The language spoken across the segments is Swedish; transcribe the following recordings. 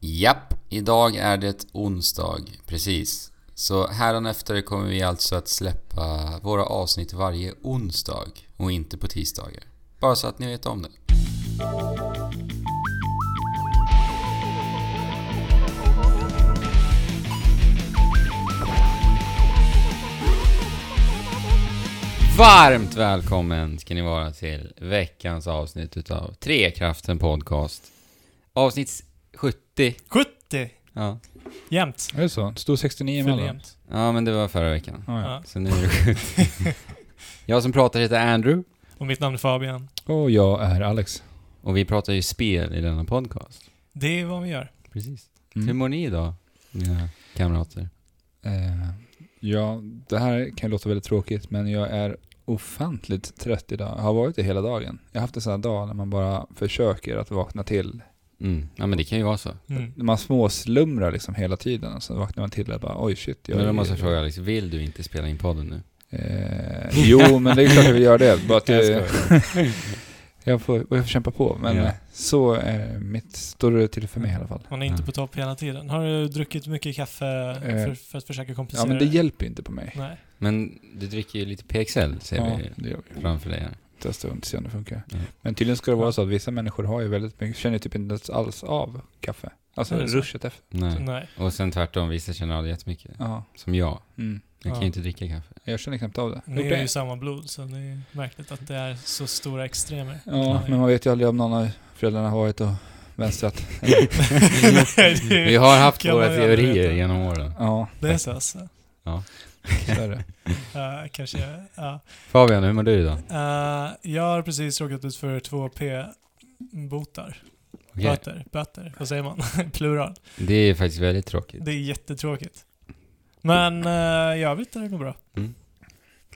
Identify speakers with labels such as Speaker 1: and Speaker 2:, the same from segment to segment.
Speaker 1: Japp, idag är det onsdag, precis. Så efter kommer vi alltså att släppa våra avsnitt varje onsdag och inte på tisdagar. Bara så att ni vet om det. Varmt välkommen ska ni vara till veckans avsnitt utav Trekraften Podcast. Avsnitt 70.
Speaker 2: 70!
Speaker 1: Ja.
Speaker 2: Jämnt.
Speaker 3: Är det så? Det stod 69
Speaker 2: För
Speaker 3: emellan?
Speaker 2: jämnt.
Speaker 1: ja, men det var förra veckan.
Speaker 3: Ah, ja.
Speaker 2: Ja.
Speaker 1: Så nu är det 70. Jag som pratar heter Andrew
Speaker 2: Och mitt namn är Fabian.
Speaker 3: Och jag är Alex.
Speaker 1: och vi pratar ju spel i denna podcast.
Speaker 2: Det är vad vi gör.
Speaker 1: Precis. Hur
Speaker 3: Mm.
Speaker 1: mår ni idag, mina kamrater?
Speaker 3: Eh, ja, det här kan ju låta väldigt tråkigt, men jag är ofantligt trött idag. Jag har varit det hela dagen. Jag har haft en sån här dag när man bara försöker att vakna till.
Speaker 1: Mm. Ja, men det kan ju vara så.
Speaker 2: Mm.
Speaker 3: Man småslumrar liksom hela tiden och så vaknar man till och bara oj shit. Jag
Speaker 1: Men
Speaker 3: är-
Speaker 1: då måste jag fråga Alex, vill du inte spela in podden nu?
Speaker 3: Eh, jo, men det är klart jag vill göra det. Bara att
Speaker 1: Jag
Speaker 3: jag, jag, får, jag får kämpa på. Men
Speaker 1: Ja.
Speaker 3: eh, så är mitt, står det till för mig i alla fall.
Speaker 2: Man är inte
Speaker 1: Ja.
Speaker 2: på topp hela tiden. Har du druckit mycket kaffe för, för att försöka kompensera
Speaker 3: Eh. Ja, men det hjälper ju inte på mig.
Speaker 2: Nej.
Speaker 1: Men du dricker ju lite PXL, ser
Speaker 3: Ja,
Speaker 1: vi
Speaker 3: det gör vi.
Speaker 1: framför dig här.
Speaker 3: testa runt och se om det funkar.
Speaker 1: Ja.
Speaker 3: Men tydligen ska det vara så att vissa människor har ju väldigt mycket, känner ju typ inte alls av kaffe. Alltså
Speaker 2: Är det så?
Speaker 3: ruschet efter.
Speaker 1: Nej.
Speaker 2: Nej.
Speaker 1: Mm. Och sen tvärtom, vissa känner aldrig jättemycket.
Speaker 3: Ja.
Speaker 1: Som jag.
Speaker 3: Mm.
Speaker 1: Jag kan
Speaker 2: Ja.
Speaker 1: ju inte dricka kaffe.
Speaker 3: Jag känner knappt av det.
Speaker 2: Ni
Speaker 3: Gjort
Speaker 2: är ju
Speaker 3: det?
Speaker 2: samma blod, så det är märkligt att det är så stora extremer.
Speaker 3: Ja, men man vet ju aldrig om någon av föräldrarna har varit och vänstrat.
Speaker 1: Vi har haft
Speaker 2: Kan
Speaker 1: våra
Speaker 2: man ju aldrig
Speaker 1: teorier
Speaker 2: veta.
Speaker 1: genom åren.
Speaker 3: Ja,
Speaker 2: Det är så alltså.
Speaker 3: så är det.
Speaker 2: Ja, kanske, ja.
Speaker 1: Fabian, hur mår du idag?
Speaker 2: Eh, jag har precis råkat ut för 2p-botar.
Speaker 1: Okej.
Speaker 2: Böter. Böter. Vad säger man? Plural.
Speaker 1: Det är faktiskt väldigt tråkigt.
Speaker 2: Det är jättetråkigt. Men uh, i övrigt är det nog bra.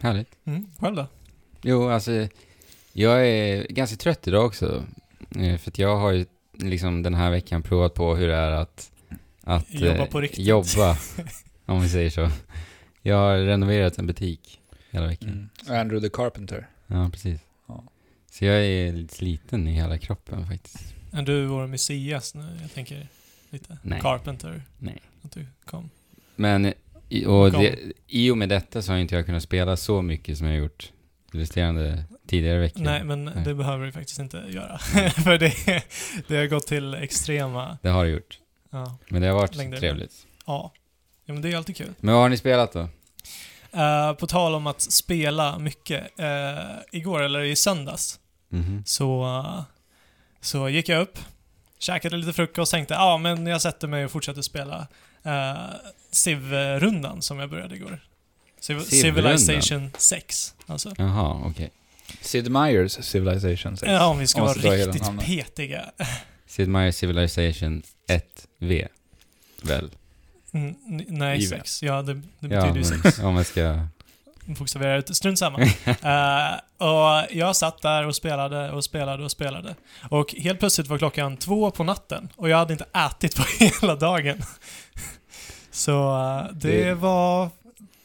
Speaker 1: Härligt.
Speaker 2: Mm. Själv då?
Speaker 1: Jo, alltså jag är ganska trött idag också. Eh, För att jag har ju liksom den här veckan provat på hur det är att, att eh,
Speaker 2: Jobba på riktigt.
Speaker 1: jobba, om vi säger så. Jag har renoverat en butik hela veckan.
Speaker 3: Mm. Andrew the Carpenter.
Speaker 1: Ja, precis.
Speaker 3: Ja.
Speaker 1: Så jag är lite sliten i hela kroppen faktiskt.
Speaker 2: Är du vår Messias nu? Jag tänker lite
Speaker 1: Nej.
Speaker 2: Carpenter.
Speaker 1: Nej.
Speaker 2: Att du kom.
Speaker 1: Men i- och
Speaker 2: Kom.
Speaker 1: det, i och med detta så har inte jag kunnat spela så mycket som jag gjort resterande tidigare veckor.
Speaker 2: Nej, men
Speaker 1: Nej.
Speaker 2: det behöver du faktiskt inte göra. För det, det har gått till extrema...
Speaker 1: Det har jag gjort.
Speaker 2: Ja.
Speaker 1: Men det har varit
Speaker 2: Längder.
Speaker 1: trevligt.
Speaker 2: ja. Ja, men det är alltid kul.
Speaker 1: Men vad har ni spelat då?
Speaker 2: Eh, på tal om att spela mycket. eh, igår, eller i söndags,
Speaker 1: Mhm.
Speaker 2: så, eh, så gick jag upp, käkade lite frukost, tänkte ja, men jag sätter mig och fortsätter spela eh, Civ-rundan som jag började igår. Civ-
Speaker 1: Civ-rundan?
Speaker 2: Civilization 6, alltså.
Speaker 1: Jaha, okej.
Speaker 3: Sid Meier's Civilization 6.
Speaker 2: Ja, om vi ska
Speaker 3: Om
Speaker 2: vara
Speaker 3: man ska dra hela
Speaker 2: riktigt
Speaker 3: namnet.
Speaker 2: petiga.
Speaker 1: Sid Meier's Civilization 1V. Väl?
Speaker 2: Mm, n- nej,
Speaker 3: Givet.
Speaker 2: sex. Ja, det, det
Speaker 1: Ja,
Speaker 2: betyder ju sex.
Speaker 1: men, om man ska...
Speaker 2: Bokstaverar ut. Strunt samma. Eh, och jag satt där och spelade och spelade och spelade. Och helt plötsligt var klockan två på natten och jag hade inte ätit på hela dagen. Så eh, det,
Speaker 3: Det-
Speaker 2: var...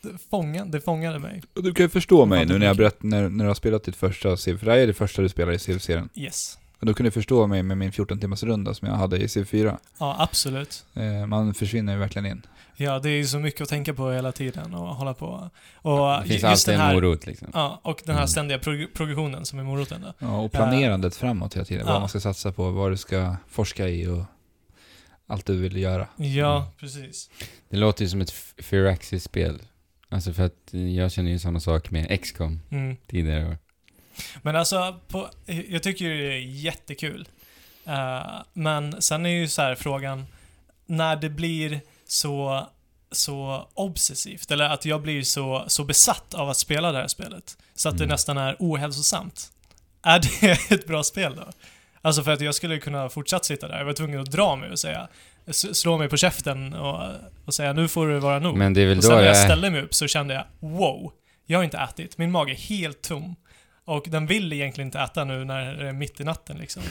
Speaker 2: Det fångade, det fångade mig.
Speaker 3: Och du kan ju förstå mig nu när jag berättar, när, när du har spelat ditt första Civ, för det här är det första du spelar i Civ-serien.
Speaker 2: Yes.
Speaker 3: Och då kan du förstå mig med min 14 timmars runda som jag hade i Civ 4.
Speaker 2: Ja, absolut.
Speaker 3: Eh, man försvinner ju verkligen in.
Speaker 2: Ja, det är ju så mycket att tänka på hela tiden och hålla på. Och
Speaker 1: det finns
Speaker 2: ju- just
Speaker 1: alltid
Speaker 2: den här,
Speaker 1: en morot liksom.
Speaker 2: Ja, och den här
Speaker 1: Mm.
Speaker 2: ständiga prog- progressionen som är moroten då.
Speaker 3: Ja, och planerandet framåt hela tiden.
Speaker 2: Eh, Ja.
Speaker 3: Vad man ska satsa på, vad du ska forska i och allt du vill göra.
Speaker 2: Ja,
Speaker 1: Mm.
Speaker 2: precis.
Speaker 1: Det låter ju som ett F- Firaxis-spel. Alltså för att eh, jag känner ju samma sak med XCOM
Speaker 2: Mm.
Speaker 1: tidigare år.
Speaker 2: Men alltså, på, jag tycker ju det är jättekul. Eh, men sen är ju så här frågan, när det blir så, så obsessivt, eller att jag blir så, så besatt av att spela det här spelet, så att det
Speaker 1: Mm.
Speaker 2: nästan är ohälsosamt. Är det ett bra spel då? Alltså för att jag skulle kunna fortsatt sitta där, jag var tvungen att dra mig och säga, s- slå mig på käften och, och säga nu får det vara nog.
Speaker 1: Men det är väl
Speaker 2: Oh. Och
Speaker 1: då
Speaker 2: sen när
Speaker 1: det
Speaker 2: jag
Speaker 1: är...
Speaker 2: ställde mig upp så kände jag wow, jag har inte ätit. Min mage är helt tom. Och den vill egentligen inte äta nu när det är mitt i natten liksom.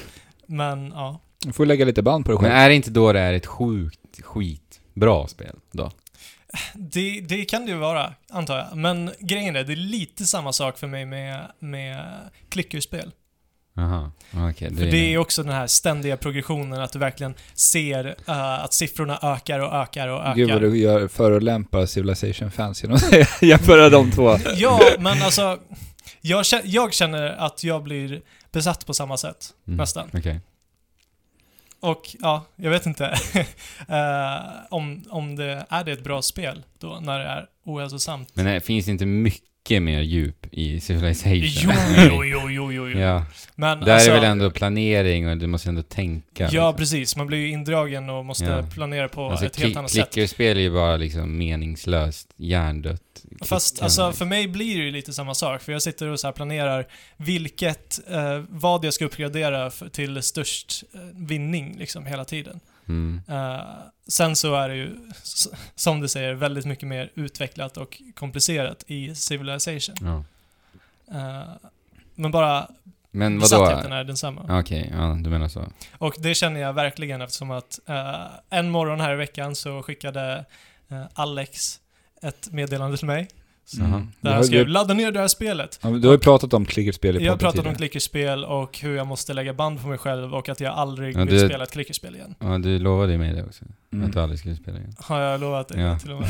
Speaker 2: Men ja,
Speaker 3: Du får lägga lite band på dig
Speaker 1: Men
Speaker 3: själv.
Speaker 1: är det inte då det är ett sjukt skitbra spel då?
Speaker 2: det, det kan det ju vara, antar jag. Men grejen är, det är lite samma sak för mig med, med klickerspel.
Speaker 1: Jaha, okej.
Speaker 2: För
Speaker 1: du
Speaker 2: det är ju
Speaker 1: inne.
Speaker 2: också den här ständiga progressionen, att du verkligen ser eh, att siffrorna ökar och ökar och ökar.
Speaker 3: Gud vad du gör förolämpar Civilization-fans genom att säga- jämföra de två.
Speaker 2: Ja, men alltså, jag, kä- jag känner att jag blir besatt på samma sätt,
Speaker 1: Mm.
Speaker 2: nästan.
Speaker 1: Okej.
Speaker 2: Och ja, jag vet inte eh, om, om det är det ett bra spel då, när det är ohälsosamt.
Speaker 1: Men det finns inte mycket mer djup i Civilization?
Speaker 2: Jo, jo, jo, jo, jo. jo.
Speaker 1: Ja,
Speaker 2: Men
Speaker 1: där
Speaker 2: alltså,
Speaker 1: är väl ändå planering och du måste ändå tänka.
Speaker 2: Ja,
Speaker 1: liksom.
Speaker 2: precis. Man blir ju indragen och måste
Speaker 1: Ja.
Speaker 2: planera på
Speaker 1: alltså,
Speaker 2: ett helt annat sätt.
Speaker 1: Klickerspel är ju bara liksom meningslöst, hjärndött.
Speaker 2: Fast
Speaker 1: Klickande.
Speaker 2: alltså, för mig blir det ju lite samma sak, för jag sitter och så här planerar vilket, eh, vad jag ska uppgradera för, till störst eh, vinning liksom hela tiden.
Speaker 1: Mm.
Speaker 2: Eh, sen så är det ju, s- som du säger, väldigt mycket mer utvecklat och komplicerat i Civilization.
Speaker 1: Ja.
Speaker 2: Eh, men bara
Speaker 1: Men vadå?
Speaker 2: besattheten är densamma.
Speaker 1: Ja, Okej, ja, du menar så.
Speaker 2: Och det känner jag verkligen eftersom att eh, en morgon här i veckan så skickade eh, Alex ett meddelande till mig.
Speaker 3: Mm.
Speaker 1: Jaha.
Speaker 2: Där han skrev “Ladda ner Mm. det här spelet”.
Speaker 3: Ja, men Du har ju pratat om klickerspel i
Speaker 2: Jag har
Speaker 3: podden
Speaker 2: pratat om
Speaker 3: tidigare.
Speaker 2: klickerspel och hur jag måste lägga band på mig själv och att jag aldrig
Speaker 1: Ja,
Speaker 2: vill
Speaker 1: det-
Speaker 2: spela ett klickerspel igen.
Speaker 1: Ja, du lovade ju mig det också.
Speaker 3: Mm.
Speaker 1: Att du aldrig skulle spela igen.
Speaker 2: Har jag lovat dig
Speaker 1: Ja.
Speaker 2: till och med.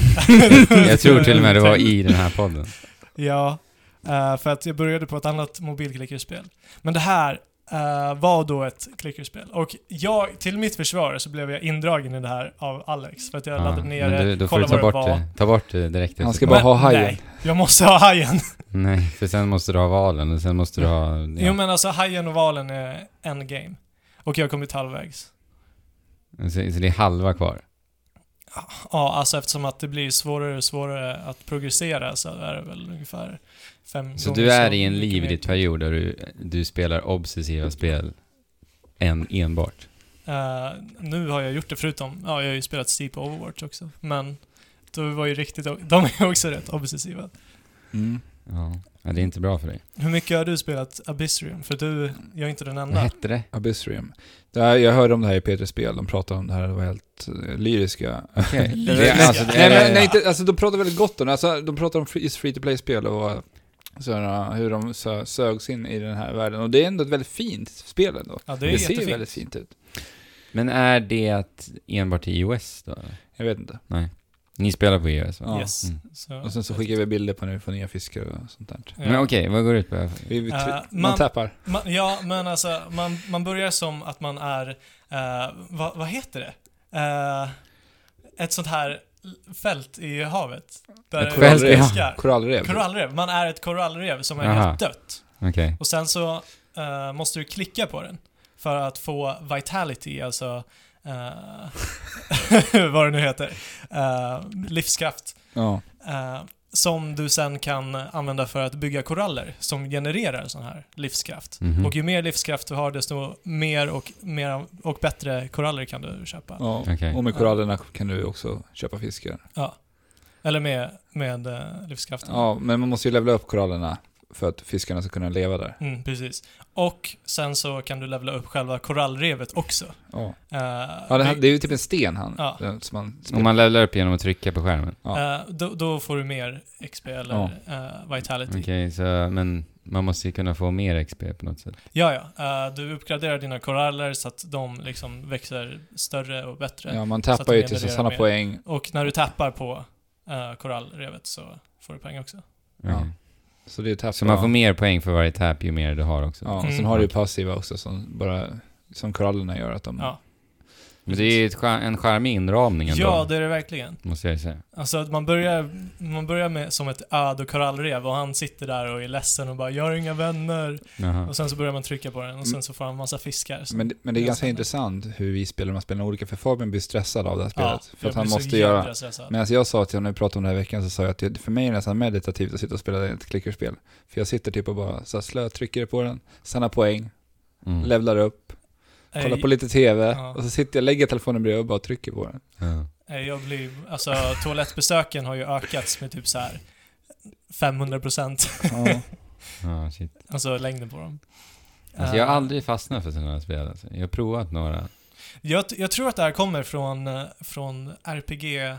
Speaker 1: Jag tror till och med det var i den här podden.
Speaker 2: Ja, eh, för att jag började på ett annat mobilklickerspel. Men det här eh, var då ett klickerspel. Och jag, till mitt försvar så blev jag indragen i det här av Alex. För att jag laddade ner
Speaker 1: Ah, men du,
Speaker 2: det,
Speaker 1: då får du
Speaker 2: kollade
Speaker 1: ta
Speaker 2: vad det
Speaker 1: bort
Speaker 2: var.
Speaker 1: det. Ta bort det direkt.
Speaker 3: Han
Speaker 1: efter
Speaker 3: ska
Speaker 1: podden.
Speaker 3: bara ha hajen.
Speaker 2: Nej, jag måste ha hajen.
Speaker 1: Nej, för sen måste du ha valen och sen måste du ha... Ja.
Speaker 2: Jo men alltså hajen och valen är en game. Och jag har kommit halvvägs.
Speaker 1: så, så det är halva kvar.
Speaker 2: Mm. Ja, alltså eftersom att det blir svårare och svårare att progressera så är det väl ungefär fem
Speaker 1: Så
Speaker 2: gånger
Speaker 1: du är i en
Speaker 2: mycket
Speaker 1: livlig
Speaker 2: mer.
Speaker 1: period där du, du spelar obsessiva spel än enbart.
Speaker 2: Eh, nu har jag gjort det förutom, ja jag har ju spelat Steep Overwatch också, men då var ju riktigt, de är ju också rätt obsessiva.
Speaker 3: Mm.
Speaker 1: Ja. ja, det är inte bra för dig.
Speaker 2: Hur mycket har du spelat Abyssrium? För du, jag är inte den
Speaker 1: Vad
Speaker 3: Mm.
Speaker 2: enda.
Speaker 1: hette det?
Speaker 3: Abyssrium. Det här, jag hörde om det här i Peter Spel, de pratade om det här, det var helt eh, lyriska.
Speaker 1: Okej.
Speaker 2: Det
Speaker 1: Det är- alltså, det
Speaker 3: nej,
Speaker 1: är-
Speaker 3: men, nej, inte, alltså de pratade väldigt gott om det, alltså, de pratade om free, free to play-spel och så här, hur de sö, sögs in i den här världen. Och det är ändå ett väldigt fint spel ändå.
Speaker 2: Ja, det
Speaker 3: Det,
Speaker 2: är
Speaker 3: ser ju
Speaker 2: jättefint.
Speaker 3: väldigt fint ut.
Speaker 1: Men är det enbart i iOS då?
Speaker 3: Jag vet inte.
Speaker 1: Ni spelar på iOS va?
Speaker 3: Ja.
Speaker 2: Yes.
Speaker 1: Mm.
Speaker 2: Så,
Speaker 3: Och sen så skickar vi bilder på när vi får nya fiskar och sånt där.
Speaker 2: ja.
Speaker 1: Men okej, vad går det ut på?
Speaker 3: Vi, vi,
Speaker 2: Eh,
Speaker 3: man,
Speaker 2: man-
Speaker 3: tappar.
Speaker 2: Man, ja, men alltså man, man börjar som att man är, eh, vad, vad heter det? Eh, ett sånt här fält i havet. Där
Speaker 1: Ett fält i
Speaker 2: fiskar.
Speaker 3: Korallrev.
Speaker 2: Korallrev. Man är ett korallrev som är
Speaker 1: Aha.
Speaker 2: helt dött.
Speaker 1: Okej.
Speaker 2: Och sen så eh, måste du klicka på den för att få vitality, alltså eh, vad det nu heter, eh, livskraft.
Speaker 3: Ja.
Speaker 2: eh, som du sen kan använda för att bygga koraller som genererar sån här livskraft.
Speaker 3: Mm-hmm.
Speaker 1: Mhm.
Speaker 2: Och ju mer livskraft du har, desto mer och, mer och bättre koraller kan du köpa.
Speaker 3: ja.
Speaker 1: Okej.
Speaker 3: Och med korallerna kan du också köpa fiskar.
Speaker 2: Eller med, med eh, livskraften.
Speaker 3: Ja, men man måste ju levla upp korallerna för att fiskarna ska kunna leva där.
Speaker 2: Mm, precis. Och sen så kan du levla upp själva korallrevet också.
Speaker 3: Ja,
Speaker 2: Eh,
Speaker 3: ja det, här,
Speaker 2: det-
Speaker 3: det är ju typ en sten han.
Speaker 2: Ja.
Speaker 3: den Som man
Speaker 1: Om man levlar upp genom att trycka på skärmen?
Speaker 2: eh, då, då får du mer XP eller
Speaker 3: Ja.
Speaker 2: eh, vitality.
Speaker 1: Okej, så, men man måste ju kunna få mer XP på något sätt.
Speaker 2: Ja, ja. Eh, du uppgraderar dina koraller så att de liksom växer större och bättre.
Speaker 3: ja, man
Speaker 2: Så
Speaker 3: tappar
Speaker 2: att
Speaker 3: ju
Speaker 2: det
Speaker 3: tills
Speaker 2: genererar
Speaker 3: sådana
Speaker 2: mer.
Speaker 3: poäng.
Speaker 2: Och när du tappar på eh, korallrevet så får du poäng också.
Speaker 3: Ja.
Speaker 1: Okej.
Speaker 3: Så det är tappar.
Speaker 1: Så man får mer poäng för varje tap ju mer du har också?
Speaker 3: Ja, och
Speaker 2: Mm.
Speaker 3: typ. sen har du ju passiva också som bara, som korallerna gör att de...
Speaker 2: Ja.
Speaker 1: Men det är ju ett, skär- en charmig inramning ändå,
Speaker 2: Ja, det är det verkligen.
Speaker 1: måste jag ju säga.
Speaker 2: Alltså att man börjar, man börjar med som ett öd korallrev och han sitter där och är ledsen och bara “Jag har inga vänner”
Speaker 1: Jaha.
Speaker 3: Alltså-
Speaker 2: och sen så börjar man trycka på den och sen så får han massa fiskar. Så-
Speaker 3: Mm. Men, men det är
Speaker 2: Jag
Speaker 3: ganska
Speaker 2: ser det.
Speaker 3: intressant hur vi spelar de här spelen olika, för Fabian blir stressad av det här spelet. för
Speaker 2: jag
Speaker 3: att han
Speaker 2: blir så
Speaker 3: måste göra...
Speaker 2: jädra stressad.
Speaker 3: Medan jag sa till honom, när vi pratade om det här i veckan, så sa jag att det, för mig är det nästan meditativt att sitta och spela ett klickerspel. För jag sitter typ och bara så här slötrycker på den, sen har poäng,
Speaker 1: Mm.
Speaker 3: levlar upp, kollar på lite TV,
Speaker 2: Ja.
Speaker 3: och så sitter jag, lägger telefonen bredvid och bara trycker på den.
Speaker 1: Ja.
Speaker 2: Eh, Jag blir, alltså toalettbesöken har ju ökats med typ så här 500%
Speaker 3: Ja.
Speaker 1: Ja, shit.
Speaker 2: alltså längden på dem.
Speaker 1: Alltså,
Speaker 3: Äh.
Speaker 1: jag har
Speaker 2: Eh,
Speaker 1: aldrig fastnat för sådana här spel alltså. Jag har provat några.
Speaker 2: Jag, jag tror att det här kommer från, eh, från RPG eh,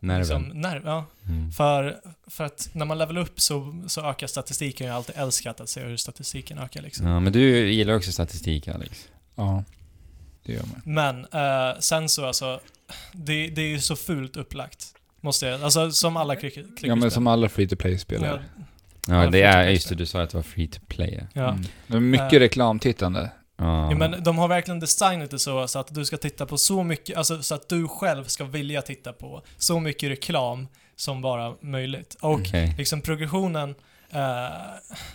Speaker 1: Nerven.
Speaker 2: Liksom, nerv, ja.
Speaker 1: Mm.
Speaker 2: För, för att när man levelar upp så, så ökar statistiken. Jag har alltid älskat att se hur statistiken ökar liksom.
Speaker 1: Ja, men du gillar också statistik Alex.
Speaker 3: Ja, det gör man.
Speaker 2: Men eh, sen så alltså, det, det är ju så fult upplagt. Måste jag, alltså som alla cricket
Speaker 3: Ja, men som alla free to play-spelare.
Speaker 2: Ja,
Speaker 1: Ja, det
Speaker 2: Ja, free to
Speaker 1: är,
Speaker 2: play
Speaker 1: just det,
Speaker 2: spel.
Speaker 1: du sa att det var free to play.
Speaker 2: ja.
Speaker 3: Mm. Det är mycket
Speaker 2: Eh.
Speaker 3: reklamtittande.
Speaker 1: Ja.
Speaker 2: Jo, men de har verkligen designat det så, så att du ska titta på så mycket, alltså så att du själv ska vilja titta på så mycket reklam som bara möjligt. Och
Speaker 1: Okej.
Speaker 2: liksom progressionen, eh,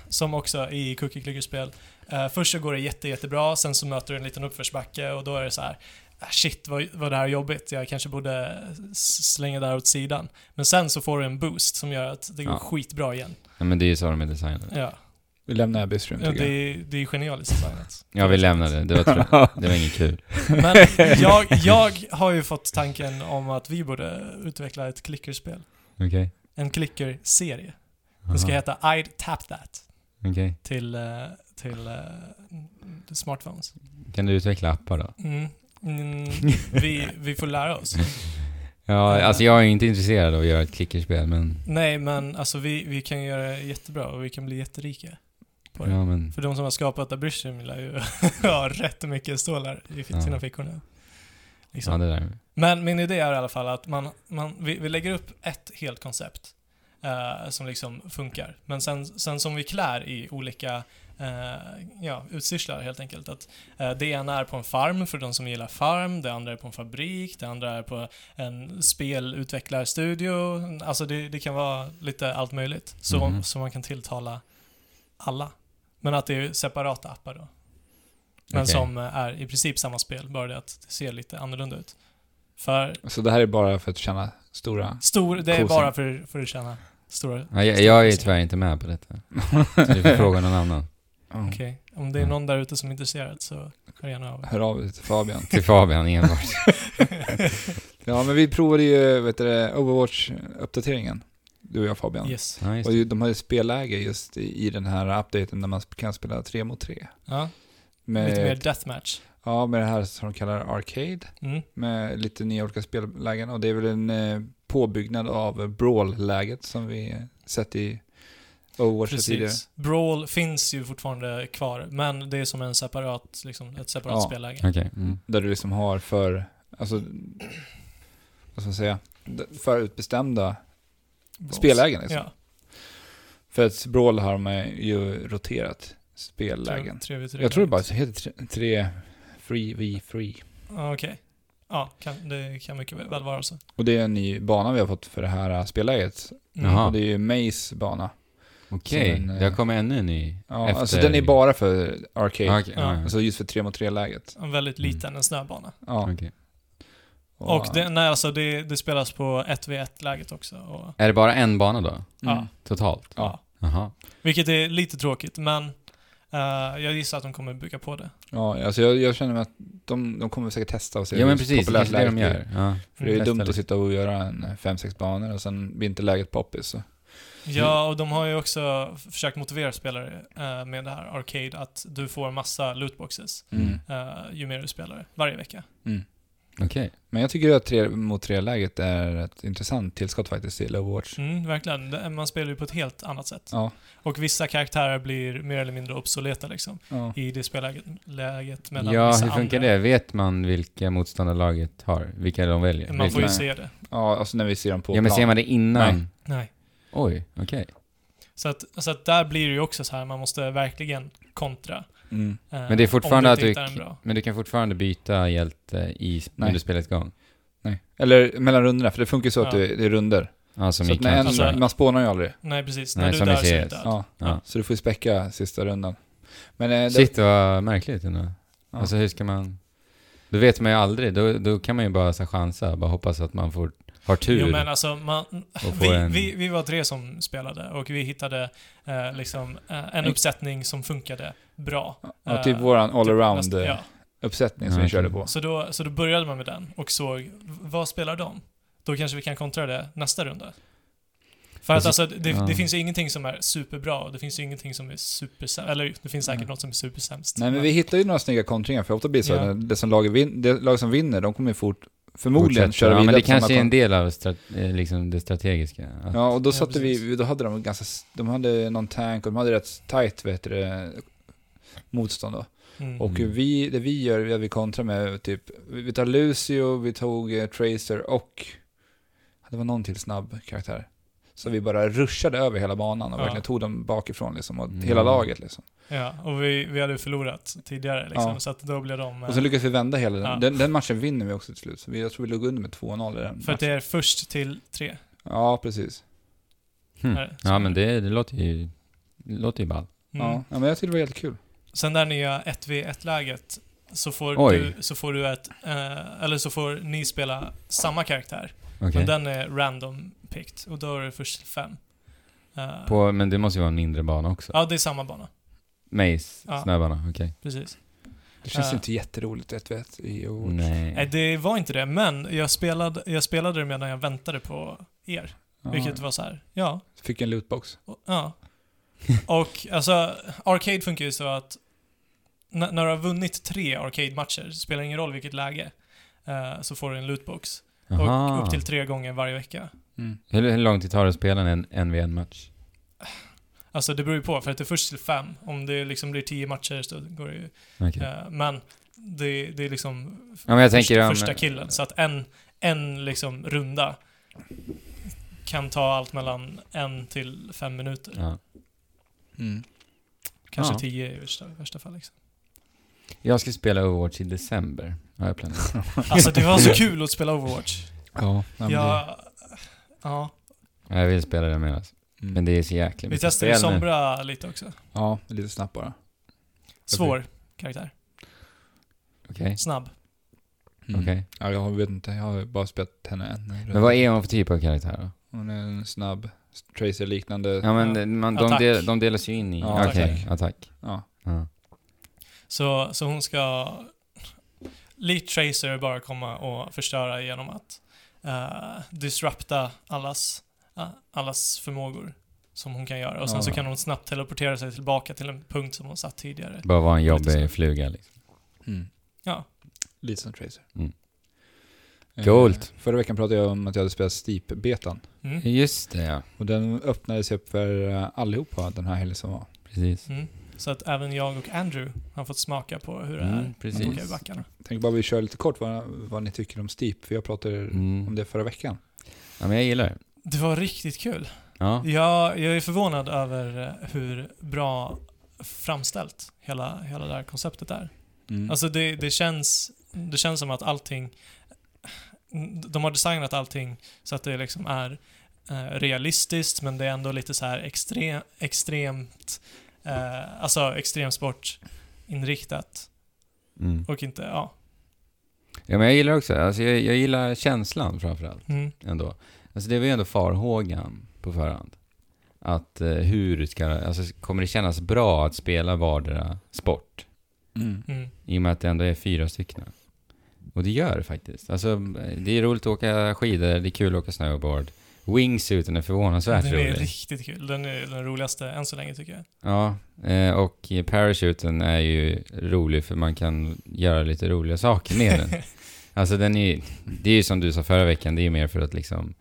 Speaker 2: som också i Cookie Clicker-spel, eh, först så går det jätte, jättebra, sen så möter du en liten uppförsbacke och då är det så här "Ah, shit vad, vad det här är jobbigt, jag kanske borde s- slänga det här åt sidan. Men sen så får du en boost som gör att det går
Speaker 1: Ja.
Speaker 2: skitbra igen.
Speaker 1: Ja, men det är ju så de är designade.
Speaker 2: Ja,
Speaker 3: Vi lämnar Abyss Room,
Speaker 2: ja
Speaker 3: tycker
Speaker 2: det,
Speaker 3: jag.
Speaker 2: är, det är genialiskt designat.
Speaker 1: Ja, vi lämnar det. Det var, tr- det var inget kul.
Speaker 2: Men jag, jag har ju fått tanken om att vi borde utveckla ett klickerspel.
Speaker 1: Okej.
Speaker 2: En klickerserie. Den ska
Speaker 1: Aha.
Speaker 2: heta I'd Tap That
Speaker 1: Okej.
Speaker 2: till, eh, till eh, smartphones.
Speaker 1: Kan du utveckla appar då?
Speaker 2: Mm. Mm, vi, vi får lära oss.
Speaker 1: Ja, alltså jag är ju inte intresserad av att göra ett klickerspel, men...
Speaker 2: Nej, men alltså vi, vi kan göra det jättebra och vi kan bli jätterika. på det.
Speaker 1: Ja, men...
Speaker 2: För de som har skapat Abrishem lär ju ha rätt mycket stålar i
Speaker 1: Ja.
Speaker 2: sina fickor nu. Liksom.
Speaker 1: Ja, det där.
Speaker 2: Men min idé är i alla fall att man, man, vi, vi lägger upp ett helt koncept eh, som liksom funkar. Men sen, sen som vi klär i olika eh, ja, utstyrslar helt enkelt. Att, eh, det ena är på en farm för de som gillar farm, det andra är på en fabrik, det andra är på en spelutvecklarstudio. Alltså det, det kan vara lite allt möjligt. Så,
Speaker 1: Mhm.
Speaker 2: så man kan tilltala alla. Men att det är separata appar då. Men
Speaker 1: Okej.
Speaker 2: som eh, är i princip samma spel, bara det att det ser lite annorlunda ut. För
Speaker 3: Så det här är bara för att tjäna stora...
Speaker 2: stor, det är
Speaker 3: Kosen.
Speaker 2: bara för, för att tjäna stora...
Speaker 3: Mm.
Speaker 1: Ja, jag, jag är ju tyvärr inte med på detta. Så du får fråga någon annan.
Speaker 3: Ja.
Speaker 2: Okej, om det
Speaker 3: Mm.
Speaker 2: är någon där ute som är intresserad så hör gärna av er.
Speaker 3: Hör av dig till Fabian.
Speaker 1: Till Fabian enbart.
Speaker 3: Ja, men vi provade ju vet du, det, Overwatch-uppdateringen. Du och jag Fabian.
Speaker 2: Yes.
Speaker 1: Ja, just
Speaker 3: Och
Speaker 1: det.
Speaker 3: ju- de har ju spelläge just i, i den här updaten där man sp- kan spela tre mot tre.
Speaker 2: Ja,
Speaker 3: Med,
Speaker 2: lite mer deathmatch.
Speaker 3: Ja, med det här som de kallar Arcade.
Speaker 2: Mm.
Speaker 3: Med lite nya olika spellägen. Och det är väl en eh, påbyggnad av Brawl-läget som vi eh, sett i Overwatch tidigare.
Speaker 2: Precis. Brawl finns ju fortfarande kvar, men det är som en separat, liksom, ett separat
Speaker 3: Ja.
Speaker 2: spelläge.
Speaker 1: Okej. Mm.
Speaker 3: Där du liksom har för, alltså, vad ska man säga, d- förutbestämda
Speaker 2: Brawls.
Speaker 3: spellägen. Liksom.
Speaker 2: Ja,
Speaker 3: För att Brawl har man ju roterat spellägen.
Speaker 2: 3v3.
Speaker 3: Jag tror det bara så heter tre, tre Free v Free.
Speaker 2: Ja, Okej. Ja, kan, det kan mycket väl väl vara så.
Speaker 3: Och det är en ny bana vi har fått för det här äh, spelläget.
Speaker 2: Mm.
Speaker 1: Jaha.
Speaker 3: Och det är ju Maze bana.
Speaker 1: Okej,
Speaker 3: Som en, eh,
Speaker 1: det har kommit ännu en ny.
Speaker 3: Ja,
Speaker 1: efter-
Speaker 3: Alltså den är bara för arcade.
Speaker 1: Ja, okej,
Speaker 2: Ja.
Speaker 1: ja,
Speaker 3: Alltså just för tre mot tre läget
Speaker 2: En väldigt
Speaker 3: Mm.
Speaker 2: liten, en snöbana.
Speaker 3: Ja.
Speaker 1: okej.
Speaker 2: Och det, nej, alltså det, det spelas på 1v1-läget också. Och,
Speaker 1: Är det bara en bana då?
Speaker 3: mm.
Speaker 2: ja,
Speaker 1: Totalt?
Speaker 3: Ja.
Speaker 1: Jaha.
Speaker 2: vilket är lite tråkigt, men eh, jag gissar att de kommer bygga på det.
Speaker 3: ja alltså jag, jag känner mig att de, de kommer säkert testa och se
Speaker 1: Ja men
Speaker 3: hur
Speaker 1: precis, det
Speaker 3: populärt
Speaker 1: kanske är det de
Speaker 3: läget blir.
Speaker 1: gör. Ja.
Speaker 3: För
Speaker 2: Mm.
Speaker 3: det är ju
Speaker 1: Testa
Speaker 3: dumt att
Speaker 1: lite.
Speaker 3: sitta och göra en fem sex banor och sen blir inte läget poppis. Så.
Speaker 2: Ja, och de har ju också f- försökt motivera spelare eh, med det här Arcade att du får massa lootboxes
Speaker 1: Mm.
Speaker 2: eh, ju mer du spelar varje vecka.
Speaker 3: Mm.
Speaker 1: Okej.
Speaker 3: Men jag tycker att tre mot tre läget är ett intressant tillskott faktiskt till Overwatch.
Speaker 2: Mm, verkligen. Det- Man spelar ju på ett helt annat sätt.
Speaker 3: Ja.
Speaker 2: Och vissa karaktärer blir mer eller mindre obsoleta liksom
Speaker 3: Ja.
Speaker 2: i det spelläget läget mellan
Speaker 1: Ja,
Speaker 2: vissa
Speaker 1: hur funkar
Speaker 2: andra.
Speaker 1: det? Vet man vilka motståndarlaget har? Vilka de väljer?
Speaker 2: Man får ju
Speaker 1: Vilka-
Speaker 3: Nej.
Speaker 2: se det.
Speaker 3: ja, alltså när vi ser dem på
Speaker 1: Ja men
Speaker 3: plan.
Speaker 1: ser man det innan?
Speaker 3: Nej.
Speaker 2: Nej.
Speaker 1: Oj, okej.
Speaker 2: Så att, så att där blir det ju också så här, man måste verkligen kontra.
Speaker 3: Mm.
Speaker 2: eh,
Speaker 1: Men det är fortfarande
Speaker 2: om
Speaker 1: att
Speaker 2: du
Speaker 1: du-
Speaker 2: inte hittar en bra.
Speaker 1: Men du kan fortfarande byta hjälte i
Speaker 3: Nej.
Speaker 1: under spelets gång?
Speaker 3: Nej. Eller mellan rundorna, för det funkar ju så att
Speaker 2: Ja.
Speaker 3: det det är runder.
Speaker 1: Ja, som
Speaker 3: Så
Speaker 1: i
Speaker 3: att när en,
Speaker 1: Counter-Strike.
Speaker 2: Alltså-
Speaker 3: man spånar ju aldrig.
Speaker 2: Nej, precis.
Speaker 1: Nej,
Speaker 2: När du
Speaker 1: som i
Speaker 2: dör så är du
Speaker 1: CS.
Speaker 2: död.
Speaker 3: Ja.
Speaker 1: Ja.
Speaker 3: Så du får ju späcka sista rundan. Men eh, det,
Speaker 1: Shit vad märkligt ändå.
Speaker 3: Ja.
Speaker 1: Alltså hur ska man... Då vet man ju aldrig, då, då kan man ju bara så, här chansa, bara hoppas att man får, har tur.
Speaker 2: Jo, men alltså, man,
Speaker 1: Och få
Speaker 2: vi,
Speaker 1: en-
Speaker 2: vi, vi var tre som spelade och vi hittade eh, liksom, eh, en
Speaker 3: Mm.
Speaker 2: uppsättning som funkade bra.
Speaker 3: ja, typ
Speaker 2: Eh,
Speaker 3: våran
Speaker 2: nästan- Ja.
Speaker 3: allround-uppsättning som
Speaker 1: Ja,
Speaker 3: vi
Speaker 1: okej.
Speaker 3: körde på.
Speaker 2: Så, då, så då började man med den och såg, v- vad spelar de? Då kanske vi kan kontra det nästa runda. För att
Speaker 1: Alltså,
Speaker 2: alltså, det,
Speaker 1: ja.
Speaker 2: det finns ju ingenting som är superbra och det finns ju ingenting som är supersämst. Eller det finns säkert
Speaker 3: Nej.
Speaker 2: något som är supersämst.
Speaker 3: Nej men vi hittar ju några snygga kontringar, för ofta blir det så
Speaker 2: Ja.
Speaker 3: att det som lag, vin, det lag som vinner, de kommer ju fort, förmodligen
Speaker 1: Fortsätter.
Speaker 3: köra
Speaker 1: ja,
Speaker 3: vidare
Speaker 1: men det
Speaker 3: på samma
Speaker 1: kanske är en
Speaker 3: plan.
Speaker 1: del av strate- eh, liksom det strategiska. Att,
Speaker 3: Ja, och då
Speaker 2: Ja,
Speaker 3: satte vi,
Speaker 2: precis.
Speaker 3: då hade de ganska, s- de hade någon tank och de hade rätt tight, vet du, det, motstånd då.
Speaker 2: Mm.
Speaker 3: Och
Speaker 1: Mm.
Speaker 3: vi, det vi gör, är att vi kontrar med typ, vi vi tar Lucio, vi tog eh, Tracer och det var någon till snabb karaktär. Så vi bara ruschade över hela banan och
Speaker 2: Ja.
Speaker 3: verkligen tog dem bakifrån liksom, och
Speaker 1: Mm.
Speaker 3: hela laget liksom.
Speaker 2: Ja, och vi, vi hade ju förlorat tidigare liksom,
Speaker 3: Ja.
Speaker 2: så att då blev de...
Speaker 3: Och så
Speaker 2: eh,
Speaker 3: lyckades vi vända hela den.
Speaker 2: Ja.
Speaker 3: Den, den matchen vinner vi också till slut. Så vi, jag tror vi låg under med 2-0 i den
Speaker 2: För att det
Speaker 3: matchen.
Speaker 2: är först till tre.
Speaker 3: Ja, precis.
Speaker 1: Hmm.
Speaker 3: Mm.
Speaker 2: Nej, så-
Speaker 1: Ja, men det, det låter ju... Det låter ju ball.
Speaker 2: Mm.
Speaker 3: Ja. ja, men jag tyckte det var helt kul.
Speaker 2: Sen där nya 1v1-läget så får,
Speaker 1: Oj.
Speaker 2: du, så får du ett... Eh, eller så får ni spela samma karaktär.
Speaker 1: Okej.
Speaker 2: Men den är random picked och då är det först till fem. Eh,
Speaker 1: På, men det måste ju vara en mindre bana också.
Speaker 2: Ja, det är samma bana.
Speaker 1: Maze,
Speaker 2: Ja.
Speaker 1: snöbana, okej.
Speaker 2: Precis.
Speaker 3: Det känns
Speaker 2: Ja.
Speaker 3: inte jätteroligt, ett vet i och...
Speaker 2: Nej,
Speaker 1: Nej.
Speaker 2: det var inte det, men jag spelade, jag spelade det medan jag väntade på er.
Speaker 3: Ja.
Speaker 2: Vilket var så här, ja,
Speaker 3: Fick en lootbox.
Speaker 2: Och- Ja. Och alltså, Arcade funkar ju så att n- när du har vunnit tre Arcade-matcher, det spelar ingen roll vilket läge, eh, så får du en lootbox.
Speaker 1: Aha.
Speaker 2: Och upp till tre gånger varje vecka.
Speaker 1: Hur, hur lång tid tar det att spela en NVN-match?
Speaker 2: Alltså det beror ju på, för att det är först till fem. Om det liksom blir tio matcher så går det ju...
Speaker 1: Okej.
Speaker 2: Eh, men det, det är liksom f-
Speaker 1: Ja, men jag
Speaker 2: först,
Speaker 1: tänker om-
Speaker 2: första killen. Så att en, en liksom runda kan ta allt mellan en till fem minuter.
Speaker 1: Ja.
Speaker 3: Mm.
Speaker 2: Kanske
Speaker 1: Ja.
Speaker 2: tio i värsta, värsta fall. Liksom.
Speaker 1: Jag ska spela Overwatch i december, har jag planerat.
Speaker 2: Alltså det var så kul att spela Overwatch.
Speaker 3: Ja, nej, men det-
Speaker 2: Ja, ja.
Speaker 1: Ja, jag vill spela det med alltså.
Speaker 3: mm.
Speaker 1: Men det är så jäkla
Speaker 2: Vi
Speaker 1: mycket
Speaker 2: testade ju
Speaker 1: spel nu.
Speaker 2: Sombra lite också.
Speaker 3: Ja, lite snabbt bara.
Speaker 2: Svår karaktär.
Speaker 1: Okej,
Speaker 2: Snabb.
Speaker 3: Mm.
Speaker 1: okej.
Speaker 3: Ja, jag vet inte. Jag har bara spelat henne en
Speaker 1: Men vad är hon för typ av karaktär då?
Speaker 3: Hon är en snabb Tracer-liknande.
Speaker 1: Ja
Speaker 2: Ja.
Speaker 1: men man, de,
Speaker 2: Attack.
Speaker 1: del, de delas ju in i...
Speaker 3: Ja,
Speaker 1: Okej,
Speaker 3: attack.
Speaker 1: attack.
Speaker 3: Ja.
Speaker 1: Ja.
Speaker 2: Så, så hon ska... Likt Tracer bara komma och förstöra genom att eh, disrupta allas, eh, allas förmågor som hon kan göra. Och sen
Speaker 3: Ja.
Speaker 2: så kan hon snabbt teleportera sig tillbaka till en punkt som hon satt tidigare.
Speaker 1: Bara vara en
Speaker 2: Lite så.
Speaker 1: jobbig fluga liksom.
Speaker 3: Mm.
Speaker 2: Ja.
Speaker 3: Lite som Tracer.
Speaker 1: Mm.
Speaker 3: Eh,
Speaker 1: Coolt.
Speaker 3: Förra veckan pratade jag om att jag hade spelat Steep-betan.
Speaker 2: Mm.
Speaker 1: Just det ja,
Speaker 3: Och den öppnades upp för eh, allihopa den här helgen som var.
Speaker 1: precis.
Speaker 2: Mm. Så att även jag och Andrew har fått smaka på hur det är
Speaker 1: Mm,
Speaker 2: att åka i
Speaker 1: precis.
Speaker 2: backarna.
Speaker 3: Tänk bara vi kör lite kort vad, vad ni tycker om Steep, för jag pratade om
Speaker 1: Mm.
Speaker 3: det förra veckan.
Speaker 1: Ja men jag gillar det.
Speaker 2: Det var riktigt kul.
Speaker 1: Ja.
Speaker 2: Jag, jag är förvånad över eh, hur bra framställt hela, hela det här konceptet är.
Speaker 1: Mm.
Speaker 2: Alltså det, det, känns, det känns som att allting... De har designat allting så att det liksom är eh, realistiskt men det är ändå lite så här extre, extremt... Eh, alltså extremsportinriktat
Speaker 1: Mm.
Speaker 2: och inte... Ja.
Speaker 1: ja men jag gillar också, alltså jag, jag gillar känslan framförallt
Speaker 2: Mm.
Speaker 1: ändå. Alltså det var ju ändå farhågan på förhand. Att eh, hur ska, alltså kommer det kännas bra att spela vardera sport?
Speaker 3: Mm.
Speaker 2: Mm.
Speaker 1: I och med att det ändå är fyra stycken. Och det gör det faktiskt. Alltså, det är roligt att åka skidor, det är kul att åka snowboard. Wingsuiten är förvånansvärt
Speaker 2: Den är
Speaker 1: rolig.
Speaker 2: riktigt kul. Den är den roligaste än så länge tycker jag.
Speaker 1: Ja, eh, och parachuten är ju rolig för man kan göra lite roliga saker med den. Alltså den är ju- det är ju som du sa förra veckan, det är ju mer för att liksom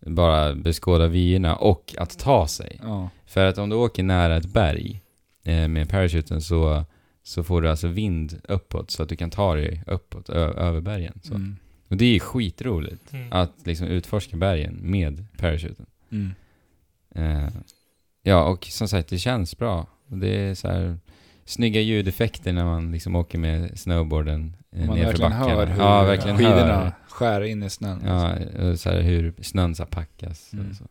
Speaker 1: bara beskåda vyerna och att ta sig.
Speaker 3: Ja.
Speaker 1: För att om du åker nära ett berg eh, med parachuten så, så får du alltså vind uppåt så att du kan ta dig uppåt ö- över bergen. Så.
Speaker 3: Mm.
Speaker 1: Och det är ju skitroligt
Speaker 2: Mm.
Speaker 1: att liksom utforska bergen med parachuten.
Speaker 3: Mm.
Speaker 1: Eh, ja, och som sagt det känns bra. Och Det är så här snygga ljudeffekter när man liksom åker med snowboarden eh,
Speaker 3: Man
Speaker 1: nerför
Speaker 3: verkligen
Speaker 1: backarna.
Speaker 3: hör hur
Speaker 1: ja, verkligen
Speaker 3: skidorna
Speaker 1: hör.
Speaker 3: skär in i snön. alltså.
Speaker 1: Ja, och så här hur snön så här packas.
Speaker 3: Mm.
Speaker 1: Och så.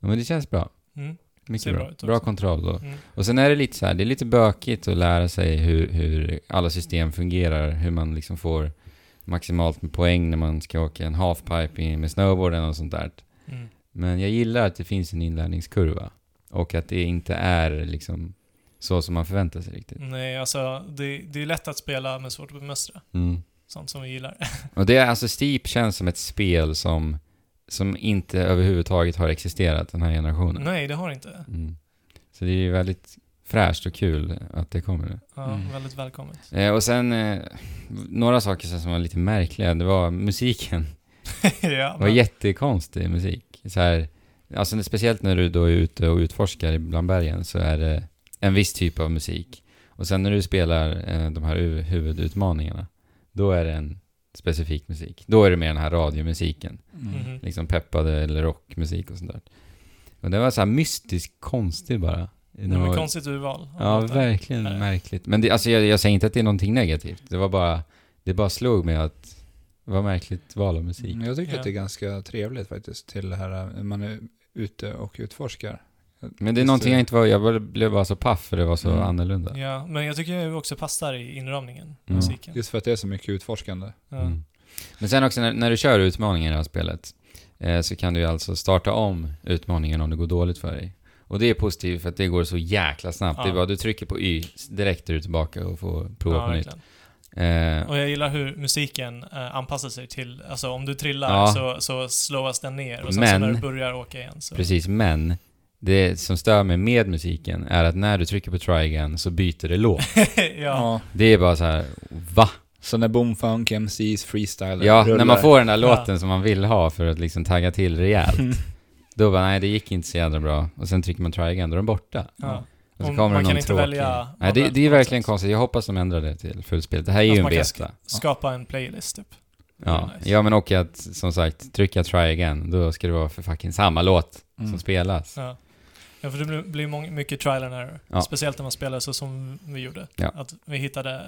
Speaker 1: Ja, men det känns bra.
Speaker 2: Mm. Ser
Speaker 1: Mycket
Speaker 2: bra
Speaker 1: bra.
Speaker 2: ut också.
Speaker 1: Bra kontroll då.
Speaker 2: Mm.
Speaker 1: Och sen är det lite så här, det är lite bökigt att lära sig hur, hur alla system fungerar, hur man liksom får maximalt med poäng när man ska åka en halfpipe i- med snowboarden och sånt där.
Speaker 2: Mm.
Speaker 1: Men jag gillar att det finns en inlärningskurva och att det inte är liksom så som man förväntar sig riktigt.
Speaker 2: Nej, alltså det, det är lätt att spela men svårt att bemästra.
Speaker 1: Mm.
Speaker 2: Sånt som vi gillar.
Speaker 1: Och det är alltså Steep känns som ett spel som, som inte överhuvudtaget har existerat den här generationen.
Speaker 2: Nej, det har inte.
Speaker 1: Mm. Så det är ju väldigt fräscht och kul att det kommer nu.
Speaker 2: Ja,
Speaker 3: Mm.
Speaker 2: väldigt välkommet.
Speaker 1: Eh, och sen, eh, några saker så som var lite märkliga, det var musiken.
Speaker 2: ja,
Speaker 1: Det var
Speaker 2: men,
Speaker 1: jättekonstig musik. Så här, alltså, speciellt när du då är ute och utforskar bland bergen så är det en viss typ av musik. Och sen när du spelar eh, de här hu- huvudutmaningarna, då är det en specifik musik. Då är det mer den här radiomusiken.
Speaker 3: Mm.
Speaker 2: mhm.
Speaker 1: Liksom peppade eller rockmusik och sånt där. Och det var så här mystiskt konstig bara.
Speaker 2: det var
Speaker 1: Och-
Speaker 2: ett konstigt urval.
Speaker 1: Ja,
Speaker 2: Vänta.
Speaker 1: verkligen
Speaker 2: Nej.
Speaker 1: märkligt. Men det, alltså, jag, jag säger inte att det är någonting negativt. Det var bara, det bara slog mig att det var märkligt val av musik.
Speaker 3: Jag tycker
Speaker 2: Ja.
Speaker 3: att det är ganska trevligt faktiskt till det här eh, man är ute och utforskar.
Speaker 1: Men det är
Speaker 3: Just
Speaker 1: någonting jag inte var, jag bara- blev bara så paff för det var så
Speaker 3: Mm.
Speaker 1: annorlunda.
Speaker 2: Ja, men jag tycker det också passar i inramningen,
Speaker 1: Ja.
Speaker 2: musiken.
Speaker 3: Just för att det är så mycket utforskande.
Speaker 2: Ja.
Speaker 1: Mm. Men sen också när, när du kör utmaningen i det här spelet eh, så kan du ju alltså starta om utmaningen om det går dåligt för dig. Och det är positivt för att det går så jäkla snabbt.
Speaker 2: Ja.
Speaker 1: Det är bara du trycker på Y, direkt är du tillbaka och får prova
Speaker 2: Ja,
Speaker 1: på nytt.
Speaker 2: verkligen.
Speaker 1: Eh,
Speaker 2: Och jag gillar hur musiken eh, anpassar sig till, alltså om du trillar
Speaker 1: Ja.
Speaker 2: så, så slåas den ner och sen
Speaker 1: Men-
Speaker 2: så när du börjar åka igen så...
Speaker 1: Precis, men det som stör mig med musiken är att när du trycker på try again så byter det låt.
Speaker 2: ja.
Speaker 1: Det är bara så här, va?
Speaker 3: Så när Boomfunk MCs freestyle
Speaker 1: Ja,
Speaker 3: rullar.
Speaker 1: när man får den där
Speaker 2: Ja. Mm.
Speaker 1: låten som man vill ha för att liksom tagga till rejält. Då bara, nej det gick inte så jävla bra. Och sen trycker man try again, då är den borta.
Speaker 2: Ja.
Speaker 1: Och så
Speaker 2: Om-
Speaker 1: kommer
Speaker 2: man
Speaker 1: någon
Speaker 2: kan inte
Speaker 1: tråkig.
Speaker 2: välja
Speaker 1: Nej, det,
Speaker 2: manuellt
Speaker 1: det är
Speaker 2: på något
Speaker 1: verkligen
Speaker 2: sätt.
Speaker 1: konstigt. Jag hoppas de ändrar det till fullspel. Det här är ju
Speaker 2: Att
Speaker 1: en
Speaker 2: Alltså, man kan sk-
Speaker 1: beta.
Speaker 2: Skapa en playlist typ. Det är
Speaker 1: Ja.
Speaker 2: nice.
Speaker 1: ja, men och att som sagt, trycka try again, då ska det vara för fucking samma låt som
Speaker 3: Mm.
Speaker 1: spelas.
Speaker 2: Ja. ja, för det blir- blir mång- mycket trial and error.
Speaker 1: Ja.
Speaker 2: Speciellt när man spelar så som vi gjorde.
Speaker 1: Ja.
Speaker 2: Att vi hittade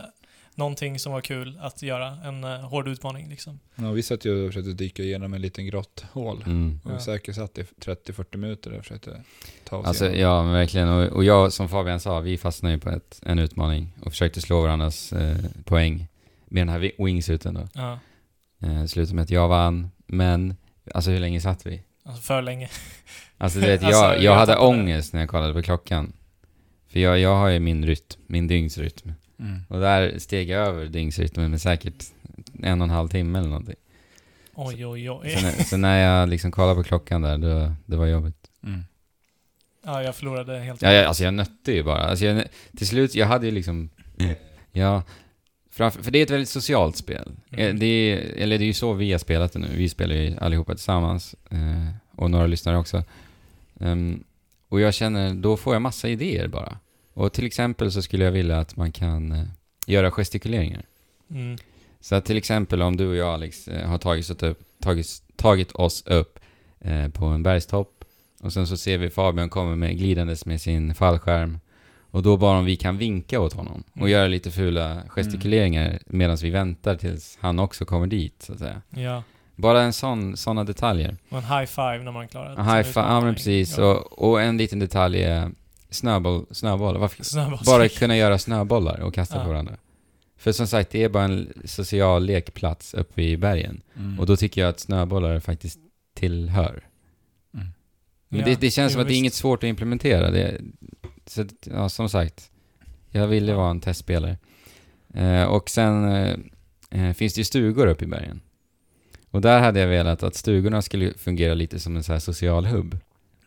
Speaker 2: någonting som var kul att göra, en eh, hård utmaning liksom.
Speaker 3: Ja, vi satt ju och försökte dyka igenom en liten grått hål.
Speaker 1: Mm.
Speaker 3: Och
Speaker 2: Ja.
Speaker 3: vi säkert satt i 30-40 minuter och försökte ta oss
Speaker 1: Alltså,
Speaker 3: igenom.
Speaker 1: ja, men verkligen. Och, och jag, som Fabian sa, vi fastnade ju på ett, en utmaning och försökte slå varandras eh, poäng med den här wi- wingsuten då.
Speaker 2: Ja.
Speaker 1: Eh, slutade med att jag vann, men alltså hur länge satt vi?
Speaker 2: Alltså för länge.
Speaker 1: Alltså du vet, jag,
Speaker 2: Alltså,
Speaker 1: jag,
Speaker 2: jag
Speaker 1: hade
Speaker 2: tappade.
Speaker 1: ångest när jag kollade på klockan. För jag, jag har ju min rytm, min dygnsrytm.
Speaker 3: Mm.
Speaker 1: Och där steg jag över dygnsrytmen med säkert en och en halv timme eller någonting.
Speaker 2: Oj, oj,
Speaker 1: Så,
Speaker 2: oj.
Speaker 1: när- så när jag liksom kollade på klockan där, då, det var jobbigt.
Speaker 3: Mm.
Speaker 2: Ja, jag förlorade helt.
Speaker 1: Ja, jag, alltså jag nötte ju bara. Alltså jag, till slut, jag hade ju liksom... Ja, framför, för det är ett väldigt socialt spel. Eh, Det är, eller det är ju så vi har spelat det nu. Vi spelar ju allihopa tillsammans. Eh, och några lyssnare också. Ehm, och jag känner, då får jag massa idéer bara. Och till exempel så skulle jag vilja att man kan eh, göra gestikuleringar.
Speaker 2: Mm.
Speaker 1: Så att till exempel om du och jag Alex eh, har tagit, oss upp, tagit, tagit oss upp eh, på en bergstopp och sen så ser vi Fabian komma med, glidandes med sin fallskärm och då bara om vi kan vinka åt honom och
Speaker 2: Mm.
Speaker 1: göra lite fula gestikuleringar medan vi väntar tills han också kommer dit så att säga.
Speaker 2: Ja.
Speaker 1: Bara en sån, sådana detaljer.
Speaker 2: Och en high five när man klarar
Speaker 1: En high five, ja men precis. Och, och en liten detalj är snöboll, snöboll. Varför, bara
Speaker 2: Bara
Speaker 1: kunna göra snöbollar och kasta
Speaker 2: Ja.
Speaker 1: på varandra. För som sagt, det är bara en social lekplats uppe i bergen.
Speaker 3: Mm.
Speaker 1: Och då tycker jag att snöbollar faktiskt tillhör.
Speaker 3: Mm.
Speaker 1: Men
Speaker 2: Ja,
Speaker 1: det, det känns
Speaker 2: jo,
Speaker 1: som att det är
Speaker 2: visst.
Speaker 1: inget svårt att implementera. Det, så, att, ja, som sagt, jag ville vara en testspelare. Eh, och sen eh, eh, finns det ju stugor uppe i bergen. Och där hade jag velat att stugorna skulle fungera lite som en så här social hubb.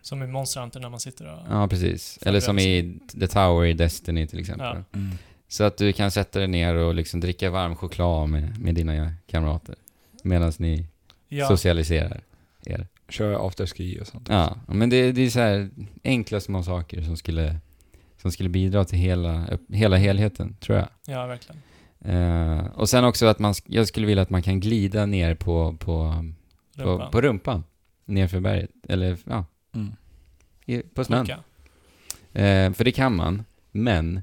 Speaker 2: Som i Monster Hunter när man sitter och...
Speaker 1: Ja, precis. Eller som i The Tower i Destiny till exempel.
Speaker 2: Ja.
Speaker 3: Mm.
Speaker 1: Så att du kan sätta dig ner och liksom dricka varm choklad med, med dina kamrater. Medan ni
Speaker 2: Ja,
Speaker 1: socialiserar er.
Speaker 3: Kör afterski och sånt.
Speaker 1: Ja, men det, det är så här enkla små saker som skulle, som skulle bidra till hela, upp- hela helheten, tror jag.
Speaker 2: ja, verkligen.
Speaker 1: Eh, och sen också att man, sk- jag skulle vilja att man kan glida ner på, på, på,
Speaker 2: Rumpan.
Speaker 1: på rumpan. Nerför berget, eller ja,
Speaker 3: Mm.
Speaker 1: i, på snön.
Speaker 2: Klicka.
Speaker 1: Eh, för det kan man, men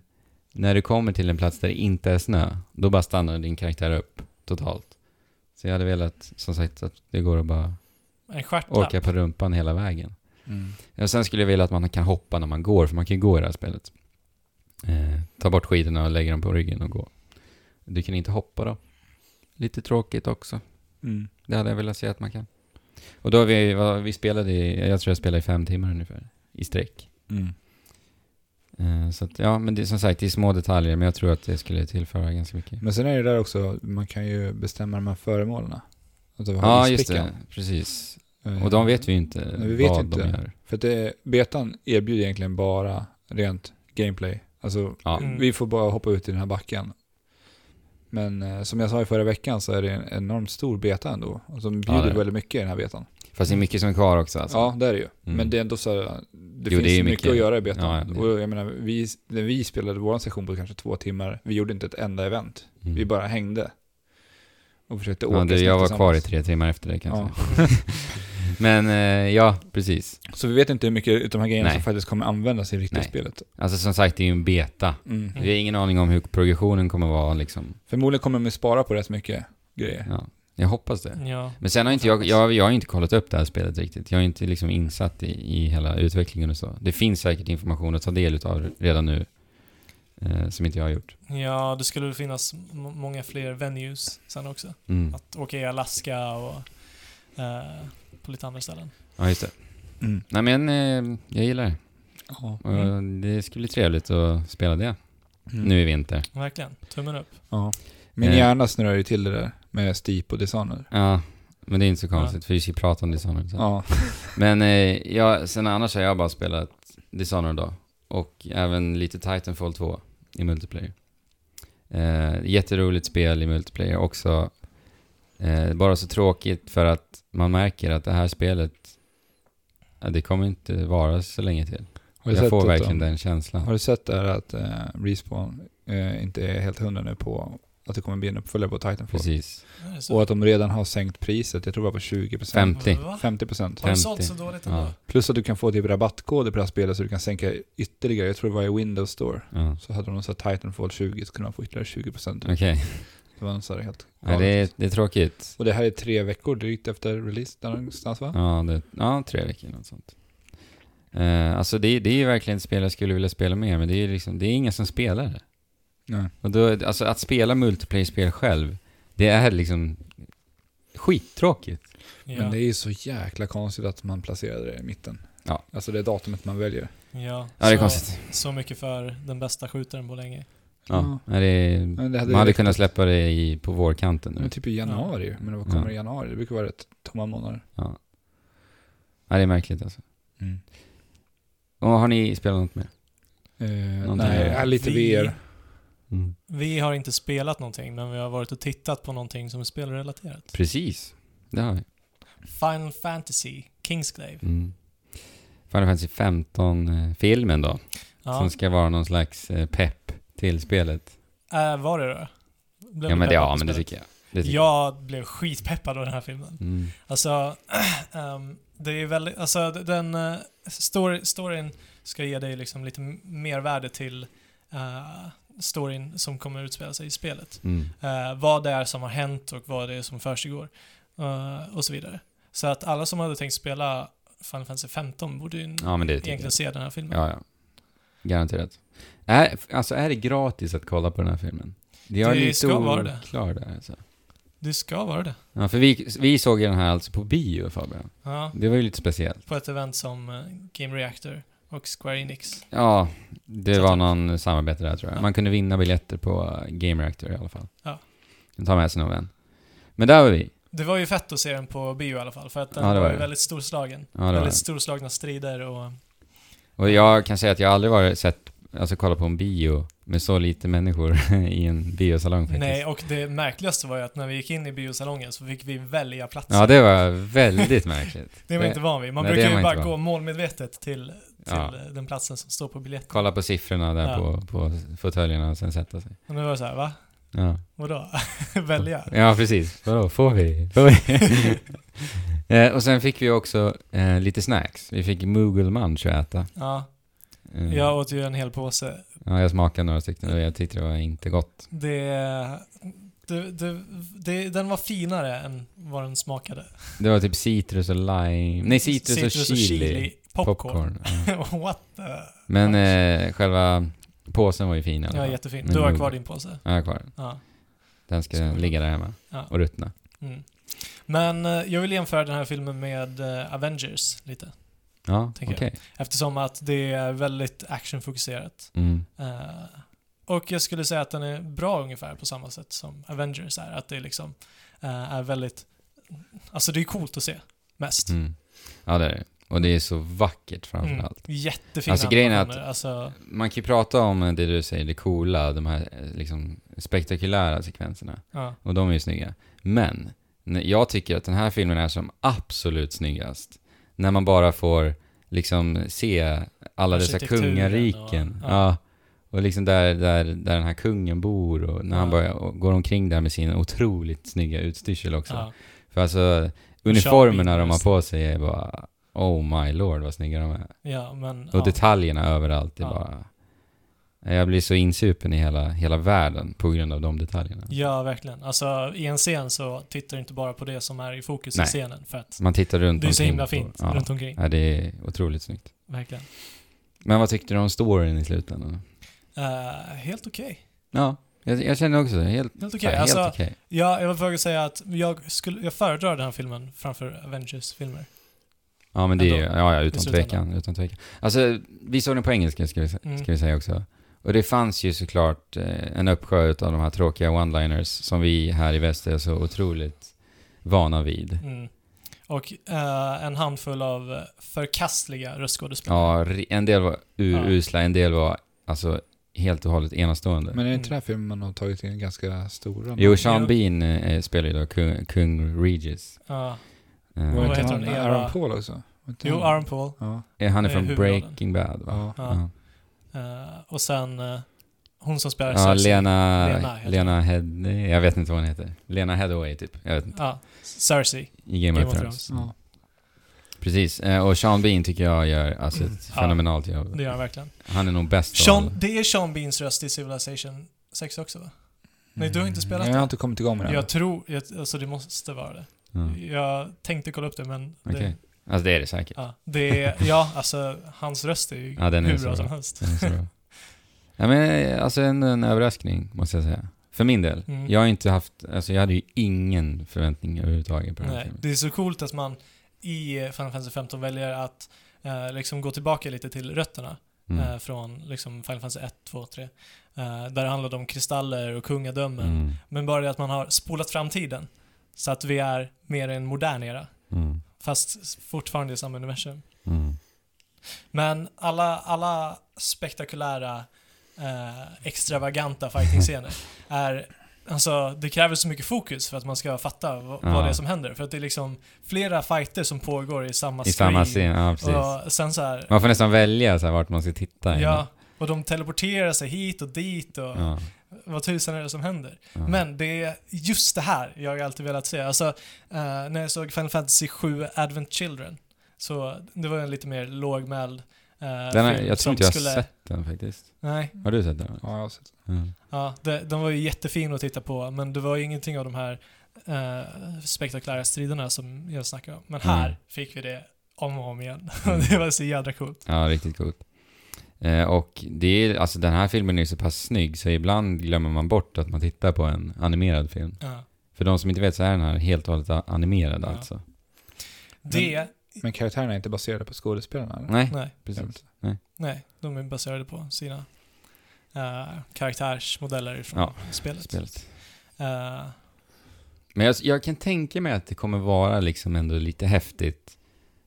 Speaker 1: när du kommer till en plats där det inte är snö, då bara stannar din karaktär upp totalt. Så jag hade velat, som sagt, att det går att bara
Speaker 2: En stjärtlapp.
Speaker 1: åka på rumpan hela vägen.
Speaker 3: Mm.
Speaker 1: Och sen skulle jag vilja att man kan hoppa när man går, för man kan ju gå i det här spelet. Eh, ta bort skidorna och lägga dem på ryggen och gå. Du kan inte hoppa då. Lite tråkigt också.
Speaker 3: Mm.
Speaker 1: Det hade jag velat se att man kan. Och då har vi, vad- vi spelade i, jag tror jag spelade i fem timmar ungefär, i sträck.
Speaker 3: Mm.
Speaker 1: Eh, Så att, ja, men det, som sagt, det är små detaljer, men jag tror att det skulle tillföra ganska mycket.
Speaker 3: Men sen är det där också, man kan ju bestämma de här föremålen. Alltså, vad har
Speaker 1: Ja,
Speaker 3: vi i
Speaker 1: just
Speaker 3: sprickan?
Speaker 1: det. Precis.
Speaker 3: Eh,
Speaker 1: Och de vet vi ju inte
Speaker 3: Nej, vi vet
Speaker 1: vad
Speaker 3: ju inte.
Speaker 1: de gör.
Speaker 3: För att det, betan erbjuder egentligen bara rent gameplay. Alltså,
Speaker 1: Ja.
Speaker 2: Mm.
Speaker 3: vi får bara hoppa ut i den här backen. Men eh, som jag sa i förra veckan så är det en enormt stor beta ändå. Och som
Speaker 1: Ja, det
Speaker 3: bjuder
Speaker 1: är det.
Speaker 3: väldigt mycket i den här betan.
Speaker 1: Fast det är mycket som är kvar också alltså.
Speaker 3: Ja, det är det ju.
Speaker 1: Mm.
Speaker 3: Men det är ändå så här, eh, det
Speaker 1: Jo,
Speaker 3: finns
Speaker 1: det är
Speaker 3: mycket,
Speaker 1: mycket.
Speaker 3: att göra i betan.
Speaker 1: Ja, ja, det-
Speaker 3: Och jag menar, vi, när vi spelade vår session på kanske två timmar, vi gjorde inte ett enda event.
Speaker 1: Mm.
Speaker 3: Vi bara hängde. Och försökte åka
Speaker 1: ja, du,
Speaker 3: snabbt
Speaker 1: jag var
Speaker 3: tillsammans.
Speaker 1: kvar i tre timmar efter det kan jag
Speaker 3: Ja.
Speaker 1: säga. Men eh, ja, precis.
Speaker 3: Så vi vet inte hur mycket av de här grejerna
Speaker 1: Nej.
Speaker 3: som faktiskt kommer användas i riktiga
Speaker 1: Nej.
Speaker 3: spelet.
Speaker 1: Alltså som sagt, det är ju en beta.
Speaker 3: Mm.
Speaker 1: Vi har ingen aning om hur progressionen kommer vara liksom.
Speaker 3: Förmodligen kommer de spara på rätt mycket grejer.
Speaker 1: Ja, jag hoppas det.
Speaker 2: Ja.
Speaker 1: Men sen har inte jag, jag, jag har inte kollat upp det här spelet riktigt. Jag är inte liksom insatt i, i hela utvecklingen och så. Det finns säkert information att ta del utav redan nu. Eh, som inte jag har gjort.
Speaker 2: ja, det skulle väl finnas m- många fler venues sen också.
Speaker 1: Mm.
Speaker 2: Att åka i Alaska och eh, på lite andra ställen.
Speaker 1: Ja, just det.
Speaker 3: Mm.
Speaker 1: Nej men, eh, jag gillar det. Och Det skulle bli trevligt att spela det
Speaker 3: Mm.
Speaker 1: nu i vinter.
Speaker 2: Verkligen. Tummen upp.
Speaker 3: Ja. Min
Speaker 1: Eh.
Speaker 3: hjärna snurrar ju till det där med Steep och Dishonored.
Speaker 1: Ja, men det är inte så konstigt för vi ska ju prata om Dishonored sen.
Speaker 3: Ja.
Speaker 1: Men eh, jag, sen annars har jag bara spelat Dishonored då. Och även lite Titanfall 2 i multiplayer. Eh, jätteroligt spel i multiplayer också. Eh, bara så tråkigt för att man märker att det här spelet, ja, det kommer inte vara så länge till.
Speaker 3: Har du
Speaker 1: Jag
Speaker 3: sett
Speaker 1: får
Speaker 3: att
Speaker 1: verkligen
Speaker 3: de-
Speaker 1: den känslan.
Speaker 3: Har du sett där att eh, Respawn eh, inte är helt hundra nu på att det kommer bli en uppföljare på Titanfall?
Speaker 1: Precis.
Speaker 2: Är det så?
Speaker 3: Och att de redan har sänkt priset, jag tror det var på 20%.
Speaker 1: Fem. 50.
Speaker 2: Va?
Speaker 3: 50%.
Speaker 2: Har det sålt
Speaker 1: 50.
Speaker 2: så dåligt ändå?
Speaker 1: Ja.
Speaker 3: Plus att du kan få typ rabattkoder på det här spelet så du kan sänka ytterligare, jag tror det var i Windows Store.
Speaker 1: Ja.
Speaker 3: Så hade de så här Titanfall 20 så kunde man få ytterligare 20%.
Speaker 1: Okej.
Speaker 3: Det var en så här helt
Speaker 1: Ja, det, är, det är tråkigt.
Speaker 3: Och det här är tre veckor drygt efter release där någonstans va?
Speaker 1: Ja, det, ja tre veckor något sånt. Eh, alltså det, det är ju verkligen ett spel jag skulle vilja spela mer, men det är ju liksom, det är ingen som spelar det.
Speaker 3: Nej.
Speaker 1: Och då, alltså att spela multiplayer-spel själv, det är liksom skittråkigt.
Speaker 3: Men
Speaker 2: Ja.
Speaker 3: det är ju så jäkla konstigt att man placerade det i mitten.
Speaker 1: Ja.
Speaker 3: Alltså det är datumet man väljer.
Speaker 2: ja.
Speaker 1: Ja, det är
Speaker 2: Så-
Speaker 1: konstigt.
Speaker 2: Så mycket för den bästa skjutaren på länge.
Speaker 1: Ja, nej, det är,
Speaker 3: Men det hade
Speaker 1: man hade
Speaker 3: räckt
Speaker 1: kunnat
Speaker 3: att-
Speaker 1: släppa det i, på vårkanten nu.
Speaker 3: Men typ i januari. Men vad kommer i januari? Det brukar vara rätt tomma månader.
Speaker 1: Ja, det är märkligt alltså.
Speaker 2: Mm.
Speaker 1: Och har ni spelat något mer?
Speaker 3: Eh,
Speaker 1: Någonting.
Speaker 3: nej, ja, lite
Speaker 2: Vi-
Speaker 3: VR.
Speaker 1: Mm.
Speaker 2: Vi har inte spelat någonting, men vi har varit och tittat på någonting som är spelrelaterat.
Speaker 1: Precis, det har vi.
Speaker 2: Final Fantasy, Kingsglaive.
Speaker 1: Mm. Final Fantasy 15-filmen då,
Speaker 2: Ja.
Speaker 1: som ska vara någon slags eh, pepp till spelet.
Speaker 2: Äh, var det då? Blev
Speaker 1: Ja men
Speaker 2: du
Speaker 1: det,
Speaker 2: peppad
Speaker 1: ja,
Speaker 2: på
Speaker 1: men det
Speaker 2: spelet?
Speaker 1: tycker jag. Det tycker
Speaker 2: Jag blev skitpeppad av den här filmen.
Speaker 1: jag. Mm.
Speaker 2: Alltså, ehm, det är väldigt, alltså d- den eh, story, storyn ska ge dig liksom lite m- mer värde till eh, storyn som kommer utspela sig i spelet.
Speaker 1: Mm.
Speaker 2: Eh, vad det är som har hänt och vad det är som försiggår. eh, och så vidare. Så att alla som hade tänkt spela Final Fantasy 15 borde ju
Speaker 1: Ja men det tycker
Speaker 2: egentligen
Speaker 1: jag.
Speaker 2: se den här filmen.
Speaker 1: Ja, ja. Garanterat. Är, alltså är det gratis att kolla på den här filmen? Det är
Speaker 2: Det
Speaker 1: lite
Speaker 2: ska vara det.
Speaker 1: oklar där alltså.
Speaker 2: Det ska vara det.
Speaker 1: Ja, för vi, vi såg ju den här alltså på bio Fabian.
Speaker 2: Ja,
Speaker 1: Det var ju lite speciellt.
Speaker 2: på ett event som eh, Game Reactor och Square Enix.
Speaker 1: Ja, det
Speaker 2: Så
Speaker 1: var
Speaker 2: tack.
Speaker 1: någon samarbete där tror jag.
Speaker 2: Ja.
Speaker 1: Man kunde vinna biljetter på eh, Game Reactor i alla fall.
Speaker 2: Ja.
Speaker 1: Ta med sig någon vän. Men där var vi.
Speaker 2: Det var ju fett att se den på bio i alla fall, för att den
Speaker 1: Ja, det
Speaker 2: var,
Speaker 1: var
Speaker 2: ju
Speaker 1: det.
Speaker 2: väldigt storslagen.
Speaker 1: Ja, det var
Speaker 2: väldigt
Speaker 1: det.
Speaker 2: storslagna strider och...
Speaker 1: Och jag kan säga att jag aldrig varit sett, alltså kolla på en bio med så lite människor i en biosalong faktiskt.
Speaker 2: Nej, och det märkligaste var ju att när vi gick in i biosalongen så fick vi välja platser.
Speaker 1: Ja, det var väldigt märkligt.
Speaker 2: Det är man
Speaker 1: Det-
Speaker 2: inte van vid. Man
Speaker 1: nej, det är
Speaker 2: brukar ju
Speaker 1: man
Speaker 2: bara
Speaker 1: inte van
Speaker 2: gå målmedvetet till, till
Speaker 1: Ja.
Speaker 2: eh, den platsen som står på biljetten.
Speaker 1: Kolla på siffrorna där
Speaker 2: Ja.
Speaker 1: på, på fåtöljerna och sen sätta sig.
Speaker 2: Och nu var det så här, va?
Speaker 1: Ja,
Speaker 2: Vadå? Välja?
Speaker 1: ja precis. Vadå, får vi? Får vi? eh, och sen fick vi också eh, lite snacks. Vi fick Moogle Munch att äta.
Speaker 2: Ja,
Speaker 1: Eh,
Speaker 2: jag åt ju en hel påse.
Speaker 1: ja, jag smakade några stycken och jag tyckte det var inte gott.
Speaker 2: Det, det, det, det, den var finare än vad den smakade.
Speaker 1: Det var typ citrus och lime. Nej, citrus, och chili.
Speaker 2: popcorn.
Speaker 1: Ja.
Speaker 2: What the?
Speaker 1: Men eh, själva påsen var ju fin i alla
Speaker 2: Ja,
Speaker 1: fall.
Speaker 2: jättefin.
Speaker 1: Men
Speaker 2: Du har
Speaker 1: nog-
Speaker 2: kvar din påse.
Speaker 1: Ja, jag har kvar den.
Speaker 2: Ja.
Speaker 1: Den ska
Speaker 2: Ska-
Speaker 1: ligga där hemma
Speaker 2: Ja.
Speaker 1: och ruttna.
Speaker 2: Mm. Men eh, jag vill jämföra den här filmen med eh, Avengers lite.
Speaker 1: Ja, okej.
Speaker 2: Tänker jag. Eftersom att det är väldigt actionfokuserat.
Speaker 1: Mm.
Speaker 2: Eh, och jag skulle säga att den är bra ungefär på samma sätt som Avengers är. Att det liksom eh, är väldigt... Alltså det är coolt att se, mest.
Speaker 1: Mm. Ja, det är det. Och det är så vackert framförallt.
Speaker 2: Mm. Jättefina
Speaker 1: Alltså, grejen är
Speaker 2: animationer. Alltså,
Speaker 1: Mm. Man kan ju prata om det du säger, det coola, de här eh, liksom, spektakulära sekvenserna.
Speaker 2: ja.
Speaker 1: Och de är ju snygga. Men, n- jag tycker att den här filmen är som absolut snyggast. När man bara får liksom se alla dessa
Speaker 2: Arkitekturen
Speaker 1: kungariken.
Speaker 2: och-
Speaker 1: Och,
Speaker 2: ja.
Speaker 1: ja. och liksom där, där, där den här kungen bor och när han
Speaker 2: Ja.
Speaker 1: börjar, och går omkring där med sin otroligt snygga utstyrsel också.
Speaker 2: Ja.
Speaker 1: För alltså, uniformerna de har på sig är bara Oh my lord vad snygga de är.
Speaker 2: ja, men...
Speaker 1: Och
Speaker 2: ja.
Speaker 1: detaljerna överallt är
Speaker 2: Ja.
Speaker 1: bara... Jag blir så insupen i hela, hela världen på grund av de detaljerna.
Speaker 2: Ja, verkligen. Alltså, i en scen så tittar du inte bara på det som är i fokus
Speaker 1: Nej.
Speaker 2: i scenen. För att
Speaker 1: Man tittar runt
Speaker 2: det är så
Speaker 1: omkring
Speaker 2: himla
Speaker 1: på-
Speaker 2: fint
Speaker 1: Ja.
Speaker 2: runt omkring.
Speaker 1: ja, det är otroligt snyggt.
Speaker 2: Verkligen.
Speaker 1: Men vad tyckte du om storyn i slutändan?
Speaker 2: Eh, helt okej.
Speaker 1: Ja, jag, jag känner också det. Helt
Speaker 2: Helt
Speaker 1: så
Speaker 2: okej.
Speaker 1: här,
Speaker 2: Alltså,
Speaker 1: helt okej.
Speaker 2: ja, jag vill faktiskt säga att jag, skulle, jag föredrar den här filmen framför Avengers-filmer.
Speaker 1: Ja, men det är ju,
Speaker 2: ändå,
Speaker 1: ja, ja,
Speaker 2: i
Speaker 1: utan
Speaker 2: slutändan.
Speaker 1: tvekan, utan tvekan. Alltså, vi såg den på engelska ska vi, sä-
Speaker 2: Mm.
Speaker 1: ska vi säga också. Och det fanns ju såklart eh, en uppsjö av de här tråkiga one-liners som vi här i väst är så otroligt vana vid.
Speaker 2: Mm. Och eh, en handfull av eh, förkastliga röstskådespelare.
Speaker 1: Ja, ri- en del var
Speaker 2: Ja.
Speaker 1: urusla, en del var alltså helt och hållet enastående.
Speaker 3: Men är det inte den här filmen man har tagit in ganska stora?
Speaker 1: jo, Sean
Speaker 2: Jo.
Speaker 1: Bean eh, spelar ju då kung, kung Regis.
Speaker 2: Ja.
Speaker 1: Eh,
Speaker 3: Var
Speaker 2: Vad
Speaker 3: det inte
Speaker 2: heter
Speaker 3: han,
Speaker 2: hon? Eva-
Speaker 3: Aaron Paul också? Var inte
Speaker 2: Jo,
Speaker 3: han-
Speaker 2: Aaron Paul.
Speaker 3: Ja.
Speaker 1: eh, han är
Speaker 2: eh,
Speaker 1: från
Speaker 2: huvudrollen.
Speaker 1: Breaking Bad va?
Speaker 3: Ja.
Speaker 2: Ja. Eh, och sen eh, hon som spelar
Speaker 1: Ja,
Speaker 2: Cersei.
Speaker 1: Lena...
Speaker 2: Lena
Speaker 1: Lena,
Speaker 2: heter
Speaker 1: Head... Jag vet inte vad hon heter. Lena Hathaway typ. Jag vet inte.
Speaker 2: Ja, Cersei.
Speaker 1: I Game, of Thrones.
Speaker 3: ja.
Speaker 1: Precis. Eh, Och Sean Bean tycker jag gör alltså ett
Speaker 2: Ja.
Speaker 1: fenomenalt jobb.
Speaker 2: Det gör han verkligen.
Speaker 1: Han är nog bäst av alla.
Speaker 2: Sean, det är Sean Beans röst i Civilization 6 också va? Nej, du har inte spelat
Speaker 3: Jag
Speaker 1: Mm,
Speaker 3: har inte kommit igång med den.
Speaker 2: Jag tror, jag, alltså det måste vara det.
Speaker 1: Ja.
Speaker 2: Jag tänkte kolla upp det men det,
Speaker 1: Okej. Alltså det är det säkert.
Speaker 2: ja, det är, ja, alltså hans röst är ju
Speaker 1: Ja, den är
Speaker 2: hur
Speaker 1: så
Speaker 2: bra
Speaker 1: bra. Mm.
Speaker 2: som helst.
Speaker 1: Det är så bra. ja, men, eh, alltså en, en överraskning måste jag säga. För min del.
Speaker 2: Mm.
Speaker 1: Jag har inte haft... Alltså jag hade ju ingen förväntning överhuvudtaget på den här
Speaker 2: Nej,
Speaker 1: filmen.
Speaker 2: det är så coolt att man i eh, Final Fantasy 15 väljer att eh, liksom gå tillbaka lite till rötterna.
Speaker 1: Mm.
Speaker 2: eh, från liksom Final Fantasy 1, 2, 3. Eh, där det handlade om kristaller och kungadömen.
Speaker 1: Mm.
Speaker 2: Men bara det att man har spolat fram tiden. Så att vi är mer i en modern era.
Speaker 1: Mm.
Speaker 2: Fast fortfarande i samma universum.
Speaker 1: Mm.
Speaker 2: Men alla, alla spektakulära, eh, extravaganta fighting-scener är Alltså, det kräver så mycket fokus för att man ska fatta vad, vad
Speaker 1: Ja.
Speaker 2: det är som händer. För att det är liksom flera fighter som pågår i samma
Speaker 1: I samma
Speaker 2: screen.
Speaker 1: scen, ja precis.
Speaker 2: Och sen så här,
Speaker 1: Man får nästan välja så här, vart man ska titta.
Speaker 2: ja, och de teleporterar sig hit och dit och
Speaker 1: Ja,
Speaker 2: vad tusan är det som händer?
Speaker 1: ja.
Speaker 2: Men det är just det här jag har alltid velat se. Alltså, eh, när jag såg Final Fantasy 7 Advent Children, så det var en lite mer lågmäld eh,
Speaker 1: den har,
Speaker 2: film
Speaker 1: jag tror
Speaker 2: som
Speaker 1: inte jag
Speaker 2: skulle-
Speaker 1: har sett den faktiskt.
Speaker 2: Nej,
Speaker 1: Har du sett den?
Speaker 3: Ja, jag har sett.
Speaker 1: Mm.
Speaker 2: ja, det, den var ju jättefin att titta på, men det var ju ingenting av de här eh, spektakulära striderna som jag snackade om. Men här
Speaker 1: Mm.
Speaker 2: fick vi det om och om igen.
Speaker 1: Mm.
Speaker 2: det var så jädra coolt.
Speaker 1: Ja, riktigt coolt. Eh, och det är, alltså den här filmen är ju så pass snygg så ibland glömmer man bort att man tittar på en animerad film.
Speaker 2: Ja.
Speaker 1: För de som inte vet så är den här helt och hållet a- animerad
Speaker 2: Ja.
Speaker 1: alltså.
Speaker 2: Det,
Speaker 3: Men karaktärerna är inte baserade på skådespelarna? eller?
Speaker 1: Nej,
Speaker 2: nej,
Speaker 1: precis.
Speaker 2: nej, de är baserade på sina eh, karaktärsmodeller från
Speaker 1: Ja,
Speaker 2: spelet.
Speaker 1: Spelet.
Speaker 2: Eh,
Speaker 1: Men jag, jag kan tänka mig att det kommer vara liksom ändå lite häftigt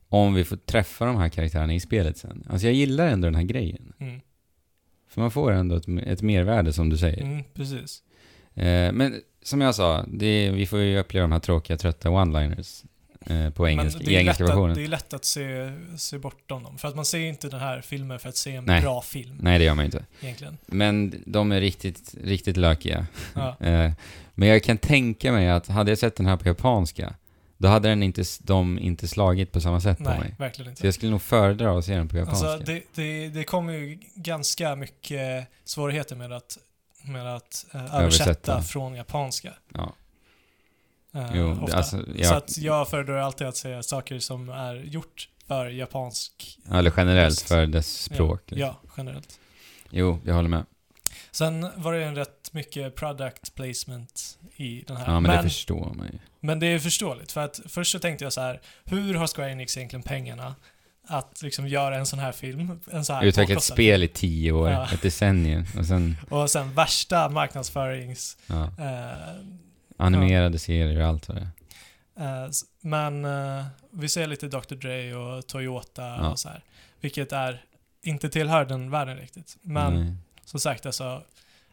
Speaker 1: om vi får träffa de här karaktärerna i spelet sen. Alltså jag gillar ändå den här grejen.
Speaker 2: mm,
Speaker 1: För man får ändå ett, ett mervärde som du säger.
Speaker 2: mm, precis.
Speaker 1: Eh, men som jag sa, det, vi får ju uppleva de här tråkiga, trötta one-liners eh, på engelska,
Speaker 2: Men det
Speaker 1: i
Speaker 2: är,
Speaker 1: engelska
Speaker 2: lätt
Speaker 1: versionen.
Speaker 2: att, det är lätt att se, se bortom dem. För att man ser ju inte den här filmen för att se en
Speaker 1: Nej.
Speaker 2: bra film
Speaker 1: Nej, det gör man ju inte.
Speaker 2: egentligen.
Speaker 1: Men de är riktigt, riktigt lökiga.
Speaker 2: Ja,
Speaker 1: Eh, men jag kan tänka mig att hade jag sett den här på japanska, då hade den inte, s- de inte slagit på samma sätt på
Speaker 2: nej,
Speaker 1: mig.
Speaker 2: verkligen
Speaker 1: Så
Speaker 2: inte.
Speaker 1: jag skulle nog föredra att se den på japanska.
Speaker 2: Alltså, det, det, det kommer ju ganska mycket svårigheter med att, med att eh, översätta,
Speaker 1: Översätta.
Speaker 2: från japanska.
Speaker 1: Ja.
Speaker 2: eh,
Speaker 1: Jo, det-
Speaker 2: ofta.
Speaker 1: alltså,
Speaker 2: Så
Speaker 1: jag,
Speaker 2: att jag föredrar alltid att säga saker som är gjort för japansk...
Speaker 1: eller generellt
Speaker 2: Just-
Speaker 1: för dess språk.
Speaker 2: Ja,
Speaker 1: liksom.
Speaker 2: ja, generellt.
Speaker 1: Jo, jag håller med.
Speaker 2: Sen var det en rätt mycket product placement i den här.
Speaker 1: Ja, men, det förstår man ju.
Speaker 2: Men det är förståeligt, för att först så tänkte jag så här, hur har Square Enix egentligen pengarna att liksom göra en sån här film? En så här
Speaker 1: Utveckla ett
Speaker 2: kortfattad-
Speaker 1: spel i tio år,
Speaker 2: Ja.
Speaker 1: ett decennium, och sen
Speaker 2: Och sen värsta marknadsförings...
Speaker 1: ja,
Speaker 2: Eh,
Speaker 1: animerade serier och allt vad det är.
Speaker 2: Eh, s- Men eh, vi ser lite Dr. Dre och Toyota
Speaker 1: Ja.
Speaker 2: och så här. Vilket är, inte tillhör den världen riktigt. Men
Speaker 1: Nej.
Speaker 2: som sagt alltså,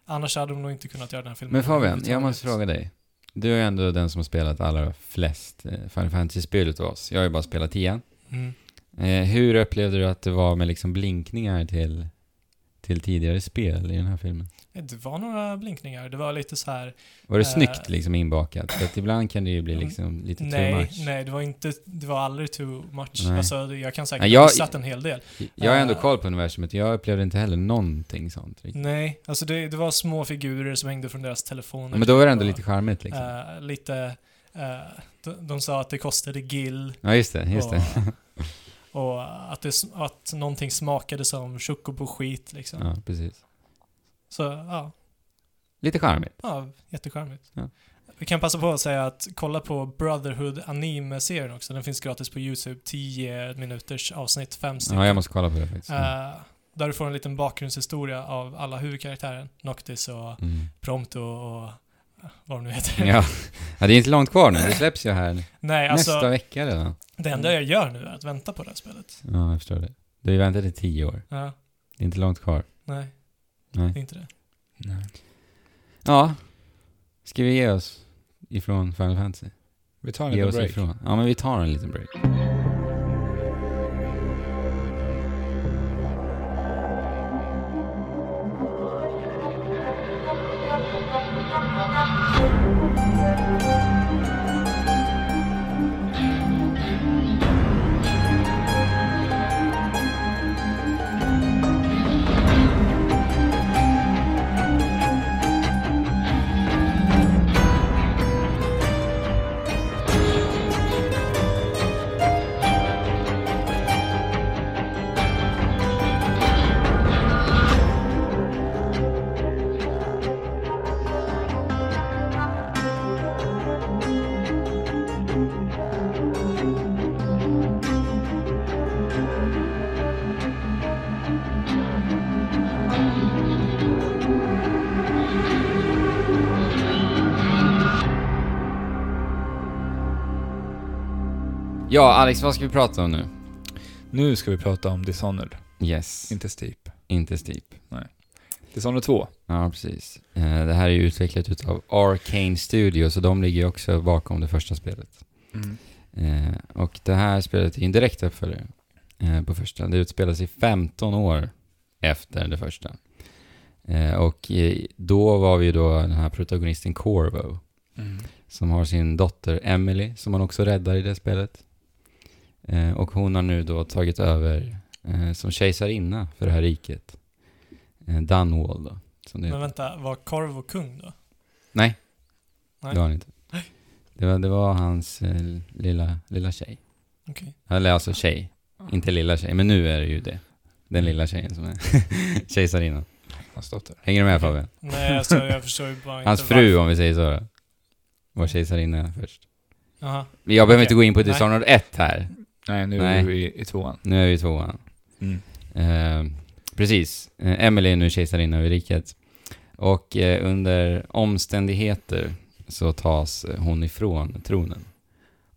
Speaker 2: annars hade de nog inte kunnat göra den här filmen.
Speaker 1: Men Fabian, jag
Speaker 2: överhuvudtaget.
Speaker 1: måste fråga dig. Du är ändå den som har spelat allra flest eh, Final Fantasy-spel utav oss. Jag har ju bara spelat tian.
Speaker 2: Mm.
Speaker 1: Eh, hur upplevde du att det var med liksom blinkningar till, till tidigare spel i den här filmen?
Speaker 2: Eh, Det var några blinkningar. Det var lite så här.
Speaker 1: Var det
Speaker 2: Eh,
Speaker 1: snyggt liksom inbakat? För att ibland kan det ju bli
Speaker 2: Mm,
Speaker 1: liksom lite too
Speaker 2: Nej,
Speaker 1: much.
Speaker 2: nej, det var inte, det var aldrig too much.
Speaker 1: Nej.
Speaker 2: Alltså, jag kan säkert
Speaker 1: Nej,
Speaker 2: ha
Speaker 1: jag-
Speaker 2: missat en hel del.
Speaker 1: Jag har ändå
Speaker 2: eh,
Speaker 1: koll på universumet, jag upplevde inte heller någonting sånt riktigt.
Speaker 2: Nej, alltså det, det var små figurer som hängde från deras telefoner.
Speaker 1: Men då var det ändå
Speaker 2: Och,
Speaker 1: lite charmigt liksom.
Speaker 2: eh, lite, eh, de, de sa att det kostade gill.
Speaker 1: ja, just det, just
Speaker 2: och,
Speaker 1: det.
Speaker 2: och att, det, sm- att någonting smakade som chocobo-skit liksom.
Speaker 1: Ja, precis.
Speaker 2: Så ja,
Speaker 1: Lite charmigt.
Speaker 2: ja jättecharmigt.
Speaker 1: Ja.
Speaker 2: Vi kan passa på att säga att kolla på Brotherhood anime-serien också. Den finns gratis på YouTube. 10 minuters avsnitt, fem stycken.
Speaker 1: Ja, jag måste kolla på det faktiskt.
Speaker 2: Eh, där du får en liten bakgrundshistoria av alla huvudkaraktärer. Noctis och
Speaker 1: Mm.
Speaker 2: Prompto och eh, vad de nu heter.
Speaker 1: Ja. ja, det är inte långt kvar nu. Det släpps ju här
Speaker 2: Nej,
Speaker 3: Eh,
Speaker 2: alltså
Speaker 1: nästa vecka redan.
Speaker 2: det enda jag gör nu är att vänta på det här spelet.
Speaker 1: Ja, jag förstår det. Du har ju väntat i tio år.
Speaker 2: Ja,
Speaker 1: Det är inte långt kvar.
Speaker 2: nej,
Speaker 1: Nej.
Speaker 2: det
Speaker 3: Mm.
Speaker 2: är inte det.
Speaker 3: Nej.
Speaker 1: Ja. Ska vi ge oss ifrån Final Fantasy?
Speaker 3: Vi tar en
Speaker 1: Ge
Speaker 3: liten
Speaker 1: oss
Speaker 3: break.
Speaker 1: ifrån. Ja, men vi tar en liten break. Ja, Alex, vad ska vi prata om nu?
Speaker 3: Nu ska vi prata om Dishonored,
Speaker 1: Yes,
Speaker 3: inte Steep.
Speaker 1: inte Steep.
Speaker 3: Dishonored 2.
Speaker 1: Ja, precis. Eh, Det här är ju utvecklat utav Arcane Studios och de ligger ju också bakom det första spelet. Eh, Och det här spelet är ju en direkt uppföljare eh, på första. Det utspelar sig 15 år efter det första. Eh, Och eh, då var vi ju då den här protagonisten Corvo Mm. som har sin dotter Emily som han också räddar i det spelet. Eh, och hon har nu då tagit över eh, som kejsarinna för det här riket. Eh, Dunwall då, som det heter.
Speaker 2: Men vänta, var Korvo kung då?
Speaker 1: Nej,
Speaker 2: Nej.
Speaker 1: det var han inte. Det var, det var hans eh, lilla, lilla tjej.
Speaker 2: Okej.
Speaker 1: Eller alltså tjej, inte lilla tjej, men nu är det ju det. Den lilla tjejen som är kejsarinnan.
Speaker 3: Hans dotter.
Speaker 1: Hänger du med Fabian?
Speaker 2: Nej, alltså jag förstår ju bara inte
Speaker 1: Hans fru
Speaker 2: varför.
Speaker 1: om vi säger så då. Var kejsarinna först.
Speaker 2: Jaha.
Speaker 1: Men Jag behöver
Speaker 2: Okej.
Speaker 1: inte gå in på
Speaker 2: Nej.
Speaker 1: Dishonored 1 här.
Speaker 3: Nej, nu
Speaker 1: Nej.
Speaker 3: är vi i, i tvåan. Mm.
Speaker 1: Nu är vi i tvåan. Eh, precis. Eh, Emily är nu kejsarinna över riket. Och eh, under omständigheter så tas eh, hon ifrån tronen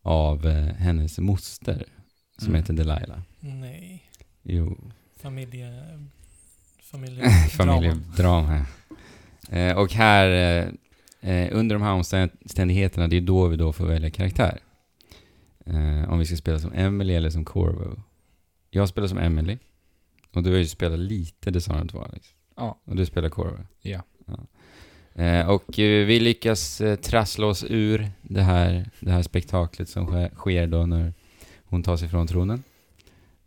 Speaker 1: av eh, hennes moster som
Speaker 3: Mm.
Speaker 1: heter Delilah.
Speaker 2: Nej.
Speaker 1: Jo,
Speaker 2: Familje... Familje...
Speaker 1: familjedrama. eh, och här, eh, eh, under de här omständigheterna, det är då vi då får välja karaktär. Eh, om vi ska spela som Emily eller som Corvo. Jag spelar som Emily. Och du har ju spelat lite Dishonored 2 Alex.
Speaker 3: Ja.
Speaker 1: Och du spelar korv?
Speaker 3: Ja.
Speaker 1: Eh, och eh, vi lyckas eh, trassla oss ur det här, det här spektaklet som sker, sker då när hon tar sig från tronen.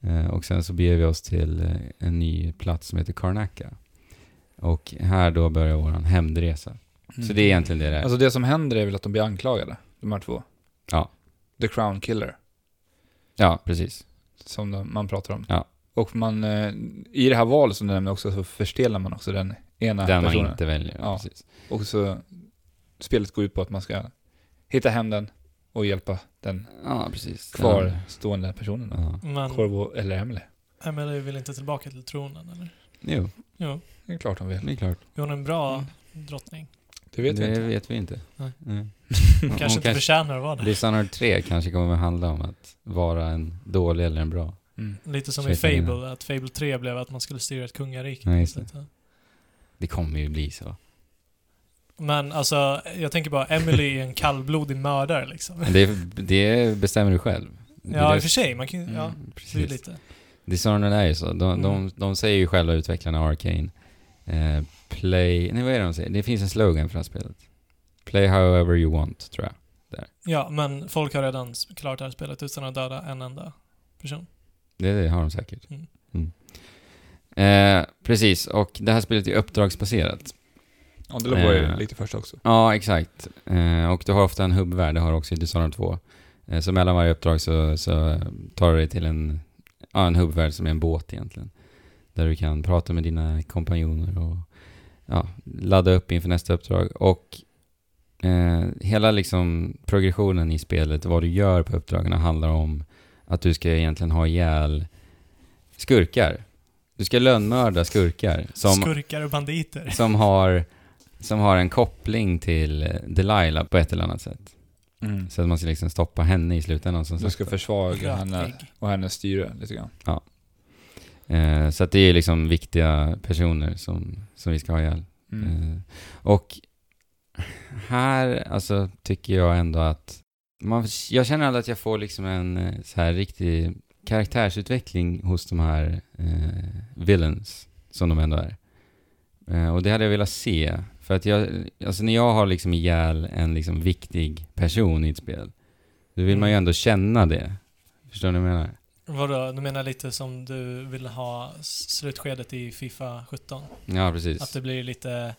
Speaker 1: Eh, och sen så beger vi oss till eh, en ny plats som heter Karnaka. Och här då börjar våran hämndresa. Så det är egentligen det det är.
Speaker 3: Alltså det som händer är väl att de blir anklagade, de här två.
Speaker 1: Ja.
Speaker 3: The Crown Killer,
Speaker 1: ja, precis.
Speaker 3: som de, man pratar om.
Speaker 1: Ja.
Speaker 3: Och man, eh, i det här valet som du nämnde också så förstelar man också den ena
Speaker 1: Den man
Speaker 3: personen.
Speaker 1: inte väljer.
Speaker 3: Ja.
Speaker 1: Precis.
Speaker 3: Och så, spelet går ut på att man ska hitta hem den och hjälpa den
Speaker 1: Ja, precis. Den-
Speaker 3: kvarstående personen. då.
Speaker 1: Ja.
Speaker 2: Men
Speaker 3: Corvo eller Emily.
Speaker 2: Emily vill inte tillbaka till tronen, eller?
Speaker 1: Jo,
Speaker 2: Jo.
Speaker 3: Det är klart de vill.
Speaker 1: det är klart.
Speaker 2: Är hon en bra
Speaker 3: Mm.
Speaker 2: drottning?
Speaker 3: Det vet vi
Speaker 1: det
Speaker 3: inte.
Speaker 1: vet vi inte.
Speaker 2: Nej.
Speaker 1: Nej. Hon
Speaker 2: Kanske inte förtjänar att vara där.
Speaker 1: Dishonored 3 kanske kommer att handla om att vara en dålig eller en bra.
Speaker 3: Mm.
Speaker 2: Lite som i
Speaker 1: Tjejfärgerna.
Speaker 2: Fable, att Fable 3 blev att man skulle styra ett kungarike.
Speaker 1: Ja, just det.
Speaker 2: Så att, ja.
Speaker 1: Det kommer ju bli så.
Speaker 2: Men alltså, jag tänker bara, Emily är en kallblodig mördare liksom.
Speaker 1: Men det, det bestämmer du själv. Det
Speaker 2: Ja,
Speaker 1: är-
Speaker 2: i och för sig, man kan ju, ja,
Speaker 1: Mm,
Speaker 2: det är ju
Speaker 1: precis.
Speaker 2: lite.
Speaker 1: Dishonored är ju så. De, de,
Speaker 2: Mm.
Speaker 1: de säger ju själva, utvecklarna av Arcane, eh, play... Nej, vad är det de säger? Det finns en slogan för det här spelet. Play however you want, tror jag.
Speaker 2: Ja, men folk har redan s- klarat det här spelet utan att döda en enda person.
Speaker 1: Det, det har de säkert.
Speaker 2: Mm.
Speaker 1: Mm. Eh, precis, och det här spelet är uppdragsbaserat.
Speaker 3: Ja, det var ju
Speaker 1: Eh.
Speaker 3: lite först också.
Speaker 1: Ja, exakt. Eh, och du har ofta en hubbvärld, det har också i Dishonored 2. Eh, så mellan varje uppdrag så, så tar du dig till en, ja, en hubbvärld som är en båt egentligen. Där du kan prata med dina kompanjoner och ja, ladda upp inför nästa uppdrag. Och eh, hela liksom progressionen i spelet, vad du gör på uppdragen handlar om att du ska egentligen ha ihjäl skurkar. Du ska lönnmörda skurkar. Som,
Speaker 2: Skurkar och banditer.
Speaker 1: som har, som har en koppling till Delilah på ett eller annat sätt.
Speaker 3: Mm.
Speaker 1: Så att man ska liksom stoppa henne i slutändan som
Speaker 3: Du
Speaker 1: sagt.
Speaker 3: ska försvaga henne
Speaker 2: Rötägg.
Speaker 3: och hennes styre lite grann.
Speaker 1: Eh, så att det är liksom viktiga personer som, som vi ska ha ihjäl.
Speaker 3: Mm.
Speaker 1: Eh, och här, alltså, tycker jag ändå att man, jag känner aldrig att jag får liksom en eh, så här riktig karaktärsutveckling hos de här eh, villains som de ändå är. Eh, och det hade jag velat se. För att jag, alltså när jag har liksom ihjäl en liksom viktig person i ett spel, då vill man ju ändå känna det. Förstår ni vad jag menar?
Speaker 2: Vadå, du menar lite som du vill ha s- slutskedet i Fifa 17?
Speaker 1: Ja,
Speaker 2: Att
Speaker 1: precis.
Speaker 2: det blir lite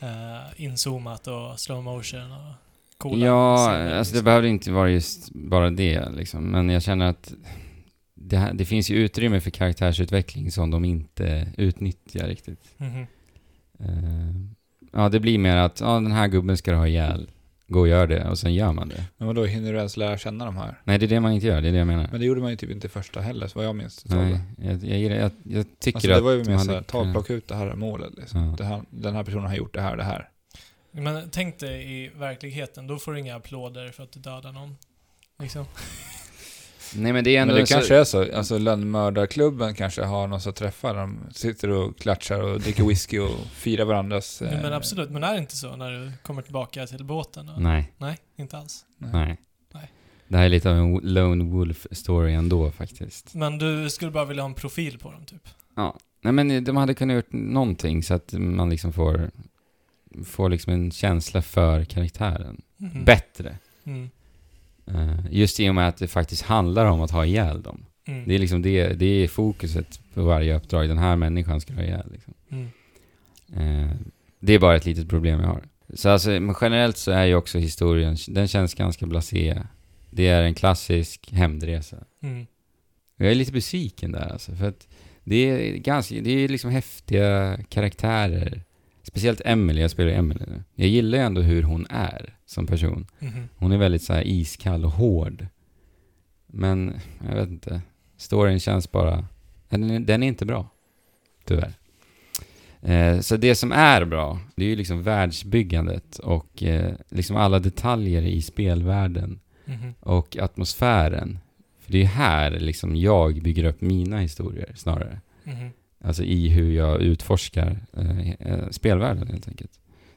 Speaker 2: eh, inzoomat och slow motion och coola
Speaker 1: ja,
Speaker 2: scener,
Speaker 1: alltså det
Speaker 2: liksom.
Speaker 1: behöver inte vara just bara det liksom. Men jag känner att det, här, det finns ju utrymme för karaktärsutveckling som de inte utnyttjar riktigt.
Speaker 2: Mhm.
Speaker 1: Eh, ja, det blir mer att ja, den här gubben ska du ha ihjäl. Gå och gör det och sen gör man det.
Speaker 3: Men vadå, hinner du ens lära känna de här?
Speaker 1: Nej, det är det man inte gör. Det är det jag menar.
Speaker 3: Men det gjorde man ju typ inte i första heller, så vad jag minns. utav
Speaker 1: Nej,
Speaker 3: det.
Speaker 1: jag, jag, gillar- jag, jag tycker
Speaker 3: Alltså, det
Speaker 1: att
Speaker 3: var ju
Speaker 1: de
Speaker 3: mer
Speaker 1: hade
Speaker 3: såhär, ta och
Speaker 1: kunnat-
Speaker 3: plocka ut det här målet liksom.
Speaker 1: Ja.
Speaker 3: det här, Den här personen har gjort det här och det här.
Speaker 2: Men tänk dig i verkligheten, då får du inga applåder för att du dödar någon. Liksom.
Speaker 1: Nej, men det är ändå...
Speaker 3: Men det
Speaker 1: så-
Speaker 3: kanske är så, alltså lönnmördarklubben kanske har någon som träffar, de sitter och klatschar och dricker whisky och firar varandras...
Speaker 2: Jo,
Speaker 3: eh,
Speaker 2: men absolut, men är det inte så när du kommer tillbaka till båten? Och...
Speaker 1: Nej,
Speaker 2: Nej, inte alls.
Speaker 1: nej.
Speaker 2: Nej.
Speaker 1: Det här är lite av en Lone Wolf-story ändå faktiskt.
Speaker 2: Men du skulle bara vilja ha en profil på dem, typ?
Speaker 1: Nej men de hade kunnat gjort någonting så att man liksom får, får liksom en känsla för karaktären.
Speaker 2: Mhm.
Speaker 1: Bättre.
Speaker 2: Mm.
Speaker 1: Eh, just i och med att det faktiskt handlar om att ha ihjäl dem.
Speaker 2: Mm.
Speaker 1: Det är liksom det, det är fokuset på varje uppdrag. Den här människan ska du ha ihjäl liksom.
Speaker 2: Mm.
Speaker 1: Eh, det är bara ett litet problem jag har. Så alltså, men generellt så är ju också historien, den känns ganska blasé. Det är en klassisk hämndresa.
Speaker 2: Mm.
Speaker 1: Jag är lite besviken där alltså, för att det är ganska, det är liksom häftiga karaktärer. Speciellt Emily, jag spelar ju Emily nu. Jag gillar ju ändå hur hon är som person.
Speaker 2: Mhm.
Speaker 1: Hon är väldigt så här iskall och hård. Men, jag vet inte. Storyn känns bara... Den är, den är inte bra. Tyvärr. Eh, så det som är bra, det är ju liksom världsbyggandet och eh, liksom alla detaljer i spelvärlden
Speaker 2: Mhm.
Speaker 1: och atmosfären. För det är ju här liksom jag bygger upp mina historier snarare.
Speaker 2: Mhm.
Speaker 1: Alltså i hur jag utforskar eh, eh, spelvärlden helt enkelt.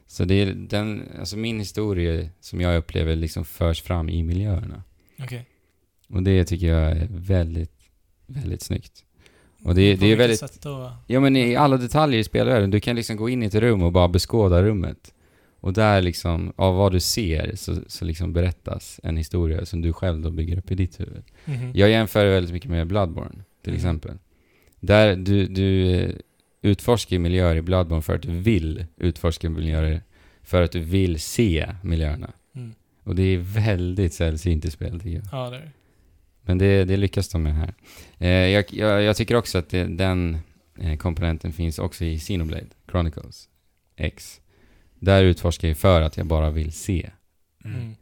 Speaker 1: Så det är den, alltså min historia som jag upplever liksom förs fram i miljöerna.
Speaker 2: Okej.
Speaker 1: Och det tycker jag är väldigt, väldigt snyggt. Och det,
Speaker 2: På
Speaker 1: det är
Speaker 2: vilket
Speaker 1: väldigt,
Speaker 2: sätt då?
Speaker 1: ja men i alla detaljer i spelvärlden, du kan liksom gå in i ett rum och bara beskåda rummet. Och där liksom, av vad du ser så, så liksom berättas en historia som du själv då bygger upp i ditt huvud.
Speaker 2: Mhm.
Speaker 1: Jag jämför väldigt mycket med Bloodborne, till
Speaker 2: Mm.
Speaker 1: exempel. Där du, du eh, utforskar ju miljöer i Bloodborne för att du vill utforska miljöer, för att du vill se miljöerna.
Speaker 2: Mm.
Speaker 1: Och det är väldigt sällsynt i spel, tycker jag.
Speaker 2: Ja, det är det.
Speaker 1: Men det, det lyckas de med här. Eh, jag, jag, jag tycker också att det, den eh, komponenten finns också i Xenoblade Chronicles X. Där utforskar jag för att jag bara vill se.
Speaker 2: Mm.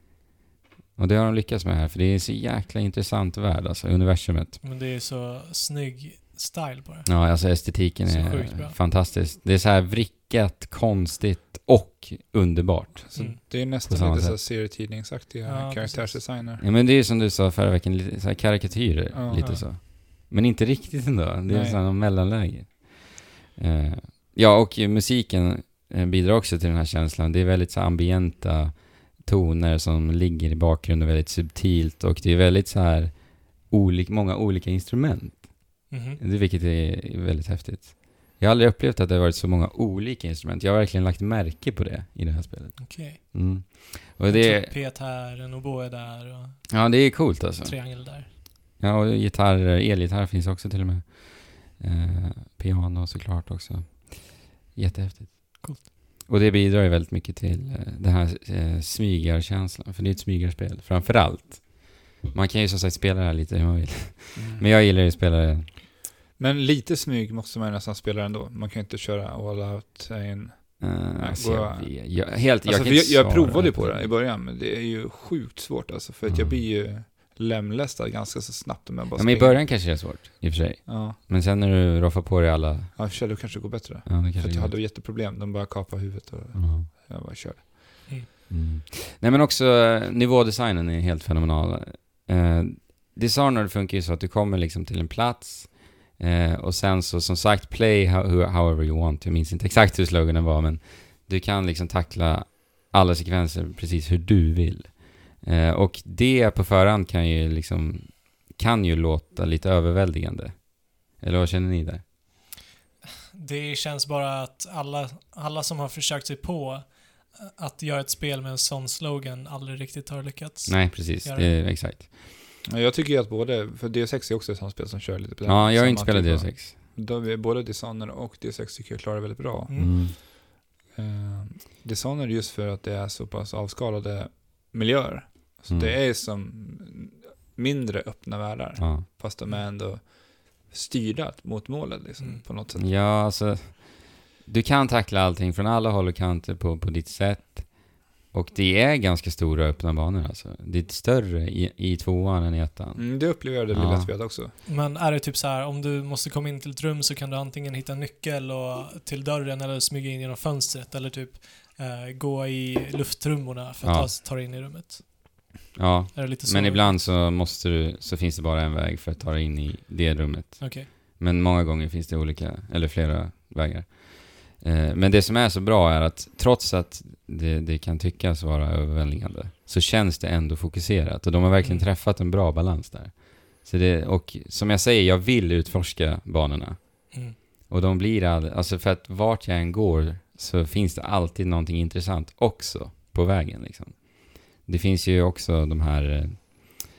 Speaker 1: Och det har de lyckats med här, för det är en så jäkla intressant värld, alltså universumet.
Speaker 2: Men det är ju så snygg style på det.
Speaker 1: Ja, alltså estetiken
Speaker 2: Så
Speaker 1: är
Speaker 2: sjukt bra.
Speaker 1: fantastisk. Det är så här vrick, lyckat, konstigt och underbart.
Speaker 3: Så
Speaker 2: Mm.
Speaker 3: det är
Speaker 1: På samma
Speaker 3: nästan lite
Speaker 1: sätt.
Speaker 3: så här serietidningsaktiga
Speaker 2: Ja,
Speaker 3: karaktärsdesigner.
Speaker 1: Ja, men det är ju som du sa förra veckan, lite så här karikatyrer.
Speaker 3: Ja.
Speaker 1: lite
Speaker 2: Ja.
Speaker 1: så. Men inte riktigt ändå. Det är
Speaker 3: Nej.
Speaker 1: sådana mellanläge. Eh, ja, och ju musiken eh, bidrar också till den här känslan. Det är väldigt så här ambienta toner som ligger i bakgrunden väldigt subtilt och det är väldigt så här olik, många olika instrument.
Speaker 2: Mhm.
Speaker 1: Det, vilket är väldigt häftigt. Jag har aldrig upplevt att det har varit så många olika instrument. Jag har verkligen lagt märke på det i det här spelet.
Speaker 2: Okej.
Speaker 1: Mm. Och
Speaker 2: En
Speaker 1: det,
Speaker 2: Trumpet här, en oboe där och
Speaker 1: ja, det är coolt alltså.
Speaker 2: triangel där.
Speaker 1: Ja, och gitarrer, elgitarr finns också till och med. Eh, piano såklart också. Jättehäftigt.
Speaker 2: Coolt.
Speaker 1: Och det bidrar ju väldigt mycket till eh, den här eh, smygarkänslan, för det är ett smygarspel framför allt. Man kan ju som sagt spela det här lite hur man vill.
Speaker 3: Mm.
Speaker 1: Men jag gillar ju att spela det. eh,
Speaker 3: Men lite smyg måste man ju nästan spela ändå. Man kan ju inte köra all out. In.
Speaker 1: Eh, alltså,
Speaker 3: gå-
Speaker 1: jag, vet- jag, helt,
Speaker 3: Alltså,
Speaker 1: jag,
Speaker 3: för
Speaker 1: kan
Speaker 3: jag,
Speaker 1: inte
Speaker 3: jag
Speaker 1: svara
Speaker 3: provade ju på det i början, men det är ju sjukt svårt alltså. För att jag
Speaker 1: Mm.
Speaker 3: blir ju lemlästad ganska så snabbt om jag bara
Speaker 1: Ja, men i
Speaker 3: springer.
Speaker 1: början kanske det är svårt, i och för sig.
Speaker 3: Ja,
Speaker 1: Men sen när du roffar på dig alla...
Speaker 3: ja Kjell, du kanske går bättre.
Speaker 1: Ja, det
Speaker 3: För
Speaker 1: kanske
Speaker 3: att
Speaker 1: går
Speaker 3: jag hade jätteproblem. De bara kapade huvudet och
Speaker 1: Ja.
Speaker 3: jag bara körde.
Speaker 1: Mm. Nej men också eh, nivådesignen är helt fenomenal. Eh, Dishonored funkar ju så att du kommer liksom till en plats eh, och sen så som sagt play how, who- however you want. Jag minns inte exakt hur sloganen var men du kan liksom tackla alla sekvenser precis hur du vill. Eh, och det på förhand kan ju liksom kan ju låta lite överväldigande. Eller vad känner ni där?
Speaker 2: Det känns bara att alla, alla som har försökt sig på att göra ett spel med en sån slogan aldrig riktigt har lyckats.
Speaker 1: Nej precis,
Speaker 2: Gör
Speaker 1: det är exakt.
Speaker 3: Ja, Jag tycker ju att både, för D6 är också ett sånt spel som kör lite på den
Speaker 1: Ja, jag har
Speaker 3: samma
Speaker 1: inte spelat
Speaker 3: typ av-
Speaker 1: D6.
Speaker 3: Då vi, både Dishonored och D6 tycker jag klarar väldigt bra.
Speaker 2: Mm.
Speaker 1: Mm.
Speaker 3: Eh, Dishonored just för att det är så pass avskalade miljöer. Så
Speaker 1: Mm.
Speaker 3: det är som mindre öppna världar,
Speaker 1: Ja.
Speaker 3: fast de är ändå styrda mot målet liksom,
Speaker 2: Mm.
Speaker 3: på något sätt.
Speaker 1: Ja, alltså. Du kan tackla allting från alla håll och kanter på, på ditt sätt. Och det är ganska stora öppna banor alltså. Det är större i, i tvåan än i ettan.
Speaker 3: Mm, det upplever jag det
Speaker 1: Ja.
Speaker 3: lilla spelet också.
Speaker 2: Men är det typ så här, om du måste komma in till ett rum så kan du antingen hitta en nyckel och, till dörren eller smyga in genom fönstret eller typ eh, gå i lufttrummorna för att
Speaker 1: Ja.
Speaker 2: ta, ta dig in i rummet.
Speaker 1: Ja,
Speaker 2: Är det lite så?
Speaker 1: men ibland så måste du, så finns det bara en väg för att ta dig in i det rummet.
Speaker 2: Okej.
Speaker 1: Men många gånger finns det olika, eller flera vägar. Eh, Men det som är så bra är att trots att det, det kan tyckas vara överväldigande så känns det ändå fokuserat och de har verkligen
Speaker 2: Mm.
Speaker 1: träffat en bra balans där. Så det, och som jag säger, jag vill utforska banorna.
Speaker 2: Mm.
Speaker 1: Och de blir aldrig, alltså för att vart jag än går så finns det alltid någonting intressant också på vägen liksom. Det finns ju också de här eh,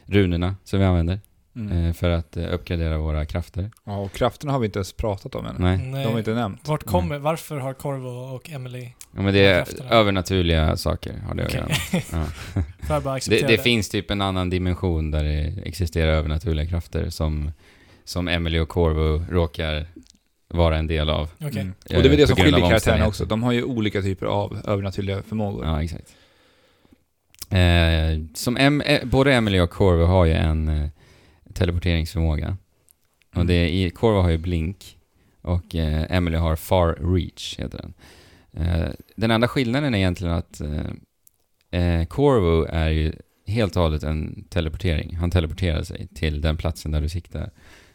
Speaker 1: runorna som vi använder
Speaker 3: Mm.
Speaker 1: eh, för att eh, uppgradera våra krafter.
Speaker 3: Ja, och krafterna har vi inte ens pratat om än.
Speaker 1: Nej, Mm.
Speaker 3: De har inte nämnt.
Speaker 2: Vart kommer, varför har Corvo och Emily
Speaker 1: ja, men det är
Speaker 2: Krafterna.
Speaker 1: övernaturliga saker har det att
Speaker 2: Okej.
Speaker 1: göra med. Ja.
Speaker 2: Får jag bara acceptera
Speaker 1: Det, det finns typ en annan dimension där det existerar övernaturliga krafter som, som Emily och Corvo råkar vara en del av.
Speaker 2: Okej.
Speaker 3: Mm.
Speaker 1: Eh,
Speaker 3: Och det är väl det som
Speaker 1: på grund av
Speaker 3: skiljer karaktärerna
Speaker 1: omständigheter.
Speaker 3: också. De har ju olika typer av övernaturliga förmågor.
Speaker 1: Ja, exakt. Eh, som em, eh, både Emily och Corvo har ju en eh, teleporteringsförmåga.
Speaker 3: Mm.
Speaker 1: Och det är, i- Corvo har ju blink och eh, Emily har far reach, heter den. Eh, den enda skillnaden är egentligen att eh, eh, Corvo är ju helt och hållet en teleportering. Han teleporterar sig till den platsen där du siktar.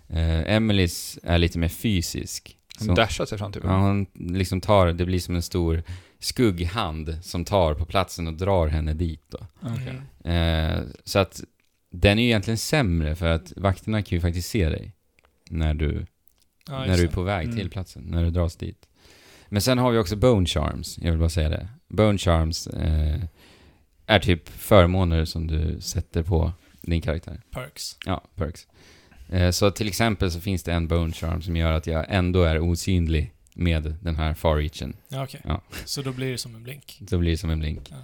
Speaker 1: Eh, Emilys är lite mer fysisk.
Speaker 3: De
Speaker 1: Så-
Speaker 3: dashar sig fram typ.
Speaker 1: Ja, hon liksom tar, det blir som en stor skugghand som tar på platsen och drar henne dit då.
Speaker 3: Okej.
Speaker 2: Mm.
Speaker 1: Eh, så att den är ju egentligen sämre för att vakterna kan ju faktiskt se dig när du,
Speaker 2: Ja,
Speaker 1: när
Speaker 2: just
Speaker 1: du är
Speaker 2: det.
Speaker 1: på väg
Speaker 3: Mm.
Speaker 1: till platsen, när du dras dit. Men sen har vi också bone charms, jag vill bara säga det. Bone charms eh, är typ förmåner som du sätter på din karaktär.
Speaker 2: Perks.
Speaker 1: Ja, perks. Eh, Så till exempel så finns det en bone charm som gör att jag ändå är osynlig med den här far reachen.
Speaker 2: Ja, okej.
Speaker 1: Ja.
Speaker 2: Så då blir det som en blink.
Speaker 1: Då blir det som en blink.
Speaker 2: Ja.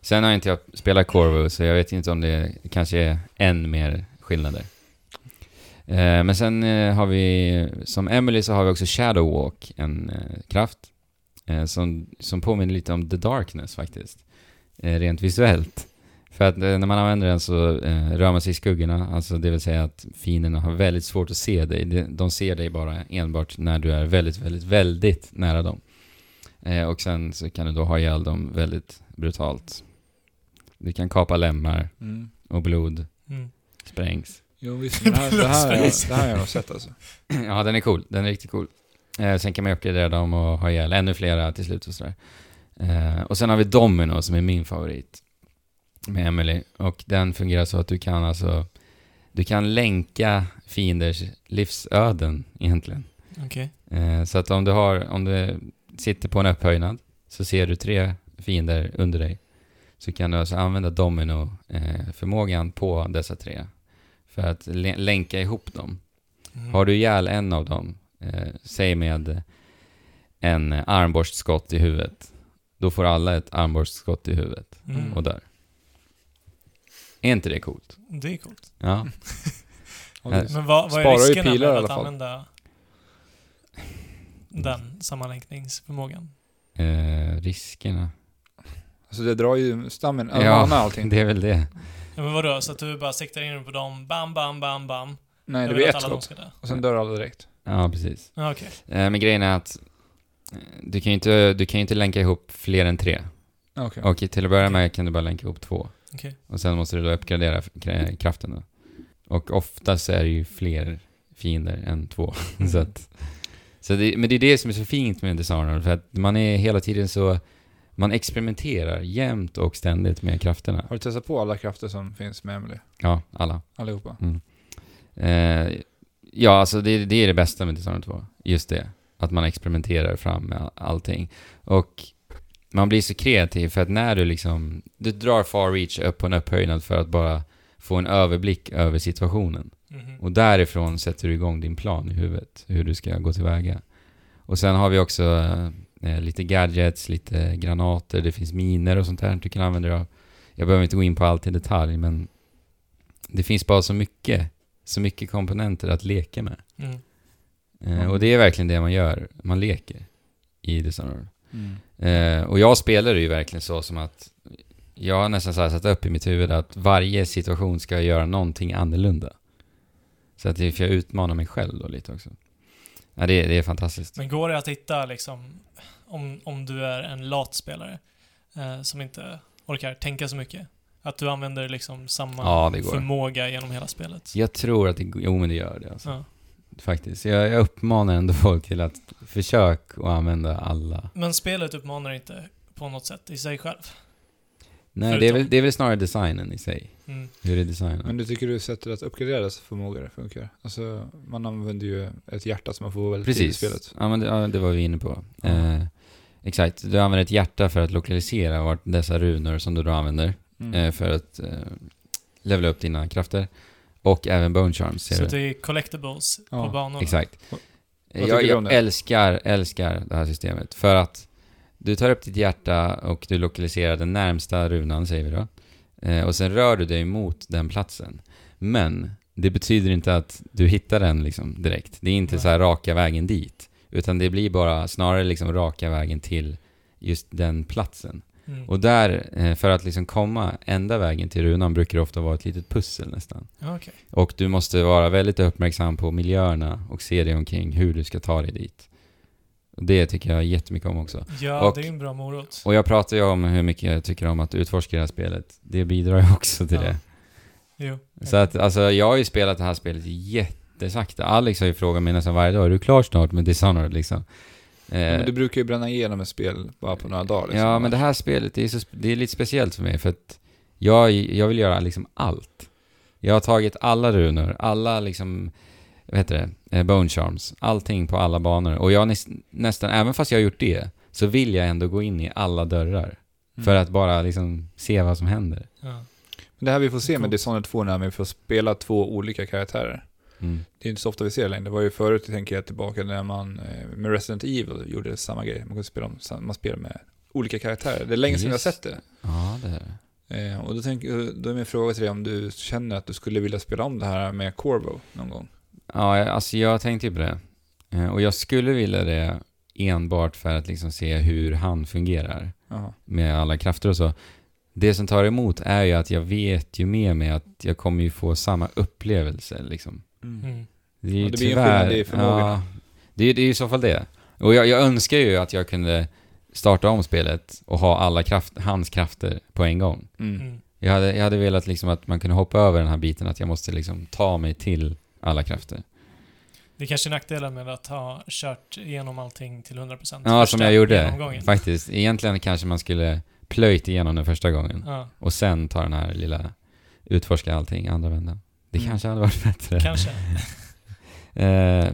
Speaker 1: Sen har inte jag spelat Corvo, så jag vet inte om det kanske är än mer skillnader. Eh, Men sen eh, har vi, som Emily så har vi också Shadow Walk, en eh, kraft. eh, Som, som påminner lite om The Darkness faktiskt. eh, Rent visuellt. För att eh, när man använder den så eh, rör man sig i skuggorna, alltså det vill säga att fienderna har väldigt svårt att se dig. De- De ser dig bara enbart när du är väldigt, väldigt, väldigt nära dem. Eh, Eh, och sen så kan du då ha ihjäl dem väldigt brutalt. Du kan kapa lemmar
Speaker 3: Mm.
Speaker 1: och blod
Speaker 2: Mm.
Speaker 1: sprängs.
Speaker 3: Jo visst, men det här, det här, det här, det här har jag nog sett alltså.
Speaker 1: ja, den är cool. Den är riktigt cool. Eh, sen kan man ju uppgradera dem och ha ihjäl ännu flera till slut och sådär. Eh, och sen har vi Domino som är min favorit med Emily. Och den fungerar så att du kan alltså, du kan länka fienders livsöden egentligen.
Speaker 2: Okej.
Speaker 1: Eh, Så att om du, har, om du sitter på en upphöjnad så ser du tre fiender under dig. Så kan du alltså använda domino-förmågan på dessa tre för att lä- länka ihop dem.
Speaker 2: Mm.
Speaker 1: Har du ihjäl en av dem, eh, säg med en armborstskott i huvudet, då får alla ett armborstskott i huvudet
Speaker 2: Mm.
Speaker 1: och dör. Är inte det coolt?
Speaker 2: Mm. Det är coolt.
Speaker 1: Ja.
Speaker 3: Ja, det är så.
Speaker 2: Men vad, vad är
Speaker 3: Sparar ju
Speaker 2: riskerna
Speaker 3: pilar i
Speaker 2: med
Speaker 3: alla
Speaker 2: att
Speaker 3: fall.
Speaker 2: använda den sammanlänkningsförmågan?
Speaker 1: Eh, riskerna.
Speaker 3: Alltså det drar ju stammen,
Speaker 1: Ja,
Speaker 3: ja, mana och allting.
Speaker 1: Det är väl det.
Speaker 2: Ja, men vadå, så att du bara siktar in dig på dem, bam, bam, bam, bam.
Speaker 3: Nej, det
Speaker 2: Jag
Speaker 3: blir
Speaker 2: vill att
Speaker 3: ett
Speaker 2: alla de
Speaker 3: skott.
Speaker 2: ska dö.
Speaker 3: Och sen dör alla direkt.
Speaker 1: Ja, precis.
Speaker 2: Ja, Okej.
Speaker 1: Eh, Men grejen är att eh, du kan ju inte, du kan ju inte länka ihop fler än tre.
Speaker 3: Okej.
Speaker 1: Och till att börja med kan du bara länka ihop två.
Speaker 2: Okej.
Speaker 1: Och sen måste du då uppgradera f- kra- kraften då. Och oftast är det ju fler fiender än två. så att, så det, men det är det som är så fint med Dishonored, för att man är hela tiden så... Man experimenterar jämt och ständigt med krafterna.
Speaker 3: Har du testat på alla krafter som finns med Emily?
Speaker 1: Ja, alla.
Speaker 3: Allihopa?
Speaker 1: Eh, ja, alltså det, det är det bästa med Dishonored 2. Just det. Att man experimenterar fram med all- allting. Och man blir så kreativ för att när du liksom... Du drar far reach upp på en upphöjnad för att bara få en överblick över situationen.
Speaker 2: Mhm.
Speaker 1: Och därifrån sätter du igång din plan i huvudet, hur du ska gå tillväga. Och sen har vi också eh, lite gadgets, lite granater, det finns miner och sånt där du kan använda dig av. Jag behöver inte gå in på allt i detalj, men det finns bara så mycket, så mycket komponenter att leka med.
Speaker 2: Mm.
Speaker 1: Eh,
Speaker 3: Mm.
Speaker 1: och det är verkligen det man gör, man leker i Dishonored.
Speaker 3: Mm.
Speaker 1: Eh, och jag spelar det ju verkligen så som att jag har nästan så här satt upp i mitt huvud att varje situation ska jag göra någonting annorlunda. Så att det, för jag utmanar mig själv då lite också. Ja, det, det är fantastiskt.
Speaker 2: Men går det att hitta liksom, om, om du är en lat spelare eh, som inte orkar tänka så mycket? Att du använder liksom samma
Speaker 1: Ja, det går.
Speaker 2: förmåga genom hela spelet?
Speaker 1: Jag tror att det, g- jo men det gör det alltså.
Speaker 2: Ja.
Speaker 1: Faktiskt. Jag, jag uppmanar ändå folk till att försök att använda alla.
Speaker 2: Men spelet uppmanar inte på något sätt i sig själv.
Speaker 1: Nej, det är, väl,
Speaker 2: Förutom-
Speaker 1: det är väl snarare designen i sig.
Speaker 2: Mm.
Speaker 1: Hur det är designat.
Speaker 3: Men du tycker du sättet att uppgradera dessa förmågor funkar? Alltså, man använder ju ett hjärta som man får väldigt tidigt i spelet.
Speaker 1: Ja, men det, ja, det var vi inne på.
Speaker 3: Ja.
Speaker 1: Eh, exakt, du använder ett hjärta för att lokalisera vart dessa runor som du då använder
Speaker 3: Mm.
Speaker 1: eh, för att eh, levela upp dina krafter. Och även bone charms ser
Speaker 2: Så
Speaker 1: du.
Speaker 2: det är collectibles
Speaker 3: Ja,
Speaker 2: på banorna.
Speaker 1: Exakt.
Speaker 3: Vad tycker
Speaker 1: Jag,
Speaker 3: du
Speaker 1: jag
Speaker 3: om det?
Speaker 1: älskar, älskar det här systemet för att du tar upp ditt hjärta och du lokaliserar den närmsta runan, säger vi då. Eh, och sen rör du dig mot den platsen. Men det betyder inte att du hittar den liksom direkt. Det är inte
Speaker 2: Nej.
Speaker 1: så här raka vägen dit. Utan det blir bara snarare liksom raka vägen till just den platsen.
Speaker 2: Mm.
Speaker 1: Och där, eh, för att liksom komma ända vägen till runan brukar det ofta vara ett litet pussel nästan.
Speaker 2: Ja, Okej.
Speaker 1: Och du måste vara väldigt uppmärksam på miljöerna och se dig omkring hur du ska ta dig dit. Och det tycker jag jättemycket om också.
Speaker 2: Ja,
Speaker 1: Och-
Speaker 2: det är en bra morot.
Speaker 1: Och jag pratar ju om hur mycket jag tycker om att utforska det här spelet. Det bidrar ju också till
Speaker 2: Ja.
Speaker 1: det.
Speaker 2: Jo.
Speaker 1: Så att, alltså, jag har ju spelat det här spelet jättesakta. Alex har ju frågat mig nästan varje dag, är du klar snart med Dishonored liksom? Eh,
Speaker 3: Ja, men du brukar ju bränna igenom ett spel bara på några dagar. Liksom.
Speaker 1: Ja, men det här spelet, det är, så, sp- det är lite speciellt för mig för att jag, jag vill göra liksom allt. Jag har tagit alla runor, alla liksom, vad heter det, eh, bone charms, allting på alla banor. Och jag har näs- nästan, även fast jag har gjort det, så vill jag ändå gå in i alla dörrar.
Speaker 3: Mm.
Speaker 1: För att bara liksom se vad som händer.
Speaker 2: Ja.
Speaker 3: Men det här vi får se
Speaker 2: Coolt.
Speaker 3: med Dishonored 2 när vi får spela två olika karaktärer.
Speaker 1: Mm.
Speaker 3: Det är inte så ofta vi ser det längre. Det var ju förut, tänker jag tillbaka, när man eh, med Resident Evil gjorde samma grej. Man kunde spela om, sam- man spelar med olika karaktärer. Det är länge sedan jag har
Speaker 1: Just
Speaker 3: sett det.
Speaker 1: Ja, det är det.
Speaker 3: Eh, och då, tänker, då är min fråga till dig om du känner att du skulle vilja spela om det här med Corvo någon gång.
Speaker 1: Ja, jag- alltså jag tänkte ju på det. Eh, Och jag skulle vilja det enbart för att liksom se hur han fungerar.
Speaker 3: Jaha.
Speaker 1: med alla krafter och så. Det som tar emot är ju att jag vet ju med mig att jag kommer ju få samma upplevelse liksom.
Speaker 2: Mm.
Speaker 1: Det är ju
Speaker 3: Ja, det blir en skillnad i förmågorna.
Speaker 1: Ja, det, är- det är ju i så fall det. Och jag, jag önskar ju att jag kunde starta om spelet och ha alla kraft, hans krafter på en gång.
Speaker 3: Mm.
Speaker 2: Mm.
Speaker 1: Jag hade, jag hade velat liksom att man kunde hoppa över den här biten, att jag måste liksom ta mig till alla krafter.
Speaker 2: Det är kanske är nackdelen med att ha kört igenom allting till 100%
Speaker 1: Ja, som
Speaker 2: första
Speaker 1: jag gjorde.
Speaker 2: genomgången.
Speaker 1: Faktiskt. Egentligen kanske man skulle plöjt igenom den första gången
Speaker 2: Ja,
Speaker 1: och sen ta den här lilla utforska allting andra vändan. Det
Speaker 3: Mm.
Speaker 1: kanske hade varit bättre.
Speaker 2: kanske.
Speaker 1: Eh,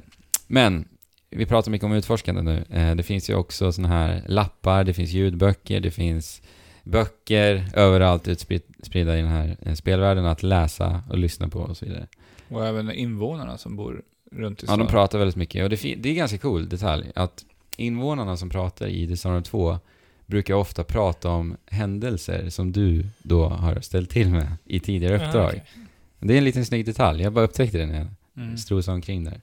Speaker 1: men vi pratar mycket om utforskande nu. Eh, det finns ju också såna här lappar, det finns ljudböcker, det finns böcker överallt utspridda i den här eh, spelvärlden att läsa och lyssna på och så vidare.
Speaker 3: Och även invånarna som bor runt i
Speaker 1: Ja,
Speaker 3: stan.
Speaker 1: de pratar väldigt mycket och det, fi- det är ganska cool detalj att invånarna som pratar i Dishonored 2 brukar ofta prata om händelser som du då har ställt till med i tidigare
Speaker 2: Ja,
Speaker 1: uppdrag.
Speaker 2: okej.
Speaker 1: Det är en liten snygg detalj, jag bara upptäckte det när jag
Speaker 3: Mm.
Speaker 1: strosade omkring där.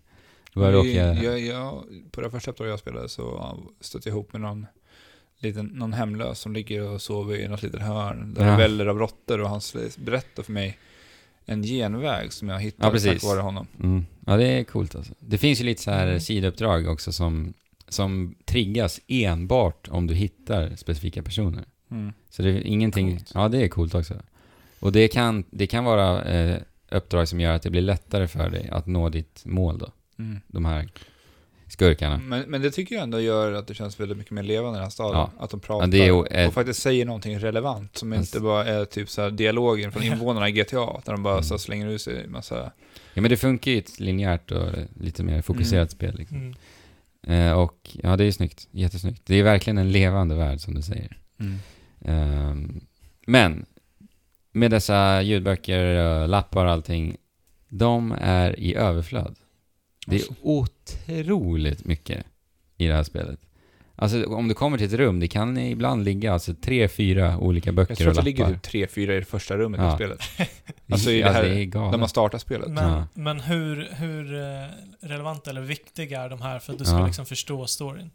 Speaker 1: Du började åka...
Speaker 3: jag, jag, på det första uppdraget jag spelade så stötte jag ihop med någon, liten, någon hemlös som ligger och sover i något litet hörn där
Speaker 1: Ja.
Speaker 3: det väller av råttor och han sl- berättar för mig en genväg som jag
Speaker 1: Ja,
Speaker 3: hittade
Speaker 1: precis.
Speaker 3: tack vare honom.
Speaker 1: Mm. Ja, det är coolt alltså. Det finns ju lite så här
Speaker 2: Mm.
Speaker 1: sidouppdrag också som, som triggas enbart om du hittar specifika personer.
Speaker 3: Mm.
Speaker 1: Så det är ingenting...
Speaker 3: Coolt.
Speaker 1: Ja, det är coolt också. Och det kan, det kan vara eh, uppdrag som gör att det blir lättare för dig att nå ditt mål då.
Speaker 3: Mm.
Speaker 1: De här skurkarna.
Speaker 3: Men, men det tycker jag ändå gör att det känns väldigt mycket mer levande i den här staden.
Speaker 1: Ja.
Speaker 3: Att de
Speaker 1: Ja,
Speaker 3: pratar
Speaker 1: det är, eh, ju
Speaker 3: och
Speaker 1: ett, Alltså-
Speaker 3: faktiskt säger någonting relevant som
Speaker 1: Fast-
Speaker 3: inte bara är typ så här dialogen från invånarna i GTA där de
Speaker 1: Mm.
Speaker 3: bara så här slänger ut sig en massa...
Speaker 1: ja, men det funkar ju i ett linjärt och lite mer fokuserat
Speaker 3: Mm.
Speaker 1: spel. Liksom.
Speaker 2: Mm.
Speaker 1: Eh, och ja, det är snyggt. Jättesnyggt. Det är verkligen en levande värld som du säger. Ehm, men med dessa ljudböcker, eh, lappar och allting, de är i överflöd. Det är otroligt mycket i det här spelet. Alltså om du kommer till ett rum, det kan ibland ligga alltså tre, fyra olika böcker
Speaker 3: Jag tror
Speaker 1: och
Speaker 3: att det
Speaker 1: lappar.
Speaker 3: ligger typ 3-4 i det första rummet
Speaker 1: Ja.
Speaker 3: i spelet. alltså i det här-
Speaker 1: är galet.
Speaker 3: När man startar spelet.
Speaker 2: Men,
Speaker 1: Ja.
Speaker 2: men hur, hur eh, relevanta eller viktiga är de här för att du
Speaker 1: Ja.
Speaker 2: ska liksom förstå storyn?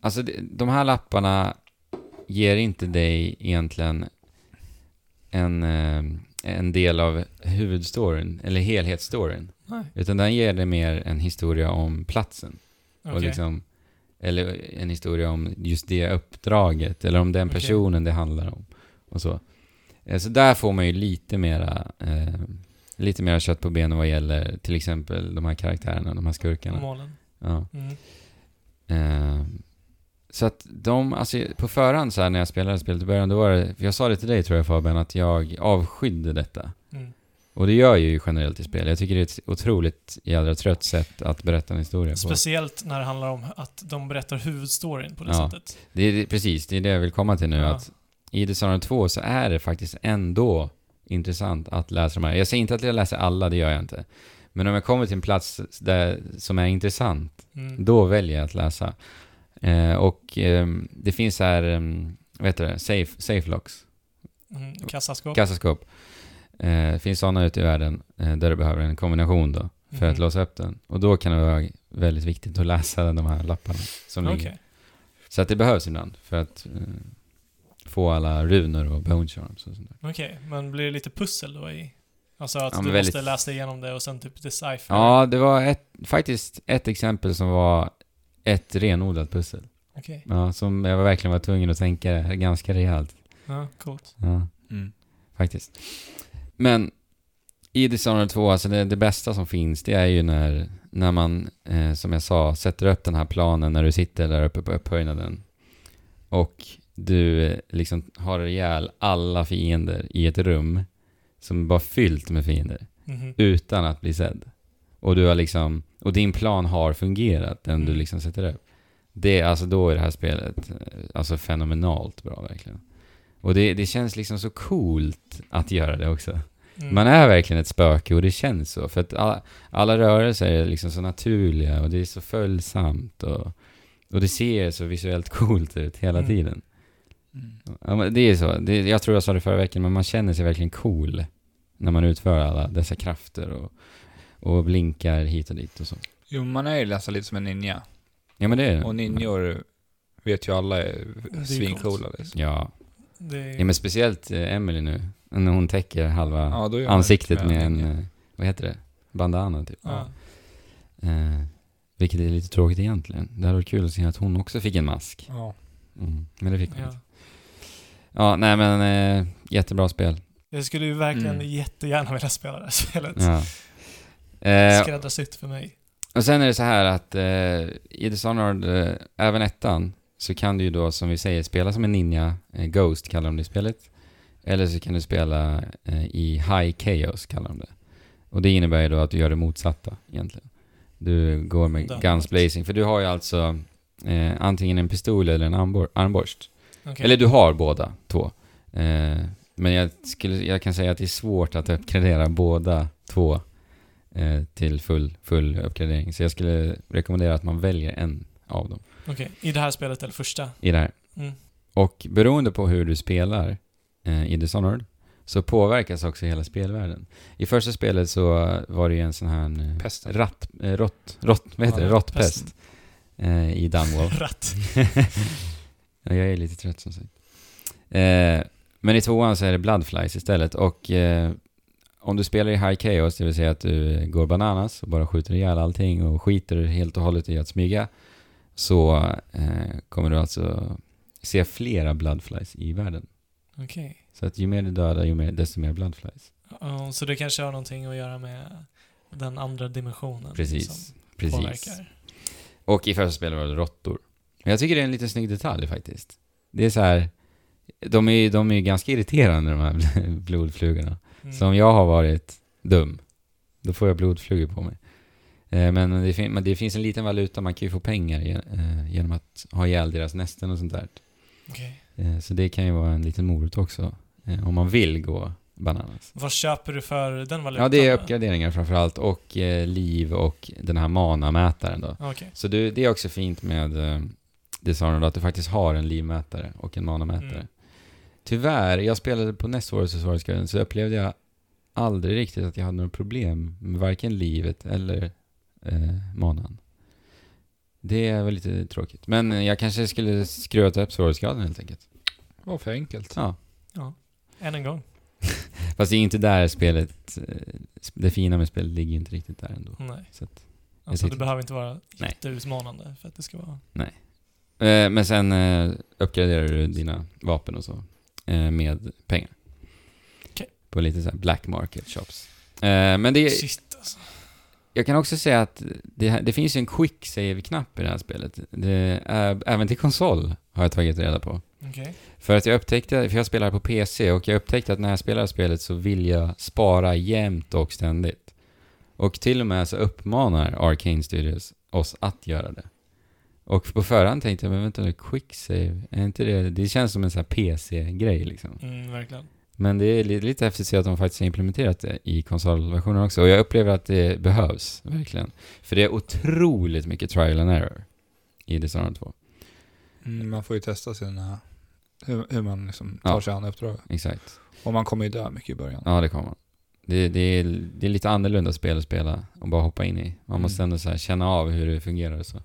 Speaker 1: Alltså det- de här lapparna ger inte dig egentligen en, eh, en del av huvudstoryn, eller helhetsstoryn.
Speaker 2: Nej.
Speaker 1: Utan den ger dig mer en historia om platsen. Och
Speaker 2: Okej.
Speaker 1: liksom, eller en historia om just det uppdraget, eller om den
Speaker 2: Okej.
Speaker 1: personen det handlar om. Och så. Eh, så där får man ju lite mera, eh, lite mera kött på benen vad gäller till exempel de här karaktärerna, de här skurkarna.
Speaker 2: Målen.
Speaker 1: Ja.
Speaker 2: Mm.
Speaker 1: Eh, så att de, alltså på förhand så här när jag spelade spelet i början, då var det, för jag sa det till dig tror jag Fabian, att jag avskydde detta.
Speaker 2: Mm.
Speaker 1: Och det gör jag ju generellt i spel. Jag tycker det är ett otroligt jädra trött sätt att berätta en historia på.
Speaker 2: Speciellt när det handlar om att de berättar huvudstoryn på det
Speaker 1: Ja.
Speaker 2: sättet.
Speaker 1: Det är det, precis, det är det jag vill komma till nu.
Speaker 2: Ja.
Speaker 1: Att I Dishonored 2 så är det faktiskt ändå intressant att läsa de här. Jag säger inte att jag läser alla, det gör jag inte. Men om jag kommer till en plats där, som är intressant,
Speaker 2: Mm.
Speaker 1: då väljer jag att läsa. Eh, och ehm, det finns så här, um, vad heter det, safe, safe locks,
Speaker 2: Mm. Kassaskåp.
Speaker 1: kassaskåp. Eh, Det finns sådana ute i världen eh, där du behöver en kombination då för att
Speaker 2: Mhm.
Speaker 1: låsa upp den. Och då kan det vara väldigt viktigt att läsa de här lapparna som ligger.
Speaker 2: Okej.
Speaker 1: Så att det behövs ibland för att eh, få alla runor och bone charms och sånt där.
Speaker 2: Okej, men blir det lite pussel då i... Alltså att
Speaker 1: Ja, men
Speaker 2: du
Speaker 1: väldigt-
Speaker 2: måste läsa igenom det och sen typ decipher?
Speaker 1: Ja, det var ett, faktiskt ett exempel som var ett renodlat pussel.
Speaker 2: Okej.
Speaker 1: Ja, som jag verkligen var tvungen att tänka ganska rejält.
Speaker 2: Ja, coolt.
Speaker 1: Ja,
Speaker 3: Mm.
Speaker 1: faktiskt. Men i Dishonored 2, alltså det, det bästa som finns, det är ju när, när man, eh, som jag sa, sätter upp den här planen när du sitter där uppe på upphöjnaden. Och du eh, liksom har ihjäl alla fiender i ett rum som bara fyllt med fiender
Speaker 2: Mhm.
Speaker 1: utan att bli sedd. Och du har liksom, och din plan har fungerat, den du
Speaker 2: Mm.
Speaker 1: liksom sätter upp. Det, alltså då är det här spelet eh, alltså fenomenalt bra verkligen. Och det, det känns liksom så coolt att göra det också.
Speaker 2: Mm.
Speaker 1: Man är verkligen ett spöke och det känns så. För att alla, alla rörelser är liksom så naturliga och det är så följsamt och, och det ser så visuellt coolt ut hela
Speaker 2: Mm.
Speaker 1: tiden.
Speaker 3: Mm.
Speaker 1: Ja, men det är så. Det, jag tror jag sa det förra veckan, men man känner sig verkligen cool när man utför alla dessa krafter och, och blinkar hit och dit och så.
Speaker 3: Jo, man är ju nästan lite som en ninja.
Speaker 1: Ja, men det är det.
Speaker 3: Och ninjor vet ju alla är
Speaker 2: Det är
Speaker 3: svincoola. Liksom.
Speaker 1: Ja.
Speaker 2: Det är...
Speaker 1: ja, men speciellt eh, Emily nu. När hon täcker halva
Speaker 3: Ja, då gör man
Speaker 1: ansiktet
Speaker 3: det.
Speaker 1: med en, eh, vad heter det, bandana typ.
Speaker 2: ja.
Speaker 1: Eh, vilket är lite tråkigt egentligen. Det hade varit kul att se att hon också fick en mask.
Speaker 3: Ja.
Speaker 1: Mm. Men det fick man
Speaker 2: Ja.
Speaker 1: inte. Ja, nej men eh, jättebra spel.
Speaker 2: Jag skulle ju verkligen
Speaker 3: Mm.
Speaker 2: jättegärna vilja spela det här spelet.
Speaker 1: Ja. Eh,
Speaker 2: Skräddarsytt för mig.
Speaker 1: Och sen är det så här att eh, i Dishonored, eh, även ettan, så kan du ju då som vi säger spela som en ninja, eh, Ghost kallar de det i spelet. Eller så kan du spela eh, i High Chaos kallar de det. Och det innebär ju då att du gör det motsatta egentligen. Du går med
Speaker 2: Dödat.
Speaker 1: guns blazing, för du har ju alltså eh, antingen en pistol eller en armbor- armborst.
Speaker 2: Okej.
Speaker 1: Eller du har båda två. Eh, men jag, skulle, jag kan säga att det är svårt att uppgradera båda två eh, till full, full uppgradering. Så jag skulle rekommendera att man väljer en av dem
Speaker 2: Okej. I det här spelet eller första?
Speaker 1: i det här.
Speaker 2: Mm.
Speaker 1: Och beroende på hur du spelar eh, i Dishonored så påverkas också hela spelvärlden. I första spelet så var det ju en sån här eh,
Speaker 3: Pesten.
Speaker 1: ratt, eh, rått, rått, vad heter
Speaker 2: Ja,
Speaker 1: det? Råttpest eh, i Dunwall.
Speaker 2: Ratt.
Speaker 1: Ja, jag är lite trött som sagt. Eh, men i tvåan så är det Bloodflies istället och eh, om du spelar i High Chaos, det vill säga att du eh, går bananas och bara skjuter ihjäl allting och skiter helt och hållet i att smyga, så eh, kommer du alltså se flera Bloodflies i världen.
Speaker 2: Okej.
Speaker 1: Så att ju mer du dödar, ju mer, desto mer Bloodflies.
Speaker 2: Ja, Så det kanske har någonting att göra med den andra dimensionen.
Speaker 1: Precis.
Speaker 2: Som
Speaker 1: Precis.
Speaker 2: påverkar.
Speaker 1: Och i första spelet var det råttor. Men jag tycker det är en liten snygg detalj faktiskt. Det är så här, de är ju de är ju ganska irriterande de här blodflugorna.
Speaker 2: Mm.
Speaker 1: Så om jag har varit dum, då får jag blodflugor på mig. Eh, Men det, fin- men det finns en liten valuta, man kan ju få pengar ge- eh, genom att ha ihjäl deras nästen och sånt där.
Speaker 2: Okej.
Speaker 1: Eh, Så det kan ju vara en liten morot också, eh, om man vill gå bananas.
Speaker 2: Vad köper du för den valutan?
Speaker 1: Ja, det är
Speaker 2: då?
Speaker 1: uppgraderingar framförallt och eh, liv och den här mana-mätaren då.
Speaker 2: Okej.
Speaker 1: Så du, det är också fint med eh, Dishonored att du faktiskt har en livmätare och en manamätare.
Speaker 2: Mm.
Speaker 1: Tyvärr, jag spelade på näst svåraste svårighetsgraden så upplevde jag aldrig riktigt att jag hade några problem med varken livet eller eh, manan. Det är väl lite tråkigt. Men eh, jag kanske skulle skruva upp svårighetsgraden helt enkelt.
Speaker 3: Vad för enkelt.
Speaker 1: Ja.
Speaker 2: Än en gång.
Speaker 1: Fast det är inte där spelet, eh, det fina med spelet ligger ju inte riktigt där ändå.
Speaker 2: Nej.
Speaker 1: Så att-
Speaker 2: Alltså det
Speaker 1: tyckte-
Speaker 2: behöver inte vara
Speaker 1: Nej.
Speaker 2: jätteutmanande för att det ska vara...
Speaker 1: Eh, men sen eh, uppgraderar du dina vapen och så eh, med pengar.
Speaker 2: Okej.
Speaker 1: På lite så här black market shops. Eh, men det,
Speaker 2: Shit alltså.
Speaker 1: jag kan också säga att det, här, det finns ju en quick save-knapp i det här spelet. Det är, även till konsol har jag tagit reda på.
Speaker 2: Okej.
Speaker 1: För att jag upptäckte, för jag spelar på PC och jag upptäckte att när jag spelar spelet så vill jag spara jämt och ständigt. Och till och med så uppmanar Arcane Studios oss att göra det. Och på förhand tänkte jag, men vänta nu, quick save, är inte det, det känns som en sån här PC-grej liksom.
Speaker 2: Mm, verkligen.
Speaker 1: Men det är li- lite häftigt att se att de faktiskt har implementerat det i konsolversionen också. Och jag upplever att det behövs, verkligen. För det är otroligt mycket trial and error i Dishonored 2.
Speaker 3: Mm, man får ju testa sina... Hur, hur man liksom tar
Speaker 1: Ja.
Speaker 3: sig an uppdraget.
Speaker 1: Exakt.
Speaker 3: Och man kommer ju dö mycket i början.
Speaker 1: Ja, det kommer man. Det, det, är, det är lite annorlunda spel att spela och bara hoppa in i. Man måste
Speaker 3: Mm.
Speaker 1: ändå så här känna av hur det fungerar och så.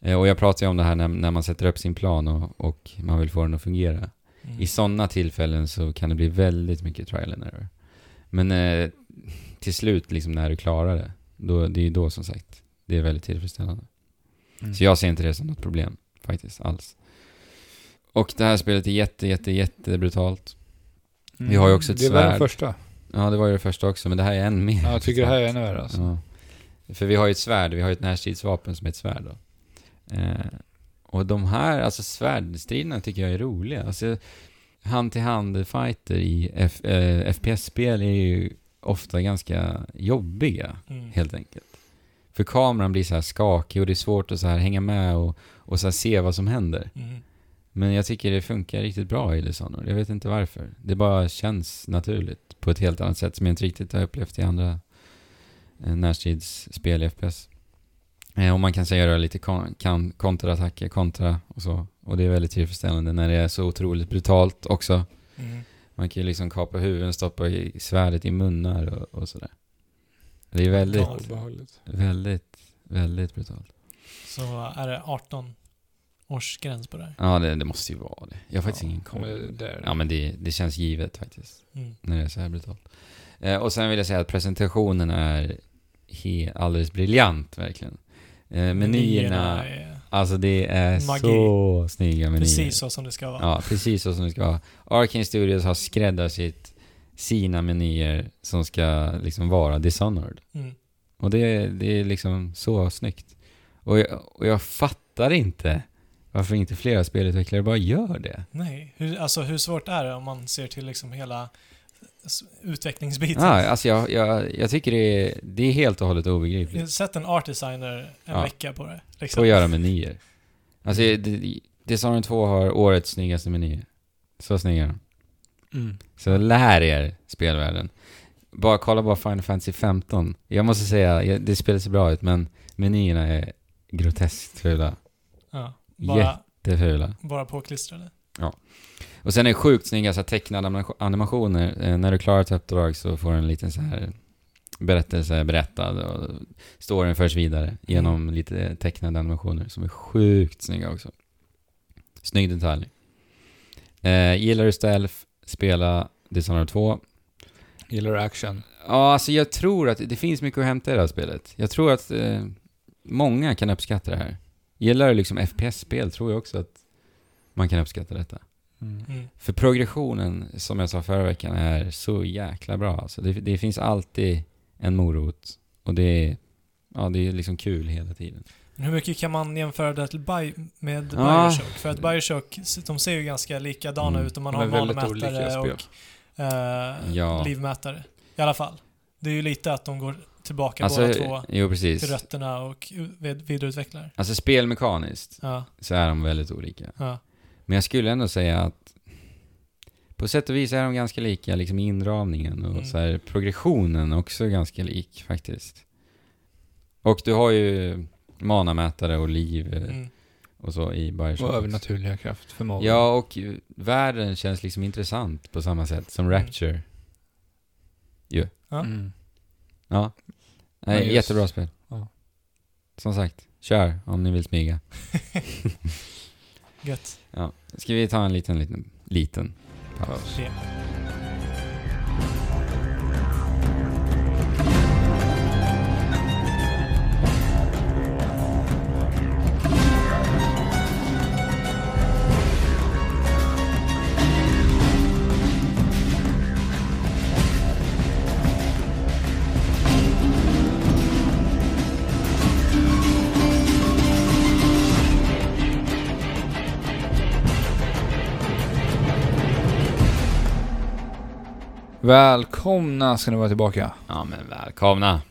Speaker 1: Eh, Och jag pratar ju om det här när, när man sätter upp sin plan och, och man vill få den att fungera.
Speaker 2: Mm.
Speaker 1: I sådana tillfällen så kan det bli väldigt mycket trial and error. Men eh, till slut, liksom när du klarar det, då, det är ju då som sagt, det är väldigt tillfredsställande.
Speaker 3: Mm.
Speaker 1: Så jag ser inte det som något problem faktiskt alls. Och det här spelet är jätte, jätte, jätte brutalt.
Speaker 3: Mm.
Speaker 1: vi har ju också ett
Speaker 3: Det är värre än
Speaker 1: svärd.
Speaker 3: första.
Speaker 1: Ja, det var ju det första också, men det här är än mer.
Speaker 3: Ja, jag tycker det här är ännu värre alltså.
Speaker 1: Ja. För vi har ju ett svärd, vi har ju ett närstridsvapen som är ett svärd då. Eh, och de här, alltså svärdstriderna tycker jag är roliga. Alltså, hand-till-hand-fighter i F- eh, FPS-spel är ju ofta ganska jobbiga,
Speaker 2: Mm.
Speaker 1: helt enkelt. För kameran blir så här skakig och det är svårt att så här hänga med och, och så här se vad som händer.
Speaker 2: Mm.
Speaker 1: Men jag tycker det funkar riktigt bra i Dishonored. Jag vet inte varför. Det bara känns naturligt på ett helt annat sätt som jag inte riktigt har upplevt i andra eh, närstridsspel i FPS. Eh, och man kan säga göra lite kon- kan- kontraattacker, kontra och så. Och det är väldigt tillfredsställande när det är så otroligt brutalt också.
Speaker 2: Mm.
Speaker 1: Man kan ju liksom kapa huvuden, stoppa i svärdet i munnar och, och sådär. Det är väldigt,
Speaker 2: Ja.
Speaker 3: Obehagligt.
Speaker 1: väldigt, väldigt brutalt.
Speaker 2: Så är det 18 års gräns på det här.
Speaker 1: Ja, det, det måste ju vara det. Jag har faktiskt ingen koll.
Speaker 3: men det är det.
Speaker 1: Ja, men det, det känns givet faktiskt.
Speaker 2: Mm.
Speaker 1: när det är så här brutalt. Eh, och sen vill jag säga att presentationen är he- alldeles briljant verkligen. Eh, menyerna,
Speaker 2: är...
Speaker 1: Alltså det är
Speaker 2: Magi.
Speaker 1: så snygga menyer.
Speaker 2: Precis så som det ska vara.
Speaker 1: Ja, precis så som det ska vara. Arkane Studios har skräddarsytt sina menyer som ska liksom vara Dishonored.
Speaker 2: Mm.
Speaker 1: Och det, det är liksom så snyggt. Och jag, och jag fattar inte varför inte flera spelutvecklare bara gör det.
Speaker 2: Nej, hur, alltså hur svårt är det om man ser till liksom hela s- utvecklingsbiten?
Speaker 1: Ah, alltså jag, jag, jag tycker det är, det är helt och hållet
Speaker 2: Jag har
Speaker 1: obegripligt
Speaker 2: sett en art designer en
Speaker 1: Ja.
Speaker 2: vecka på det.
Speaker 1: på
Speaker 2: Liksom.
Speaker 1: att göra menyer. Alltså det- Dishonored 2 har årets snyggaste menyer. Så snygga är de.
Speaker 3: Mm.
Speaker 1: Så lär er spelvärlden. Bara kolla bara Final Fantasy 15. Jag måste säga, jag- det spelar så bra ut men menyerna är groteskt fula.
Speaker 2: Ja, bara,
Speaker 1: Det är fula.
Speaker 2: bara påklistrade.
Speaker 1: Och sen är det sjukt snygga så här, tecknade anima- animationer. Eh, när du klarar ett uppdrag så får du en liten så här berättelse berättad och storyn förs vidare genom lite tecknade animationer som är sjukt snygga också. Snygg detalj. Eh, gillar du stealth, spela Dishonored 2.
Speaker 3: Gillar du action?
Speaker 1: Ja, alltså jag tror att det finns mycket att hämta i det här spelet. Jag tror att eh, många kan uppskatta det här. Gillar du liksom FPS-spel tror jag också att man kan uppskatta detta.
Speaker 2: Mm.
Speaker 1: För progressionen, som jag sa förra veckan, är så jäkla bra. Alltså det, det finns alltid en morot och det är, ja, det är liksom kul hela tiden.
Speaker 2: Men hur mycket kan man jämföra det till Bi- med
Speaker 1: Ja.
Speaker 2: Bioshock? För att Bioshock, de ser ju ganska likadana
Speaker 1: Mm.
Speaker 2: ut om man
Speaker 3: De
Speaker 2: har
Speaker 3: är väldigt
Speaker 2: manmätare
Speaker 3: olika
Speaker 2: och
Speaker 3: spel.
Speaker 2: eh,
Speaker 1: Ja.
Speaker 2: livmätare. I alla fall. Det är ju lite att de går tillbaka
Speaker 1: Alltså,
Speaker 2: båda två
Speaker 1: jo
Speaker 2: till
Speaker 1: precis.
Speaker 2: rötterna och u- vid- vidareutvecklar.
Speaker 1: Alltså spelmekaniskt
Speaker 2: Ja,
Speaker 1: så är de väldigt olika.
Speaker 2: ja.
Speaker 1: Men jag skulle ändå säga att på sätt och vis är de ganska lika, liksom i inramningen och
Speaker 2: Mm.
Speaker 1: så här, progressionen också ganska lik faktiskt. Och du har ju manamätare och liv eh,
Speaker 2: Mm.
Speaker 1: och så i Bioshock.
Speaker 3: Och
Speaker 1: också.
Speaker 3: övernaturliga kraftförmågor.
Speaker 1: Ja, och eh, världen känns liksom intressant på samma sätt som
Speaker 2: Mm.
Speaker 1: Rapture.
Speaker 2: Ja.
Speaker 3: Mm.
Speaker 1: Ja.
Speaker 3: Men
Speaker 1: Nej,
Speaker 3: just-
Speaker 1: Jättebra spel.
Speaker 3: Ja.
Speaker 1: Som sagt, kör om ni vill smyga.
Speaker 2: Gött.
Speaker 1: Ja. Ska vi ta en liten, liten, liten paus?
Speaker 2: Det.
Speaker 3: Välkomna ska ni vara tillbaka.
Speaker 1: Ja, men välkomna.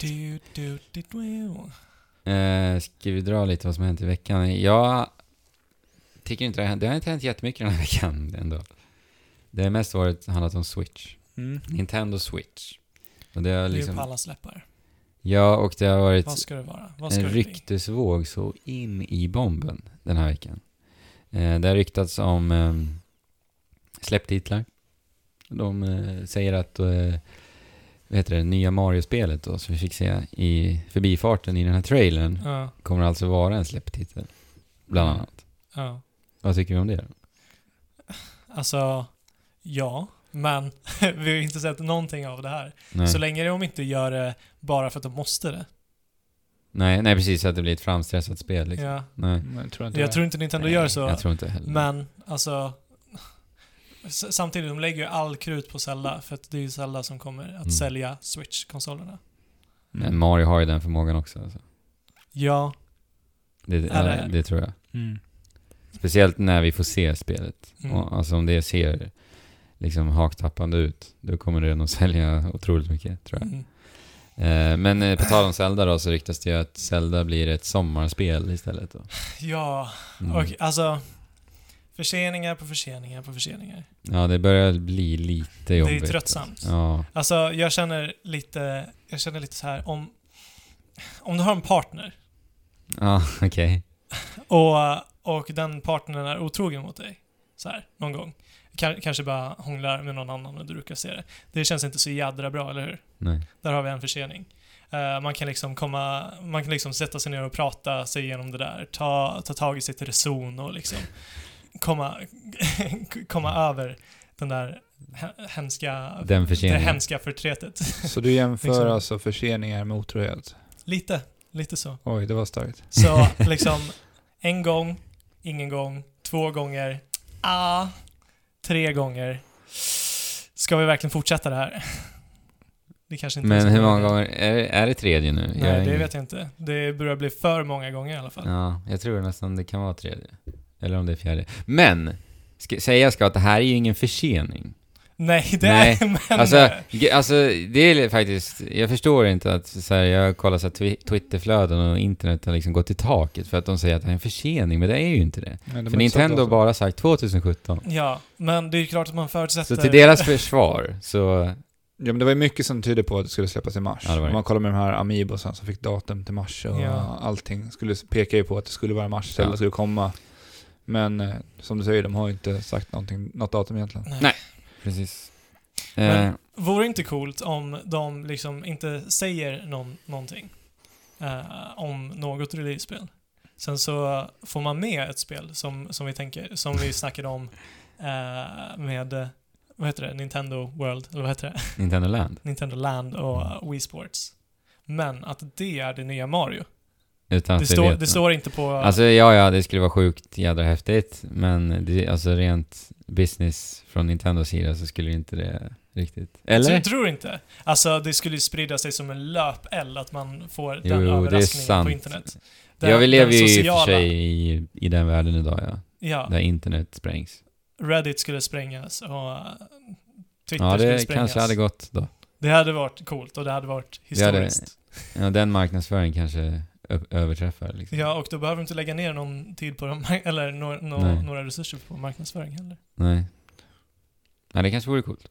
Speaker 2: Du, du, du, du.
Speaker 1: Eh, ska vi dra lite vad som har hänt i veckan? Jag tycker inte det har hänt. Det har inte hänt jättemycket den här veckan ändå. Det har mest varit handlat om Switch. Nintendo Switch. Och det har
Speaker 2: Det är ju på
Speaker 1: liksom...
Speaker 2: allas läppar.
Speaker 1: Ja, och det har varit
Speaker 2: Vad ska det vara? Vad ska
Speaker 1: en
Speaker 2: det bli?
Speaker 1: ryktesvåg så in i bomben den här veckan. Eh, det har ryktats om eh, släpptitlar. De eh, säger att eh, vad heter det, nya Mario-spelet då, som vi fick se i förbifarten i den här trailern
Speaker 2: Ja,
Speaker 1: kommer alltså vara en släpptitel. Bland
Speaker 3: Mm.
Speaker 1: annat.
Speaker 2: ja.
Speaker 1: Vad tycker vi om det? då?
Speaker 2: Alltså, ja. Men vi har ju inte sett någonting av det här.
Speaker 1: Nej.
Speaker 2: Så länge de inte gör det bara för att de måste det.
Speaker 1: nej, nej, precis. Att det blir ett framstressat spel. Liksom.
Speaker 2: Ja.
Speaker 1: Nej.
Speaker 3: Men jag tror inte
Speaker 2: Jag tror inte Nintendo
Speaker 1: nej,
Speaker 2: gör så.
Speaker 1: Jag tror inte heller.
Speaker 2: Men, alltså... s- Samtidigt, de lägger ju all krut på Zelda, för att det är ju Zelda som kommer att
Speaker 1: Mm.
Speaker 2: sälja Switch-konsolerna.
Speaker 1: Men Mario har ju den förmågan också. Alltså.
Speaker 2: Ja,
Speaker 1: Det,
Speaker 2: Ja, det-
Speaker 1: det, det tror jag.
Speaker 3: Mm.
Speaker 1: Speciellt när vi får se spelet.
Speaker 2: mm.
Speaker 1: Och, alltså om det ser liksom haktappande ut, då kommer det nog sälja otroligt mycket tror jag.
Speaker 2: Mm.
Speaker 1: Eh, men eh, på tal om Zelda då så ryktas det ju att Zelda blir ett sommarspel istället då.
Speaker 2: ja
Speaker 1: Mm.
Speaker 2: och alltså... Förseningar på förseningar på förseningar.
Speaker 1: Ja, det börjar bli lite
Speaker 2: Det är
Speaker 1: jobbigt.
Speaker 2: ju tröttsamt.
Speaker 1: Ja,
Speaker 2: Alltså, jag känner lite... Jag känner lite så här om... Om du har en partner
Speaker 1: ja okej.
Speaker 2: Och, och den partnern är otrogen mot dig. Så här, någon gång. Ka- Kanske bara hånglar med någon annan och du brukar se det. Det känns inte så jädra bra, eller hur?
Speaker 1: Nej.
Speaker 2: Där har vi en försening. Eh, man, kan liksom komma, man kan liksom sätta sig ner och prata sig igenom det där. Ta, ta tag i sitt reson och liksom komma, komma över den där he- hemska,
Speaker 1: Den
Speaker 2: det
Speaker 1: förseningen.
Speaker 2: hemska förtretet.
Speaker 3: Så du jämför
Speaker 2: Liksom.
Speaker 3: alltså förseningar med otrohet?
Speaker 2: Lite. lite så.
Speaker 3: Oj, det var starkt.
Speaker 2: Så liksom en gång, ingen gång, två gånger, ah, tre gånger. Ska vi verkligen fortsätta det här? Det kanske inte är så
Speaker 1: Men hur
Speaker 2: bra.
Speaker 1: många gånger? Är, det- är det tredje nu?
Speaker 2: Nej, det vet jag inte. Det börjar bli för många gånger i alla fall.
Speaker 1: Ja, jag tror nästan det kan vara tredje. Eller om det är fjärde. Men! Ska, säga ska att det här är ju ingen försening.
Speaker 2: Nej, det
Speaker 1: Nej,
Speaker 2: är... Men, eh,
Speaker 1: Alltså, g- alltså, det är faktiskt... Jag förstår inte att så här, jag kollar så här, twi- Twitterflöden och internet har liksom gått i taket för att de säger att det är en försening, men det är ju inte det.
Speaker 3: Men de
Speaker 1: För
Speaker 3: har inte sagt
Speaker 1: Nintendo har
Speaker 3: datum.
Speaker 1: bara sagt 2017.
Speaker 2: Ja, men det är ju klart att man förutsätter...
Speaker 1: Så till deras försvar, så...
Speaker 3: Ja, men det var ju mycket som tydde på att det skulle släppas i mars.
Speaker 1: Ja, det var det.
Speaker 3: Om man kollar med de här Amiibosen som fick datum till mars och
Speaker 2: Ja.
Speaker 3: allting skulle peka ju på att det skulle vara i mars
Speaker 1: Ja.
Speaker 3: eller skulle komma. Men eh, som du säger, de har ju inte sagt någonting, något datum egentligen.
Speaker 2: Nej.
Speaker 1: Precis.
Speaker 2: Men-
Speaker 1: Eh,
Speaker 2: Vore det inte coolt om de liksom inte säger någon, någonting eh, om något release-spel? Sen så får man med ett spel som, som vi tänker, som vi snackade om eh, med, eh, vad heter det, Nintendo World, eller vad heter det?
Speaker 1: Nintendo Land.
Speaker 2: Nintendo Land och eh, Wii Sports. Men att det är det nya Mario.
Speaker 1: Utan
Speaker 2: Det
Speaker 1: att vi
Speaker 2: står,
Speaker 1: vet
Speaker 2: det
Speaker 1: något.
Speaker 2: står inte på...
Speaker 1: Alltså ja, ja, det skulle vara sjukt jädra häftigt, men det, alltså rent business från Nintendos sida så skulle inte det riktigt... Eller?
Speaker 2: Jag tror inte. Alltså det skulle ju sprida sig som en löpeld att man får
Speaker 1: Jo,
Speaker 2: den
Speaker 1: det är
Speaker 2: överraskningen
Speaker 1: sant.
Speaker 2: på internet.
Speaker 1: ja, vi lever
Speaker 2: den
Speaker 1: ju i och
Speaker 2: sociala-
Speaker 1: för sig i, i den världen idag, ja.
Speaker 2: Ja,
Speaker 1: Där internet sprängs.
Speaker 2: Reddit skulle sprängas och eh, Twitter
Speaker 1: Ja,
Speaker 2: skulle
Speaker 1: det
Speaker 2: sprängas.
Speaker 1: kanske hade gått då.
Speaker 2: Det hade varit coolt och det hade varit
Speaker 1: Det hade-
Speaker 2: historiskt.
Speaker 1: Ja, den marknadsföringen kanske ö- överträffar liksom.
Speaker 2: Ja, och då behöver du inte lägga ner någon tid på dem, eller några, nå-
Speaker 1: Nej.
Speaker 2: några resurser på marknadsföring heller.
Speaker 1: Nej. Nej, det kanske vore coolt.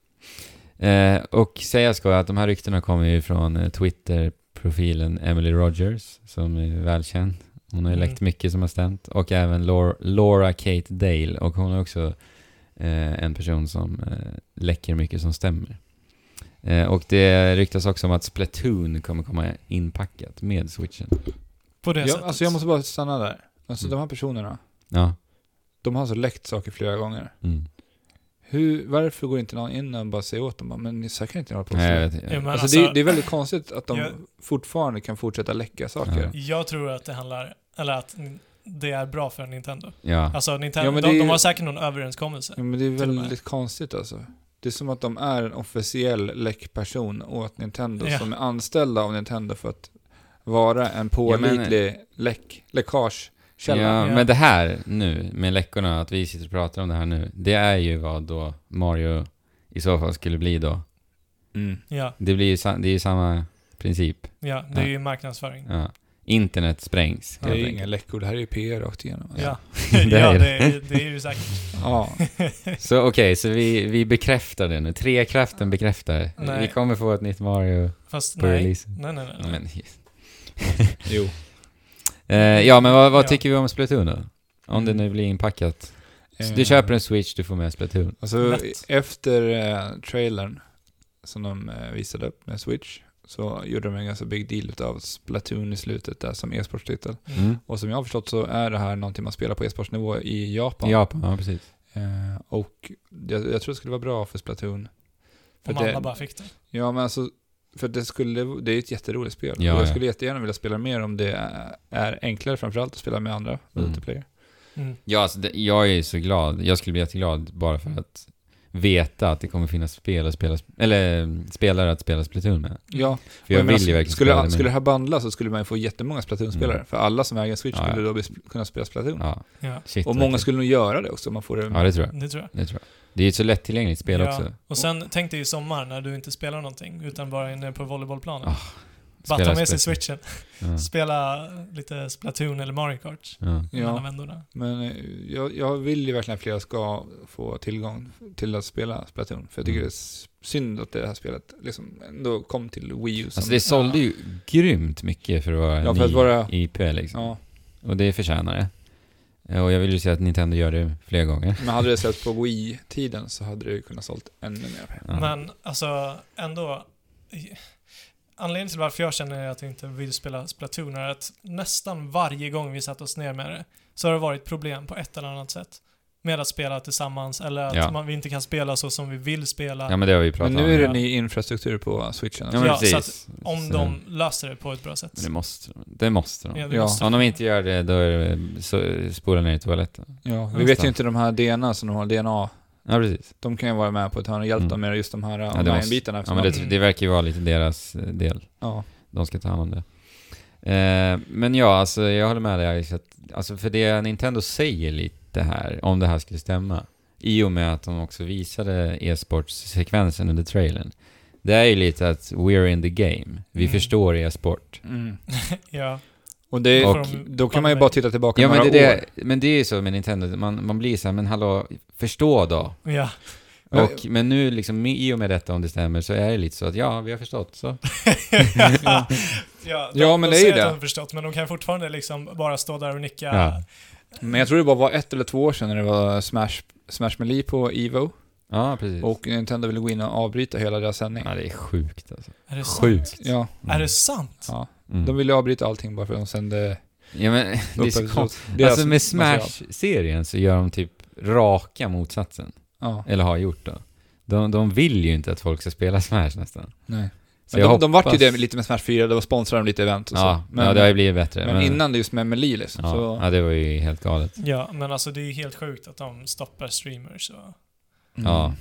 Speaker 1: Eh, och säga ska att de här ryktena kommer ju från eh, Twitter-profilen Emily Rogers, som är välkänd. Hon har ju
Speaker 2: Mm.
Speaker 1: läckt mycket som har stämt. Och även Laura, Laura Kate Dale. Och hon är också eh, en person som eh, läcker mycket som stämmer. Eh, och det ryktas också om att Splatoon kommer komma inpackat med switchen.
Speaker 2: På det
Speaker 3: Jag,
Speaker 2: sättet.
Speaker 3: alltså jag måste bara stanna där. Alltså
Speaker 1: Mm.
Speaker 3: de här personerna,
Speaker 1: Ja.
Speaker 3: de har alltså läckt saker flera gånger.
Speaker 1: Mm.
Speaker 3: Hur, varför går inte någon in och bara säger åt dem bara, men ni så här kan inte hålla på och
Speaker 1: Nej,
Speaker 3: säga."
Speaker 1: jag vet inte.
Speaker 2: Jo, men
Speaker 3: Alltså,
Speaker 2: alltså,
Speaker 3: det, är, det är väldigt konstigt att de
Speaker 2: Jag-
Speaker 3: fortfarande kan fortsätta läcka saker.
Speaker 2: Jag tror att det handlar, eller att det är bra för Nintendo.
Speaker 1: Ja.
Speaker 2: Alltså Nintendo,
Speaker 3: Ja, men det
Speaker 2: de,
Speaker 3: är
Speaker 2: de
Speaker 3: ju-
Speaker 2: har säkert någon överenskommelse.
Speaker 3: Ja, men det är
Speaker 2: och med.
Speaker 3: väldigt konstigt alltså. Det är som att de är en officiell läckperson åt Nintendo
Speaker 2: Ja.
Speaker 3: som är anställda av Nintendo för att vara en
Speaker 1: men-
Speaker 3: pålitlig läck, läckagekälla.
Speaker 1: Ja,
Speaker 2: Ja.
Speaker 1: men det här nu, med läckorna, att vi sitter och pratar om det här nu, det är ju vad då Mario i så fall skulle bli då.
Speaker 3: Mm.
Speaker 2: Ja,
Speaker 1: Det, blir ju, sa- det är ju samma princip.
Speaker 2: ja, det är
Speaker 1: Ja.
Speaker 2: ju marknadsföring.
Speaker 1: Ja. Internet sprängs
Speaker 3: Det är
Speaker 1: helt
Speaker 3: ju
Speaker 1: enkelt.
Speaker 3: inga läckor, det här är ju PR rakt igenom. alltså.
Speaker 2: Ja,
Speaker 1: Det
Speaker 2: ja
Speaker 1: är
Speaker 2: det, är, det är ju säkert.
Speaker 3: ja.
Speaker 1: Så okej, så vi, vi bekräftar det nu. Trekraften bekräftar.
Speaker 2: Nej.
Speaker 1: Vi kommer få ett nytt Mario
Speaker 2: Fast
Speaker 1: på
Speaker 2: nej.
Speaker 1: releasen.
Speaker 2: Nej, nej, nej. nej.
Speaker 1: Men,
Speaker 3: Jo.
Speaker 1: eh, ja, men vad, vad
Speaker 2: Ja.
Speaker 1: tycker vi om Splatoon då? Om det nu blir inpackat. Så du
Speaker 3: Eh,
Speaker 1: köper en Switch, du får med Splatoon.
Speaker 3: Alltså,
Speaker 2: Lätt.
Speaker 3: efter eh, trailern som de eh, visade upp med Switch så gjorde de en ganska big deal utav Splatoon i slutet där som e-sportstitel.
Speaker 1: Mm.
Speaker 3: Och som jag har förstått så är det här någonting man spelar på e-sportsnivå i Japan.
Speaker 1: I Japan, ja precis.
Speaker 3: Eh, och jag, jag tror det skulle vara bra för Splatoon. För
Speaker 2: Om
Speaker 3: det-
Speaker 2: alla bara fick det.
Speaker 3: Ja, men alltså, för det, skulle, det är ju ett jätteroligt spel.
Speaker 1: Ja,
Speaker 3: och jag
Speaker 1: ja.
Speaker 3: skulle jättegärna vilja spela mer om det är, är enklare framförallt att spela med andra multiplayer.
Speaker 2: Mm.
Speaker 1: Ja, alltså, det, jag är ju så glad. Jag skulle bli jätteglad bara för att veta att det kommer finnas spel att spela, eller mm, spelare att spela Splatoon med.
Speaker 3: Ja,
Speaker 1: För jag,
Speaker 3: och
Speaker 1: vill
Speaker 3: menar,
Speaker 1: ju verkligen
Speaker 3: alltså, skulle,
Speaker 1: spela det med.
Speaker 3: skulle det här bandlas så skulle man ju få jättemånga Splatoon-spelare.
Speaker 1: Mm.
Speaker 3: För alla som äger en Switch
Speaker 1: Ja, ja.
Speaker 3: skulle då bli, sp- kunna spela Splatoon.
Speaker 1: Ja,
Speaker 2: Ja,
Speaker 1: shit.
Speaker 3: och
Speaker 1: vad
Speaker 3: många
Speaker 1: kul.
Speaker 3: skulle nog göra det också om man får det.
Speaker 1: Ja, det tror jag.
Speaker 2: det tror jag.
Speaker 1: Det tror jag. Det är ju ett så lättillgängligt spel
Speaker 2: Ja,
Speaker 1: också.
Speaker 2: Och sen tänk dig i sommar när du inte spelar någonting utan bara är inne på volleybollplanen.
Speaker 1: Ah,
Speaker 2: bara
Speaker 1: spela
Speaker 2: ta med sig
Speaker 1: Splatoon.
Speaker 2: switchen.
Speaker 1: Ja.
Speaker 2: Spela lite Splatoon eller Mario Kart
Speaker 1: Ja.
Speaker 2: mellan
Speaker 3: Ja,
Speaker 2: vändorna.
Speaker 3: men eh, jag, jag vill ju verkligen att fler ska få tillgång till att spela Splatoon. För jag tycker
Speaker 1: Mm.
Speaker 3: det är s- synd att det här spelet liksom ändå kom till Wii U. som-
Speaker 1: Alltså det sålde ju grymt mycket för att vara en
Speaker 3: Ja, för att
Speaker 1: ny
Speaker 3: vara-
Speaker 1: IP liksom.
Speaker 3: ja.
Speaker 1: Och det förtjänar det. Eh, Och jag vill ju säga att Nintendo gör det fler gånger.
Speaker 3: Men hade det släppts på Wii-tiden så hade det ju kunnat sålt ännu mer pengar.
Speaker 1: Ja.
Speaker 2: Men alltså ändå. i- Anledningen till varför jag känner att jag inte vill spela Splatoon är att nästan varje gång vi satt oss ner med det så har det varit problem på ett eller annat sätt. med att spela tillsammans eller att
Speaker 1: Ja.
Speaker 2: man, vi inte kan spela så som vi vill spela.
Speaker 1: Ja men det har vi ju
Speaker 3: Men
Speaker 1: pratat
Speaker 3: nu
Speaker 1: om.
Speaker 3: är det
Speaker 2: ja.
Speaker 3: ny infrastruktur på switchen.
Speaker 1: Ja
Speaker 3: Alltså.
Speaker 1: men
Speaker 2: Ja, så
Speaker 1: precis.
Speaker 2: om
Speaker 1: Så-
Speaker 2: de löser det på ett bra sätt.
Speaker 1: Men det måste de. Det måste de.
Speaker 2: Ja, det
Speaker 3: Ja.
Speaker 2: måste-
Speaker 1: Om de inte gör det, då är det så, spola ner i toaletten.
Speaker 3: Ja, vi
Speaker 1: just
Speaker 3: vet
Speaker 1: det.
Speaker 3: ju inte de här DNA som de har, DNA,
Speaker 1: Ja precis.
Speaker 3: de kan ju vara med på ett hörn och hjälpa
Speaker 1: Mm.
Speaker 3: dem med just de här
Speaker 1: det
Speaker 3: ja,
Speaker 1: måste-
Speaker 3: online-bitarna.
Speaker 1: Ja
Speaker 3: eftersom
Speaker 1: men det,
Speaker 3: de-
Speaker 1: det verkar ju vara lite deras eh, del.
Speaker 3: ja.
Speaker 1: De ska ta hand om det. Eh, men ja, alltså jag håller med dig Alex, att, alltså för det Nintendo säger lite här, om det här skulle stämma, i och med att de också visade e-sportsekvensen under trailern, det är ju lite att we're in the game. Vi
Speaker 2: Mm.
Speaker 1: förstår e-sport.
Speaker 3: Mm.
Speaker 2: ja.
Speaker 3: Och, det,
Speaker 2: Och-
Speaker 3: då kan man ju bara titta tillbaka
Speaker 1: Ja men
Speaker 3: några
Speaker 1: det,
Speaker 3: år.
Speaker 1: det, men det är ju så med Nintendo, man, man blir så här, men hallå, förstå då.
Speaker 2: ja.
Speaker 3: Men-
Speaker 1: Och, men nu liksom, i och med detta om det stämmer, så är det lite så att ja, vi har förstått så.
Speaker 2: ja, de,
Speaker 3: Ja, men
Speaker 2: de
Speaker 3: det är
Speaker 2: säger
Speaker 3: ju
Speaker 2: att
Speaker 3: det.
Speaker 2: De har förstått, men de kan fortfarande liksom bara stå där och nicka.
Speaker 1: Ja.
Speaker 3: Men jag tror det bara var ett eller två år sedan när det var Smash, Smash Melee på Evo.
Speaker 1: Ja, precis.
Speaker 3: Och Nintendo ville gå in och avbryta hela deras sändning.
Speaker 1: ja, det är sjukt alltså.
Speaker 2: Är det sant?
Speaker 1: Sjukt.
Speaker 3: Ja,
Speaker 2: Är det sant?
Speaker 3: ja.
Speaker 1: Mm.
Speaker 3: De ville avbryta allting bara för att de sände
Speaker 1: Ja men det är så
Speaker 3: episod-
Speaker 1: konstigt.
Speaker 3: deras
Speaker 1: Alltså med
Speaker 3: material.
Speaker 1: Smash-serien så gör de typ raka motsatsen.
Speaker 3: Ja,
Speaker 1: Eller har gjort då. De, de vill ju inte att folk ska spela Smash nästan.
Speaker 3: nej.
Speaker 1: Så
Speaker 3: Men
Speaker 1: jag
Speaker 3: de, de vart ju
Speaker 1: hoppas-
Speaker 3: det lite med Smash 4, då sponsrade de lite event och
Speaker 1: Ja,
Speaker 3: så. Men,
Speaker 1: ja, det har ju blivit bättre.
Speaker 3: men innan det just med Melee liksom,
Speaker 1: ja,
Speaker 3: så...
Speaker 1: ja, det var ju helt galet.
Speaker 2: Ja, men alltså det är ju helt sjukt att de stoppar streamers och...
Speaker 3: Mm.
Speaker 1: Ja,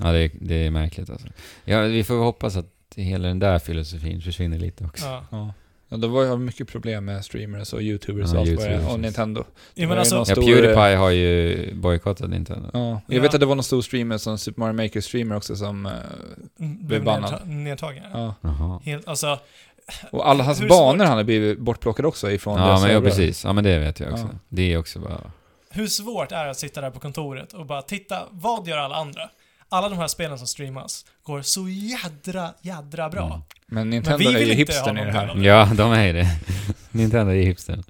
Speaker 1: ja det, det är märkligt alltså. Ja, vi får hoppas att hela den där filosofin försvinner lite också.
Speaker 2: Ja.
Speaker 3: Ja. ja då var jag mycket problem med streamers och youtubers
Speaker 1: Ja,
Speaker 3: och allt vad det
Speaker 1: YouTubers,
Speaker 3: är,
Speaker 1: just.
Speaker 3: och Nintendo.
Speaker 2: Ja,
Speaker 3: Det är
Speaker 2: men alltså,
Speaker 3: någonstans-
Speaker 1: Ja,
Speaker 3: stor-
Speaker 1: Pewdiepie har ju bojkottat Nintendo.
Speaker 3: Ja, jag
Speaker 2: Ja.
Speaker 3: vet att det var någon stor streamer som Super Mario Maker streamer också som... eh,
Speaker 2: mm, blev
Speaker 3: bannad.
Speaker 2: nedta- nedtagen.
Speaker 3: Ja.
Speaker 1: Jaha.
Speaker 2: Helt, alltså,
Speaker 3: Och alla hans
Speaker 2: Hur
Speaker 3: banor han har blivit bortplockade också ifrån
Speaker 1: Ja,
Speaker 3: deras
Speaker 1: men ja,
Speaker 3: servrar.
Speaker 1: precis. Ja, men det vet jag också.
Speaker 3: Ja.
Speaker 1: Det är också bara...
Speaker 2: hur svårt är det att sitta där på kontoret och bara titta, vad gör alla andra? Alla de här spelen som streamas går så jädra, jädra bra.
Speaker 1: Mm.
Speaker 3: Men Nintendo
Speaker 2: Men vi
Speaker 3: är
Speaker 2: vill
Speaker 3: ju
Speaker 2: inte ha
Speaker 3: hipstern i
Speaker 2: någon
Speaker 3: det
Speaker 2: del
Speaker 3: här.
Speaker 2: av
Speaker 1: Ja, de är det. Nintendo är hipstern.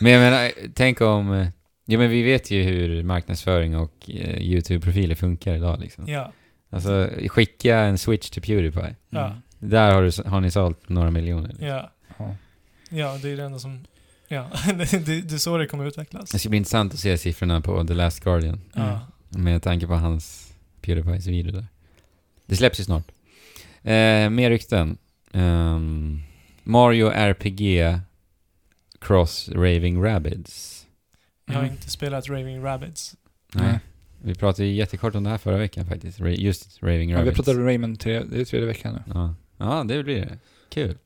Speaker 1: Men jag menar, tänk om... eh, Ja men vi vet ju hur marknadsföring och eh, YouTube-profiler funkar idag liksom.
Speaker 2: Ja.
Speaker 1: Alltså, skicka en switch till Pewdiepie.
Speaker 2: Ja.
Speaker 1: Där har, du, har ni sålt några miljoner. Liksom.
Speaker 2: Ja.
Speaker 3: Ja.
Speaker 2: Ja, det är det enda som... Ja, det, det, det är så det kommer utvecklas.
Speaker 1: Det ska bli intressant att se siffrorna på The Last Guardian.
Speaker 3: Mm.
Speaker 2: Ja.
Speaker 1: Med tanke på hans Pewdiepies video där. Det släpps ju snart. Eh, mer rykten. Ehm, Mario RPG Cross Raving Rabbids.
Speaker 2: Jag har
Speaker 3: Mm.
Speaker 2: inte spelat Raving Rabbids.
Speaker 1: Nej. Vi pratade ju jättekort om det här förra veckan faktiskt. Ra- Just Raving
Speaker 3: Ja, vi
Speaker 1: Rabbids.
Speaker 3: pratade om Rayman tre, det är tredje veckan nu.
Speaker 1: Ja, ja det blir det. Kul.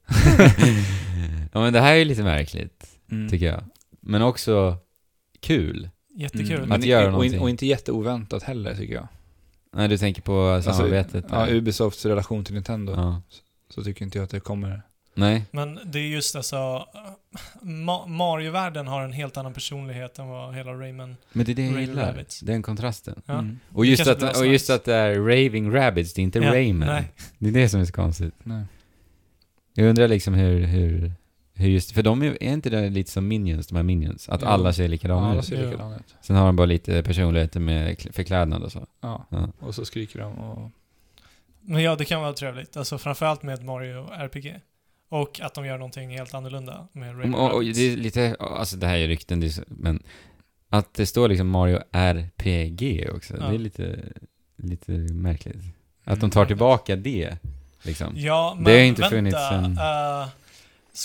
Speaker 1: ja, men det här är ju lite märkligt, Mm,
Speaker 3: Mm.
Speaker 1: tycker jag. Men också kul.
Speaker 2: Jättekul.
Speaker 1: Att
Speaker 3: Mm. Men-
Speaker 1: göra
Speaker 3: och, in,
Speaker 1: någonting.
Speaker 3: och inte jätteoväntat heller tycker jag.
Speaker 1: Nej, du tänker på
Speaker 3: Alltså,
Speaker 1: samarbetet?
Speaker 3: Ja,
Speaker 1: där.
Speaker 3: Ubisofts relation till Nintendo.
Speaker 1: Ja.
Speaker 3: Så tycker inte jag att det kommer...
Speaker 1: Nej,
Speaker 2: Men det är just alltså... Ma Mario-världen har en helt annan personlighet än vad hela Rayman...
Speaker 1: men det är det jag
Speaker 2: Raving
Speaker 1: gillar.
Speaker 2: Rabbids.
Speaker 1: Den kontrasten.
Speaker 2: Ja.
Speaker 3: Mm.
Speaker 1: Och just,
Speaker 2: kanske blir
Speaker 1: att, och
Speaker 2: nice.
Speaker 1: just att det är Raving Rabbids, det är inte
Speaker 2: Ja,
Speaker 1: Rayman.
Speaker 2: nej.
Speaker 1: Det är det som är så konstigt.
Speaker 3: Nej.
Speaker 1: Jag undrar liksom hur, hur, hur just, för de är, är inte det lite som Minions, de här Minions? Att
Speaker 3: Jo.
Speaker 1: alla ser
Speaker 3: Ja,
Speaker 1: likadana
Speaker 3: alla
Speaker 1: ut.
Speaker 3: ser
Speaker 2: Ja.
Speaker 3: likadana ut.
Speaker 1: Sen har de bara lite personligheter med kl- förklädnad och så.
Speaker 3: Ja.
Speaker 1: Ja.
Speaker 3: Och så skriker de och...
Speaker 2: Men ja, det kan vara trevligt. Alltså framförallt med Mario RPG. Och att de gör någonting helt annorlunda med Rayman
Speaker 1: Och, och
Speaker 2: Rabbids.
Speaker 1: det är lite, alltså det här är rykten, det är så, men att det står liksom Mario RPG också,
Speaker 2: Ja. Mm.
Speaker 1: det är lite, lite märkligt. Att de tar tillbaka det, liksom.
Speaker 2: Ja, men
Speaker 1: Det har inte
Speaker 2: vänta.
Speaker 1: funnits en-
Speaker 2: eh,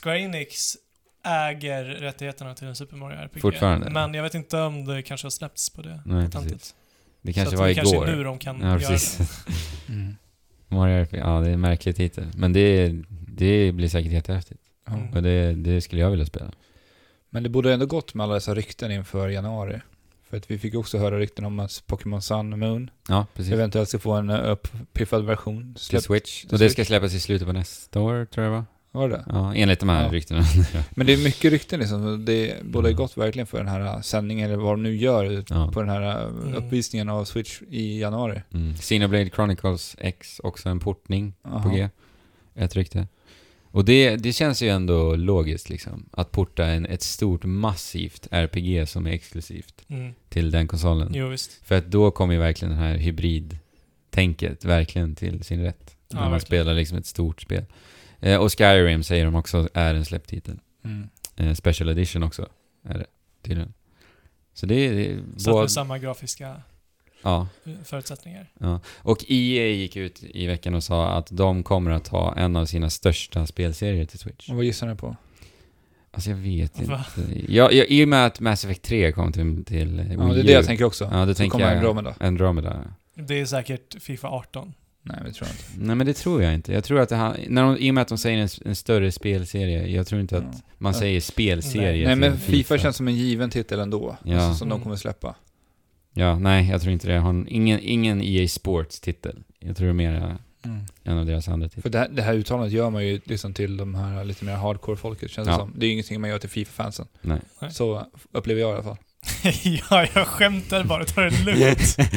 Speaker 2: Square Enix äger rättigheterna till en Super Mario RPG.
Speaker 1: Fortfarande.
Speaker 2: Men jag vet inte om det kanske har släppts på det.
Speaker 1: Nej,
Speaker 2: patentet.
Speaker 1: precis. Det kanske
Speaker 2: Så att
Speaker 1: var
Speaker 2: det
Speaker 1: igår.
Speaker 2: kanske är nu de kan
Speaker 1: Ja,
Speaker 2: göra
Speaker 1: precis.
Speaker 2: det.
Speaker 3: Mm.
Speaker 1: Mario RPG, ja det är en märklig titel. Men det, det blir säkert jättehäftigt.
Speaker 3: Ja.
Speaker 2: Mm.
Speaker 1: Och det, det skulle jag vilja spela.
Speaker 3: Men det borde ändå gått med alla dessa rykten inför januari. För att vi fick ju också höra rykten om att Pokémon Sun och Moon
Speaker 1: Ja, precis.
Speaker 3: eventuellt ska få en eh, uppiffad version.
Speaker 1: Till
Speaker 3: Släpp,
Speaker 1: Switch.
Speaker 3: till
Speaker 1: Och det ska
Speaker 3: Switch.
Speaker 1: släppas i slutet på nästa år, tror jag va?
Speaker 3: var det det?
Speaker 1: Ja, enligt de här
Speaker 3: Ja.
Speaker 1: ryktena.
Speaker 3: Men det är mycket rykten liksom. Det borde
Speaker 1: Mm.
Speaker 3: ha gått verkligen för den här eh, sändningen, eller vad de nu gör
Speaker 1: Ja.
Speaker 3: på den här eh,
Speaker 2: Mm.
Speaker 3: uppvisningen av Switch i januari.
Speaker 1: Mm. Xenoblade Chronicles X, också en portning på
Speaker 3: Aha.
Speaker 1: G. Ett rykte. Och det, det känns ju ändå logiskt liksom. Att porta en, ett stort massivt RPG som är exklusivt
Speaker 2: Mm.
Speaker 1: till den konsolen.
Speaker 2: Jo, visst.
Speaker 1: För att då kommer ju verkligen det här hybrid-tänket verkligen till sin rätt.
Speaker 2: Ja,
Speaker 1: när man
Speaker 2: verkligen.
Speaker 1: spelar liksom ett stort spel. Eh, och Skyrim säger de också är en släpptitel.
Speaker 3: Mm.
Speaker 1: Eh, special edition också är det tydligen. Så det är... det är
Speaker 2: Så att
Speaker 1: båd-
Speaker 2: med samma grafiska
Speaker 1: ja.
Speaker 2: eh, förutsättningar.
Speaker 1: Och EA gick ut i veckan och sa att de kommer att ha en av sina största spelserier till Switch.
Speaker 3: Och vad gissar ni på?
Speaker 1: Alltså jag vet
Speaker 2: Va?
Speaker 1: inte. Jag, jag, I och med att Mass Effect 3 kom till, till Wii
Speaker 3: Ja, det är
Speaker 1: U.
Speaker 3: det jag tänker också.
Speaker 1: Ja, det
Speaker 3: Så
Speaker 1: tänker
Speaker 3: kommer
Speaker 1: jag.
Speaker 3: Andromeda.
Speaker 1: Andromeda. ja.
Speaker 2: Det är säkert Fifa 18.
Speaker 3: Nej, det tror jag inte.
Speaker 1: Nej men det tror jag inte. Jag tror att det han, när de, I och med att de säger en, en större spelserie, jag tror inte att
Speaker 3: Ja.
Speaker 1: man säger spelserie.
Speaker 2: Nej,
Speaker 3: Nej,
Speaker 1: till
Speaker 3: men FIFA känns som en given titel ändå.
Speaker 1: Ja.
Speaker 3: Alltså, som de
Speaker 2: Mm.
Speaker 3: kommer släppa.
Speaker 1: Ja, nej jag tror inte det. Jag har en- ingen, ingen E EA Sports-titel. Jag tror det är mer eh, en av deras andra titlar.
Speaker 3: För det här, det här uttalandet gör man ju liksom till de här lite mer hardcore-folket, känns det
Speaker 1: Ja.
Speaker 3: som. Det är ju ingenting man gör till Fifa-fansen.
Speaker 1: Nej.
Speaker 2: Nej.
Speaker 3: Så upplever jag i alla fall.
Speaker 2: ja, jag skämtar bara. Ta det lugnt.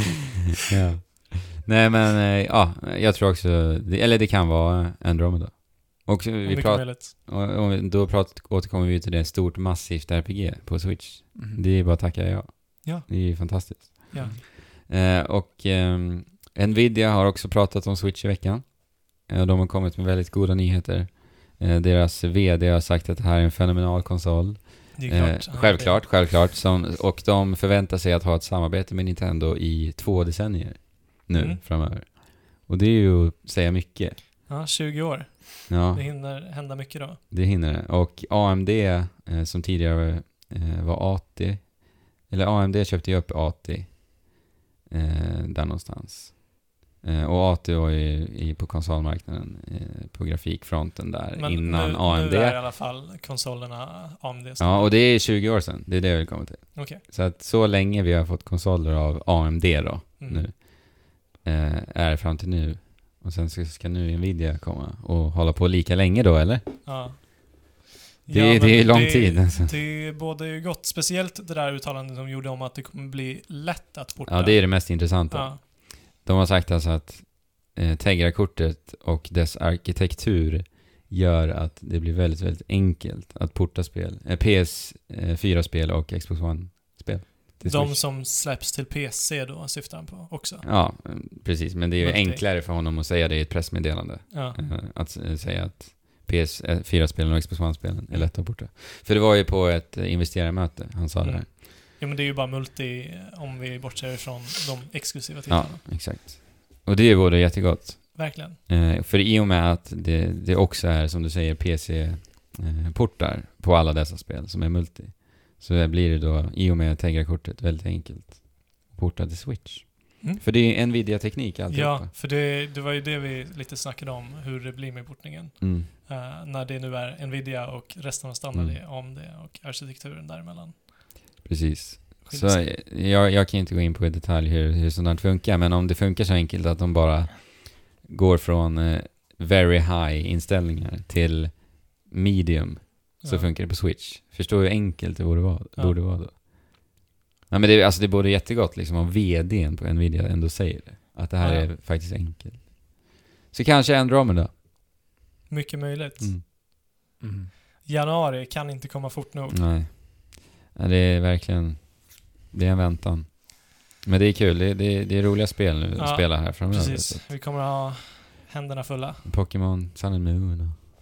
Speaker 1: ja. Nej men, eh, ja, jag tror också, det- eller det kan vara Andromeda. Och vi
Speaker 2: Mycket
Speaker 1: pratar,
Speaker 2: möjligt.
Speaker 1: och, och då prat, återkommer vi till det, stort massivt RPG på Switch. Det är bara att tacka ja.
Speaker 2: Ja.
Speaker 1: Det är ju fantastiskt.
Speaker 2: Ja.
Speaker 1: Eh, och ehm, Nvidia har också pratat om Switch i veckan. Eh, de har kommit med väldigt goda nyheter. Eh, deras VD har sagt att det här är en fenomenal konsol.
Speaker 2: Det är
Speaker 1: Eh,
Speaker 2: klart. Ja,
Speaker 1: självklart, självklart. Som, och de förväntar sig att ha ett samarbete med Nintendo i två decennier nu
Speaker 2: Mm.
Speaker 1: framöver. Och det är ju att säga mycket.
Speaker 2: det- Ja, 20 år.
Speaker 1: Ja, Eh,
Speaker 2: Det hinner hända mycket då.
Speaker 1: det hinner det. Och AMD, eh, som tidigare eh, var AT, eller AMD köpte ju upp AT eh, där någonstans. Eh, och AT var ju i, på konsolmarknaden eh, på grafikfronten där
Speaker 2: Men
Speaker 1: innan
Speaker 2: nu,
Speaker 1: AMD.
Speaker 2: nu är i alla fall konsolerna AMD.
Speaker 1: Ja, och det är 20 år sedan. Det är det jag vill komma till.
Speaker 2: Okej.
Speaker 1: Så att så länge vi har fått konsoler av AMD då,
Speaker 2: Mm.
Speaker 1: nu, eh, är det fram till nu. Och sen ska, ska nu Nvidia komma och hålla på lika länge då, eller?
Speaker 2: Ja.
Speaker 1: Det,
Speaker 2: Ja,
Speaker 1: är- det
Speaker 2: men
Speaker 1: är ju lång
Speaker 2: det-
Speaker 1: tid. Alltså.
Speaker 2: Det båda ju gott. Speciellt det där uttalandet de gjorde om att det kommer bli lätt att porta.
Speaker 1: Ja, det är det mest intressanta.
Speaker 2: Ja.
Speaker 1: De har sagt alltså att eh, Tegra-kortet och dess arkitektur gör att det blir väldigt, väldigt enkelt att porta spel. Eh, PS4-spel och Xbox One-spel. till
Speaker 2: De
Speaker 1: Switch.
Speaker 2: som släpps till PC då syftar han på också.
Speaker 1: Ja, eh, precis. Men det är ju
Speaker 2: Multi.
Speaker 1: enklare för honom att säga det i ett pressmeddelande.
Speaker 2: Ja.
Speaker 1: Eh, Att eh, säga att PS4-spelen och Xbox One-spelen
Speaker 2: Mm.
Speaker 1: är lätta att borta. För det var ju på ett eh, investerarmöte han sa det
Speaker 2: Mm.
Speaker 1: här.
Speaker 2: ja, men det är ju bara multi om vi bortser från de exklusiva
Speaker 1: Ja,
Speaker 2: titlarna.
Speaker 1: exakt. Och det är ju både jättegott.
Speaker 2: Verkligen.
Speaker 1: Eh, För i och med att det, det också är, som du säger, PC-portar på alla dessa spel som är multi. Så det blir det då, i och med Tegra-kortet, väldigt enkelt att porta till Switch.
Speaker 2: Mm.
Speaker 1: För det är Nvidia-teknik alltihopa.
Speaker 2: Ja, för det, det var ju det vi lite snackade om, hur det blir med portningen.
Speaker 1: Mm.
Speaker 2: Eh, när det nu är Nvidia och resten av standarden
Speaker 1: Mm.
Speaker 2: är om det och arkitekturen däremellan.
Speaker 1: Precis. Så
Speaker 2: skiljer sig.
Speaker 1: jag, jag kan inte gå in på i detalj hur, hur sånt här funkar, men om det funkar så enkelt att de bara går från eh, very high inställningar till medium så
Speaker 2: Ja.
Speaker 1: funkar det på Switch. Förstår hur enkelt det borde vara,
Speaker 2: Ja.
Speaker 1: borde vara då. Ja, men det, alltså det borde jättegott liksom om VDn på Nvidia ändå säger det. Att det här
Speaker 2: Ja.
Speaker 1: är faktiskt enkelt. Så kanske Andromeda.
Speaker 2: Mycket möjligt.
Speaker 1: Mm.
Speaker 3: Mm.
Speaker 2: Januari kan inte komma fort nog.
Speaker 1: Nej. Ja, det är verkligen... Det är en väntan. Men det är kul. Det, det, det är roliga spel nu att
Speaker 2: Ja,
Speaker 1: spela här framöver. Så
Speaker 2: Precis. Vi kommer att ha händerna fulla.
Speaker 1: att Pokémon Sun and Moon och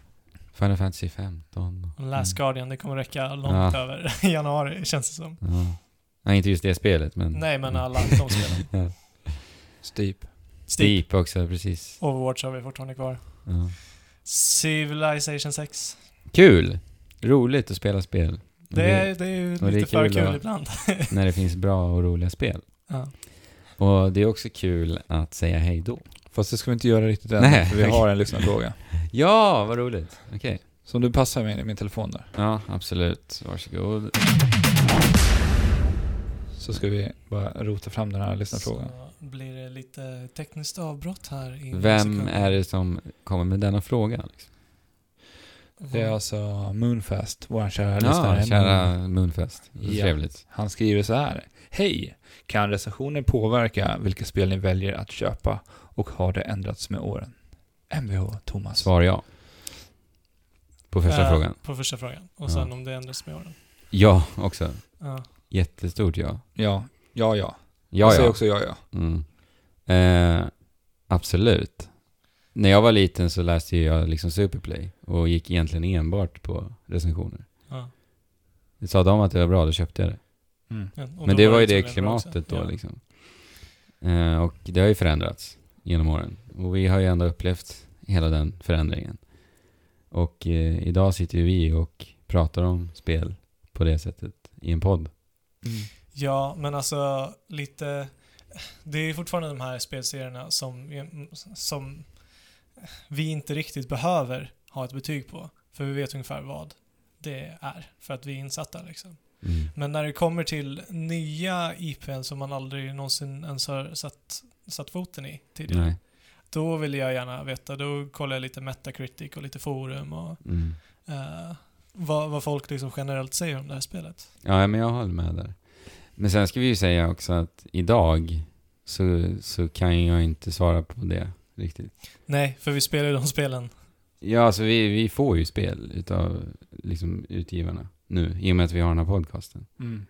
Speaker 1: Final Fantasy 15.
Speaker 2: Och Last Guardian, det kommer räcka långt
Speaker 1: Mm. Ja. Mm.
Speaker 2: över januari känns det som.
Speaker 1: Ja. Nej, inte just det spelet, men... Mm.
Speaker 2: Nej men alla de spelen.
Speaker 3: Steep.
Speaker 2: Steep.
Speaker 1: Deep också, precis.
Speaker 2: Overwatch har vi fortfarande kvar.
Speaker 1: Ja.
Speaker 2: Civilization 6.
Speaker 1: Kul! Roligt att spela spel.
Speaker 2: Det är, det är ju
Speaker 1: och det är
Speaker 2: lite för
Speaker 1: kul
Speaker 2: kul
Speaker 1: att-
Speaker 2: ibland.
Speaker 1: När det finns bra och roliga spel.
Speaker 2: Ja.
Speaker 1: Och det är också kul att säga hej då.
Speaker 3: Fast det ska vi inte göra riktigt än,
Speaker 1: Nej.
Speaker 3: för vi har en lyssnarfråga.
Speaker 1: Ja, vad roligt! Okej.
Speaker 3: Som du passar med i min telefon där.
Speaker 1: Ja, absolut. Varsågod.
Speaker 3: Så ska vi bara rota fram den här lyssnarfrågan.
Speaker 2: Så blir det lite tekniskt avbrott här i några
Speaker 1: Vem
Speaker 2: sekunder.
Speaker 1: är det som kommer med denna fråga? Liksom?
Speaker 3: Det är alltså Moonfest, vår kära
Speaker 1: Ja,
Speaker 3: lyssnare.
Speaker 1: kära Moonfest. Så
Speaker 3: Ja.
Speaker 1: Trevligt.
Speaker 3: Han skriver så här. Hej! Kan recensioner påverka vilka spel ni väljer att köpa och har det ändrats med åren? Mvh Thomas.
Speaker 1: Svar ja. På första
Speaker 2: Eh,
Speaker 1: frågan.
Speaker 2: På första frågan.
Speaker 1: Ja.
Speaker 2: Och sen om det ändras med åren.
Speaker 1: Ja, också.
Speaker 2: Ja.
Speaker 1: Jättestort ja.
Speaker 3: Ja, ja, ja. Jag
Speaker 1: Ja,
Speaker 2: Alltså,
Speaker 3: säger
Speaker 1: ja.
Speaker 3: också ja, ja.
Speaker 1: Mm. Eh, absolut. När jag var liten så läste ju jag liksom Superplay och gick egentligen enbart på recensioner.
Speaker 2: Ja.
Speaker 1: Sa de att det var bra, då köpte jag det.
Speaker 3: Mm.
Speaker 2: Ja, och
Speaker 1: Men
Speaker 2: då
Speaker 1: det var ju det
Speaker 2: tydligen bra också.
Speaker 1: klimatet då
Speaker 2: Ja.
Speaker 1: liksom. Eh, och det har ju förändrats genom åren. Och vi har ju ändå upplevt hela den förändringen. Och eh, idag sitter ju vi och pratar om spel på det sättet i en podd. Mm.
Speaker 2: Ja, men alltså lite... Det är ju fortfarande de här spelserierna som, som vi inte riktigt behöver ha ett betyg på. För vi vet ungefär vad det är, för att vi är insatta liksom. Men när det kommer till nya IPn som man aldrig någonsin ens har satt, satt foten i tidigare,
Speaker 1: Nej.
Speaker 2: då vill jag gärna veta. Då kollar jag lite Metacritic och lite forum och
Speaker 1: Mm.
Speaker 2: eh, vad, vad folk liksom generellt säger om det här spelet.
Speaker 1: Ja, men jag håller med där. Men sen ska vi ju säga också att idag så, så kan jag inte svara på det riktigt.
Speaker 2: Nej, för vi spelar ju de spelen
Speaker 1: Ja, alltså vi, vi får ju spel utav liksom, utgivarna nu i och med att vi har den här podcasten.
Speaker 3: Mm.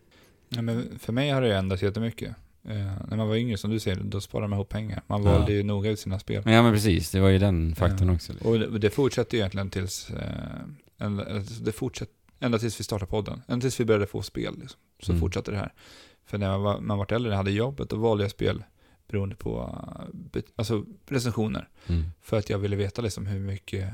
Speaker 3: Ja, men för mig har det ju ändrats jättemycket. Eh, när man var yngre, som du säger, då sparade man ihop pengar. Man
Speaker 1: Ja.
Speaker 3: valde ju noga ut sina spel.
Speaker 1: Men ja, men precis. Det var ju den faktorn också. Liksom.
Speaker 3: Och det, det fortsatte ju egentligen tills... Eh, ända, alltså det fortsatte, ända tills vi startade podden. Ända tills vi började få spel, liksom. så
Speaker 1: Mm.
Speaker 3: fortsatte det här. För när man var, man var äldre, hade jobbet, då valde jag spel beroende på eh, bet- alltså recensioner.
Speaker 1: Mm.
Speaker 3: För att jag ville veta liksom hur mycket...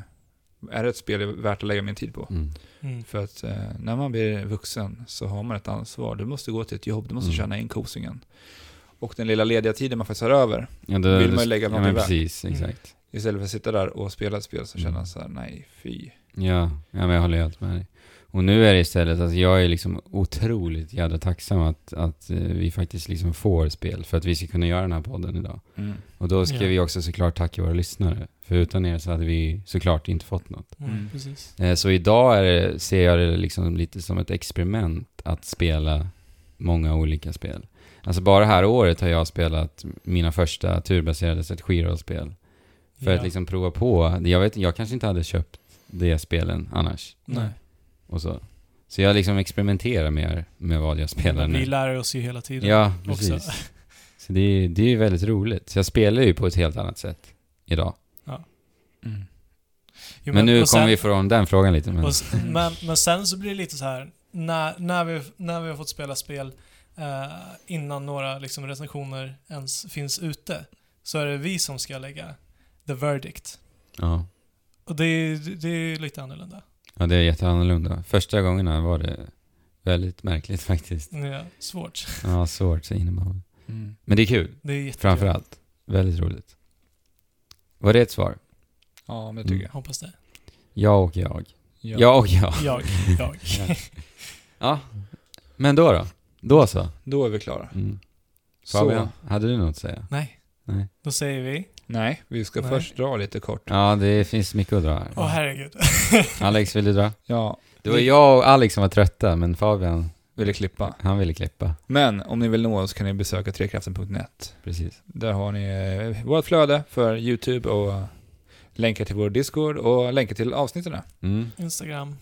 Speaker 3: Är det ett spel det är värt att lägga min tid på?
Speaker 1: Mm.
Speaker 2: Mm.
Speaker 3: För att eh, när man blir vuxen så har man ett ansvar. Du måste gå till ett jobb, du måste
Speaker 1: Mm.
Speaker 3: tjäna in kosingen. Och den lilla lediga tiden man faktiskt har över,
Speaker 1: Ja, då,
Speaker 3: vill man ju lägga
Speaker 1: ja,
Speaker 3: någonting
Speaker 1: men
Speaker 3: värt. Mm.
Speaker 1: precis. Exakt.
Speaker 3: Istället för att sitta där och spela ett spel så
Speaker 1: Mm.
Speaker 3: känner man så här, nej fy.
Speaker 1: Ja, ja, men jag håller helt med dig. Och nu är det istället, alltså jag är liksom otroligt jävla tacksam att, att eh, vi faktiskt liksom får spel för att vi ska kunna göra den här podden idag.
Speaker 3: Mm,
Speaker 1: Och då ska
Speaker 2: Ja.
Speaker 1: vi också såklart tacka våra lyssnare. För utan er så hade vi såklart inte fått något.
Speaker 2: Mm,
Speaker 3: Mm.
Speaker 2: Precis.
Speaker 1: Eh, Så idag är det, ser jag det liksom lite som ett experiment att spela många olika spel. Alltså bara det här året har jag spelat mina första turbaserade strategirollspel. För
Speaker 2: Ja.
Speaker 1: att liksom prova på. Jag vet jag kanske inte hade köpt de spelen annars.
Speaker 2: Nej.
Speaker 1: Och så. så jag liksom experimenterar mer med vad jag spelar
Speaker 2: Men Vi
Speaker 1: nu.
Speaker 2: lär oss ju hela tiden.
Speaker 1: Ja,
Speaker 2: också.
Speaker 1: precis. Så det är, det är ju väldigt roligt. Så jag spelar ju på ett helt annat sätt idag.
Speaker 3: mm,
Speaker 2: Jo,
Speaker 1: men, nu
Speaker 2: och sen-
Speaker 1: kommer vi ifrån den frågan lite. Men,
Speaker 2: och s- men, men sen så blir det lite så här när, när, vi, när vi har fått spela spel eh, innan några liksom, recensioner ens finns ute så är det vi som ska lägga the verdict.
Speaker 1: ja.
Speaker 2: Och det är, det är lite annorlunda.
Speaker 1: ja, det är jätteannorlunda. Första gångerna var det väldigt märkligt faktiskt.
Speaker 2: Ja, svårt.
Speaker 1: Ja, svårt så innebandy.
Speaker 3: mm.
Speaker 1: Men det är kul,
Speaker 2: Det är jättekul.
Speaker 1: framförallt. Väldigt roligt. Var det ett svar?
Speaker 3: Ja, men det tycker
Speaker 1: Mm.
Speaker 2: Hoppas det.
Speaker 1: Ja och jag.
Speaker 3: jag.
Speaker 1: Ja, och jag.
Speaker 2: Jag, jag.
Speaker 1: Ja. Men då då? Då så.
Speaker 3: Då är vi klara.
Speaker 1: Mm.
Speaker 3: Så,
Speaker 1: Fabian, hade du något att säga?
Speaker 2: Nej.
Speaker 1: Nej.
Speaker 2: Då säger vi,
Speaker 3: nej, vi ska
Speaker 2: Nej.
Speaker 3: först dra lite kort.
Speaker 1: Ja, det finns mycket att dra här.
Speaker 2: åh herregud.
Speaker 1: Alex, vill du dra?
Speaker 3: Ja,
Speaker 1: Det var jag och Alex som var trötta, men Fabian,
Speaker 3: ville klippa.
Speaker 1: han ville klippa.
Speaker 3: Men om ni vill nå oss kan ni besöka trekraften.net.
Speaker 1: Precis.
Speaker 3: Där har ni eh, vårt flöde för YouTube och eh, länkar till vår Discord och länkar till avsnitten.
Speaker 1: Mm,
Speaker 2: Instagram.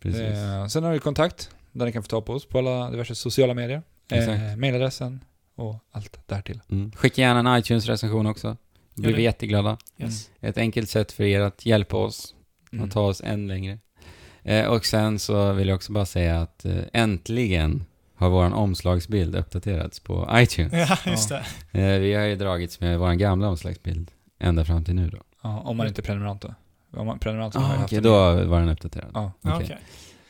Speaker 1: precis.
Speaker 3: Eh, sen har vi kontakt där ni kan få ta på oss på alla diverse sociala medier. Eh,
Speaker 1: Exakt.
Speaker 3: mailadressen och allt därtill.
Speaker 1: Mm. Skicka gärna en iTunes-recension också. Då blir
Speaker 2: Gör
Speaker 1: vi
Speaker 2: det.
Speaker 1: jätteglada.
Speaker 2: Yes.
Speaker 1: Ett enkelt sätt för er att hjälpa oss
Speaker 3: Mm.
Speaker 1: att ta oss än längre. Eh, och sen så vill jag också bara säga att eh, äntligen har vår omslagsbild uppdaterats på iTunes.
Speaker 2: Ja, just det.
Speaker 1: Eh, vi har ju dragits med vår gamla omslagsbild ända fram till nu då.
Speaker 3: Ja, om man inte är prenumerant då. Om man är prenumerant så har jag
Speaker 1: Ah,
Speaker 3: haft
Speaker 1: Okej,
Speaker 3: en-
Speaker 1: då var den uppdaterad.
Speaker 3: Ja.
Speaker 2: Ja,
Speaker 1: Okej.
Speaker 2: Okej.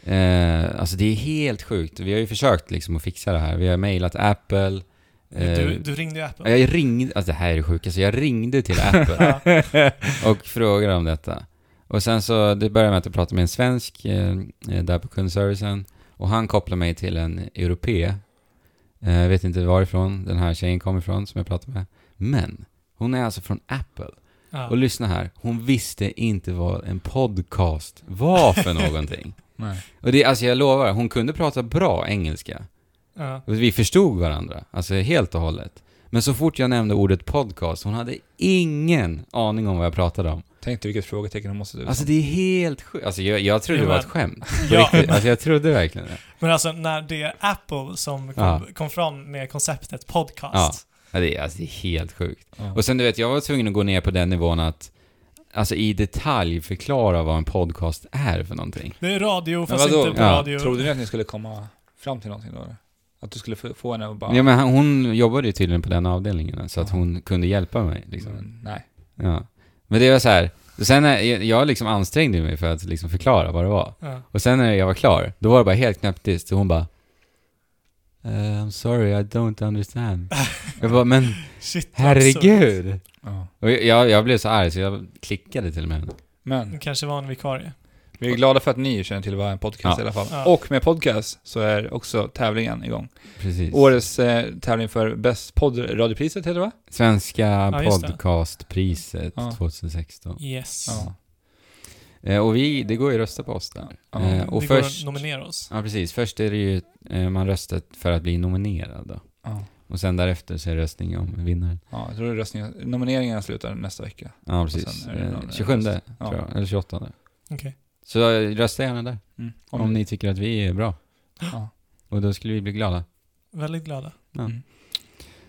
Speaker 1: Eh, alltså det är helt sjukt. Vi har ju försökt liksom att fixa det här. Vi har mejlat Apple. Eh,
Speaker 2: Du, du ringde ju Apple.
Speaker 1: Jag ringde, alltså det här är det sjukaste. Jag ringde till Apple.
Speaker 2: Ja.
Speaker 1: och frågar om detta. Och sen så, det började med att jag pratade med en svensk eh, där på kundservicen och han kopplade mig till en europé. Eh, Jag vet inte varifrån den här tjejen kom ifrån som jag pratade med. Men, hon är alltså från Apple.
Speaker 2: Ja.
Speaker 1: Och lyssna här, hon visste inte vad en podcast var för någonting.
Speaker 3: Nej.
Speaker 1: Och det, alltså jag lovar, hon kunde prata bra engelska.
Speaker 2: Ja.
Speaker 1: Och Vi förstod varandra, alltså helt och hållet. Men så fort jag nämnde ordet podcast, hon hade ingen aning om vad jag pratade om.
Speaker 3: Tänk dig vilket frågetecken hon måste ut.
Speaker 1: Alltså det är helt sjukt. Alltså jag, jag trodde det var ett skämt. På
Speaker 2: Ja.
Speaker 1: riktigt. Alltså jag trodde verkligen det.
Speaker 2: Men alltså när det är Apple som kom,
Speaker 1: Ja.
Speaker 2: kom fram med konceptet podcast.
Speaker 1: Ja, det, är, alltså det är helt sjukt.
Speaker 3: Ja.
Speaker 1: Och sen du vet, jag var tvungen att gå ner på den nivån att alltså i detalj förklara vad en podcast är för någonting.
Speaker 2: Det är radio
Speaker 3: Men
Speaker 2: fast
Speaker 3: vadå?
Speaker 2: inte på
Speaker 1: Ja,
Speaker 2: radio.
Speaker 3: Trodde ni att ni skulle komma fram till någonting då? eller? Att du skulle få få henne att bara...
Speaker 1: Ja, men han- hon jobbade ju tydligen på den avdelningen, så att
Speaker 3: Ja.
Speaker 1: hon kunde hjälpa mig. Liksom.
Speaker 3: Mm, nej.
Speaker 1: Ja. Men det var så här, sen när jag, jag liksom ansträngde mig för att liksom förklara vad det var.
Speaker 2: Ja.
Speaker 1: Och sen när jag var klar, då var det bara helt knäpptyst och hon bara "Eh, I'm sorry, I don't understand. jag bara, men
Speaker 2: Shit, vad absurt.
Speaker 1: herregud!
Speaker 3: Ja.
Speaker 1: Och jag, jag blev så arg så jag klickade till och med henne.
Speaker 2: Hon
Speaker 3: Men
Speaker 2: kanske var en vikarie.
Speaker 3: vi är glada för att ni känner till vad en podcast
Speaker 1: Ja.
Speaker 3: i alla fall.
Speaker 2: Ja.
Speaker 3: Och med podcast så är också tävlingen igång.
Speaker 1: Precis.
Speaker 3: Årets eh, tävling för bäst poddradiopriset heter det va?
Speaker 1: Svenska
Speaker 2: just det.
Speaker 1: podcastpriset
Speaker 3: Ja.
Speaker 1: 2016.
Speaker 2: Yes.
Speaker 3: Ja.
Speaker 1: Eh, och vi, det går ju att rösta på oss där.
Speaker 3: Ja.
Speaker 1: Eh, och
Speaker 2: det
Speaker 1: först,
Speaker 2: går att nominera oss.
Speaker 1: ja, precis. Först är det ju, eh, man röstar för att bli nominerad då.
Speaker 3: Ja.
Speaker 1: Och sen därefter så är det röstning om vinnaren.
Speaker 3: Ja, jag tror röstningen, nomineringarna slutar nästa vecka.
Speaker 1: Ja,
Speaker 3: sen
Speaker 1: precis.
Speaker 3: är det någon
Speaker 1: Eh,
Speaker 3: röst.
Speaker 1: 27 tror
Speaker 3: Ja.
Speaker 1: jag, eller 28.
Speaker 2: Okej.
Speaker 1: Så eh, rösta gärna där.
Speaker 3: Mm.
Speaker 1: Om, ni tycker att vi är bra.
Speaker 3: Ja.
Speaker 1: Och då skulle vi bli glada.
Speaker 2: Väldigt glada.
Speaker 3: Mm.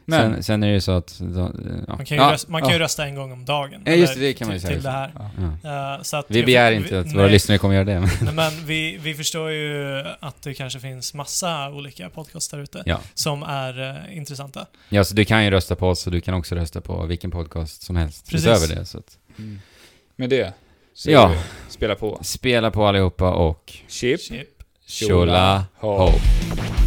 Speaker 3: Men,
Speaker 1: Sen, sen är det ju så att... då, eh, ja.
Speaker 2: Man kan ju,
Speaker 1: ja.
Speaker 2: rösta, man kan ju rösta en gång om dagen.
Speaker 1: Ja, just
Speaker 2: Eller
Speaker 1: det, det kan man ju
Speaker 2: till,
Speaker 1: säga.
Speaker 2: Till det här.
Speaker 3: ja.
Speaker 1: Ja.
Speaker 2: Eh, så att
Speaker 1: Vi
Speaker 2: jag-
Speaker 1: begär inte att våra
Speaker 2: nej.
Speaker 1: lyssnare kommer göra det. Men,
Speaker 2: Nej, men vi, vi förstår ju att det kanske finns massa olika podcasts där ute
Speaker 1: ja.
Speaker 2: som är eh, intressanta.
Speaker 1: ja, så du kan ju rösta på oss och du kan också rösta på vilken podcast som helst.
Speaker 2: Precis.
Speaker 1: Utöver det. Så att,
Speaker 3: Mm. Med det, så
Speaker 1: Ja.
Speaker 3: vi, spela på.
Speaker 1: spela på allihopa och
Speaker 3: Chip.
Speaker 2: Chip.
Speaker 1: tjola
Speaker 3: Tjola, ho.
Speaker 1: ho.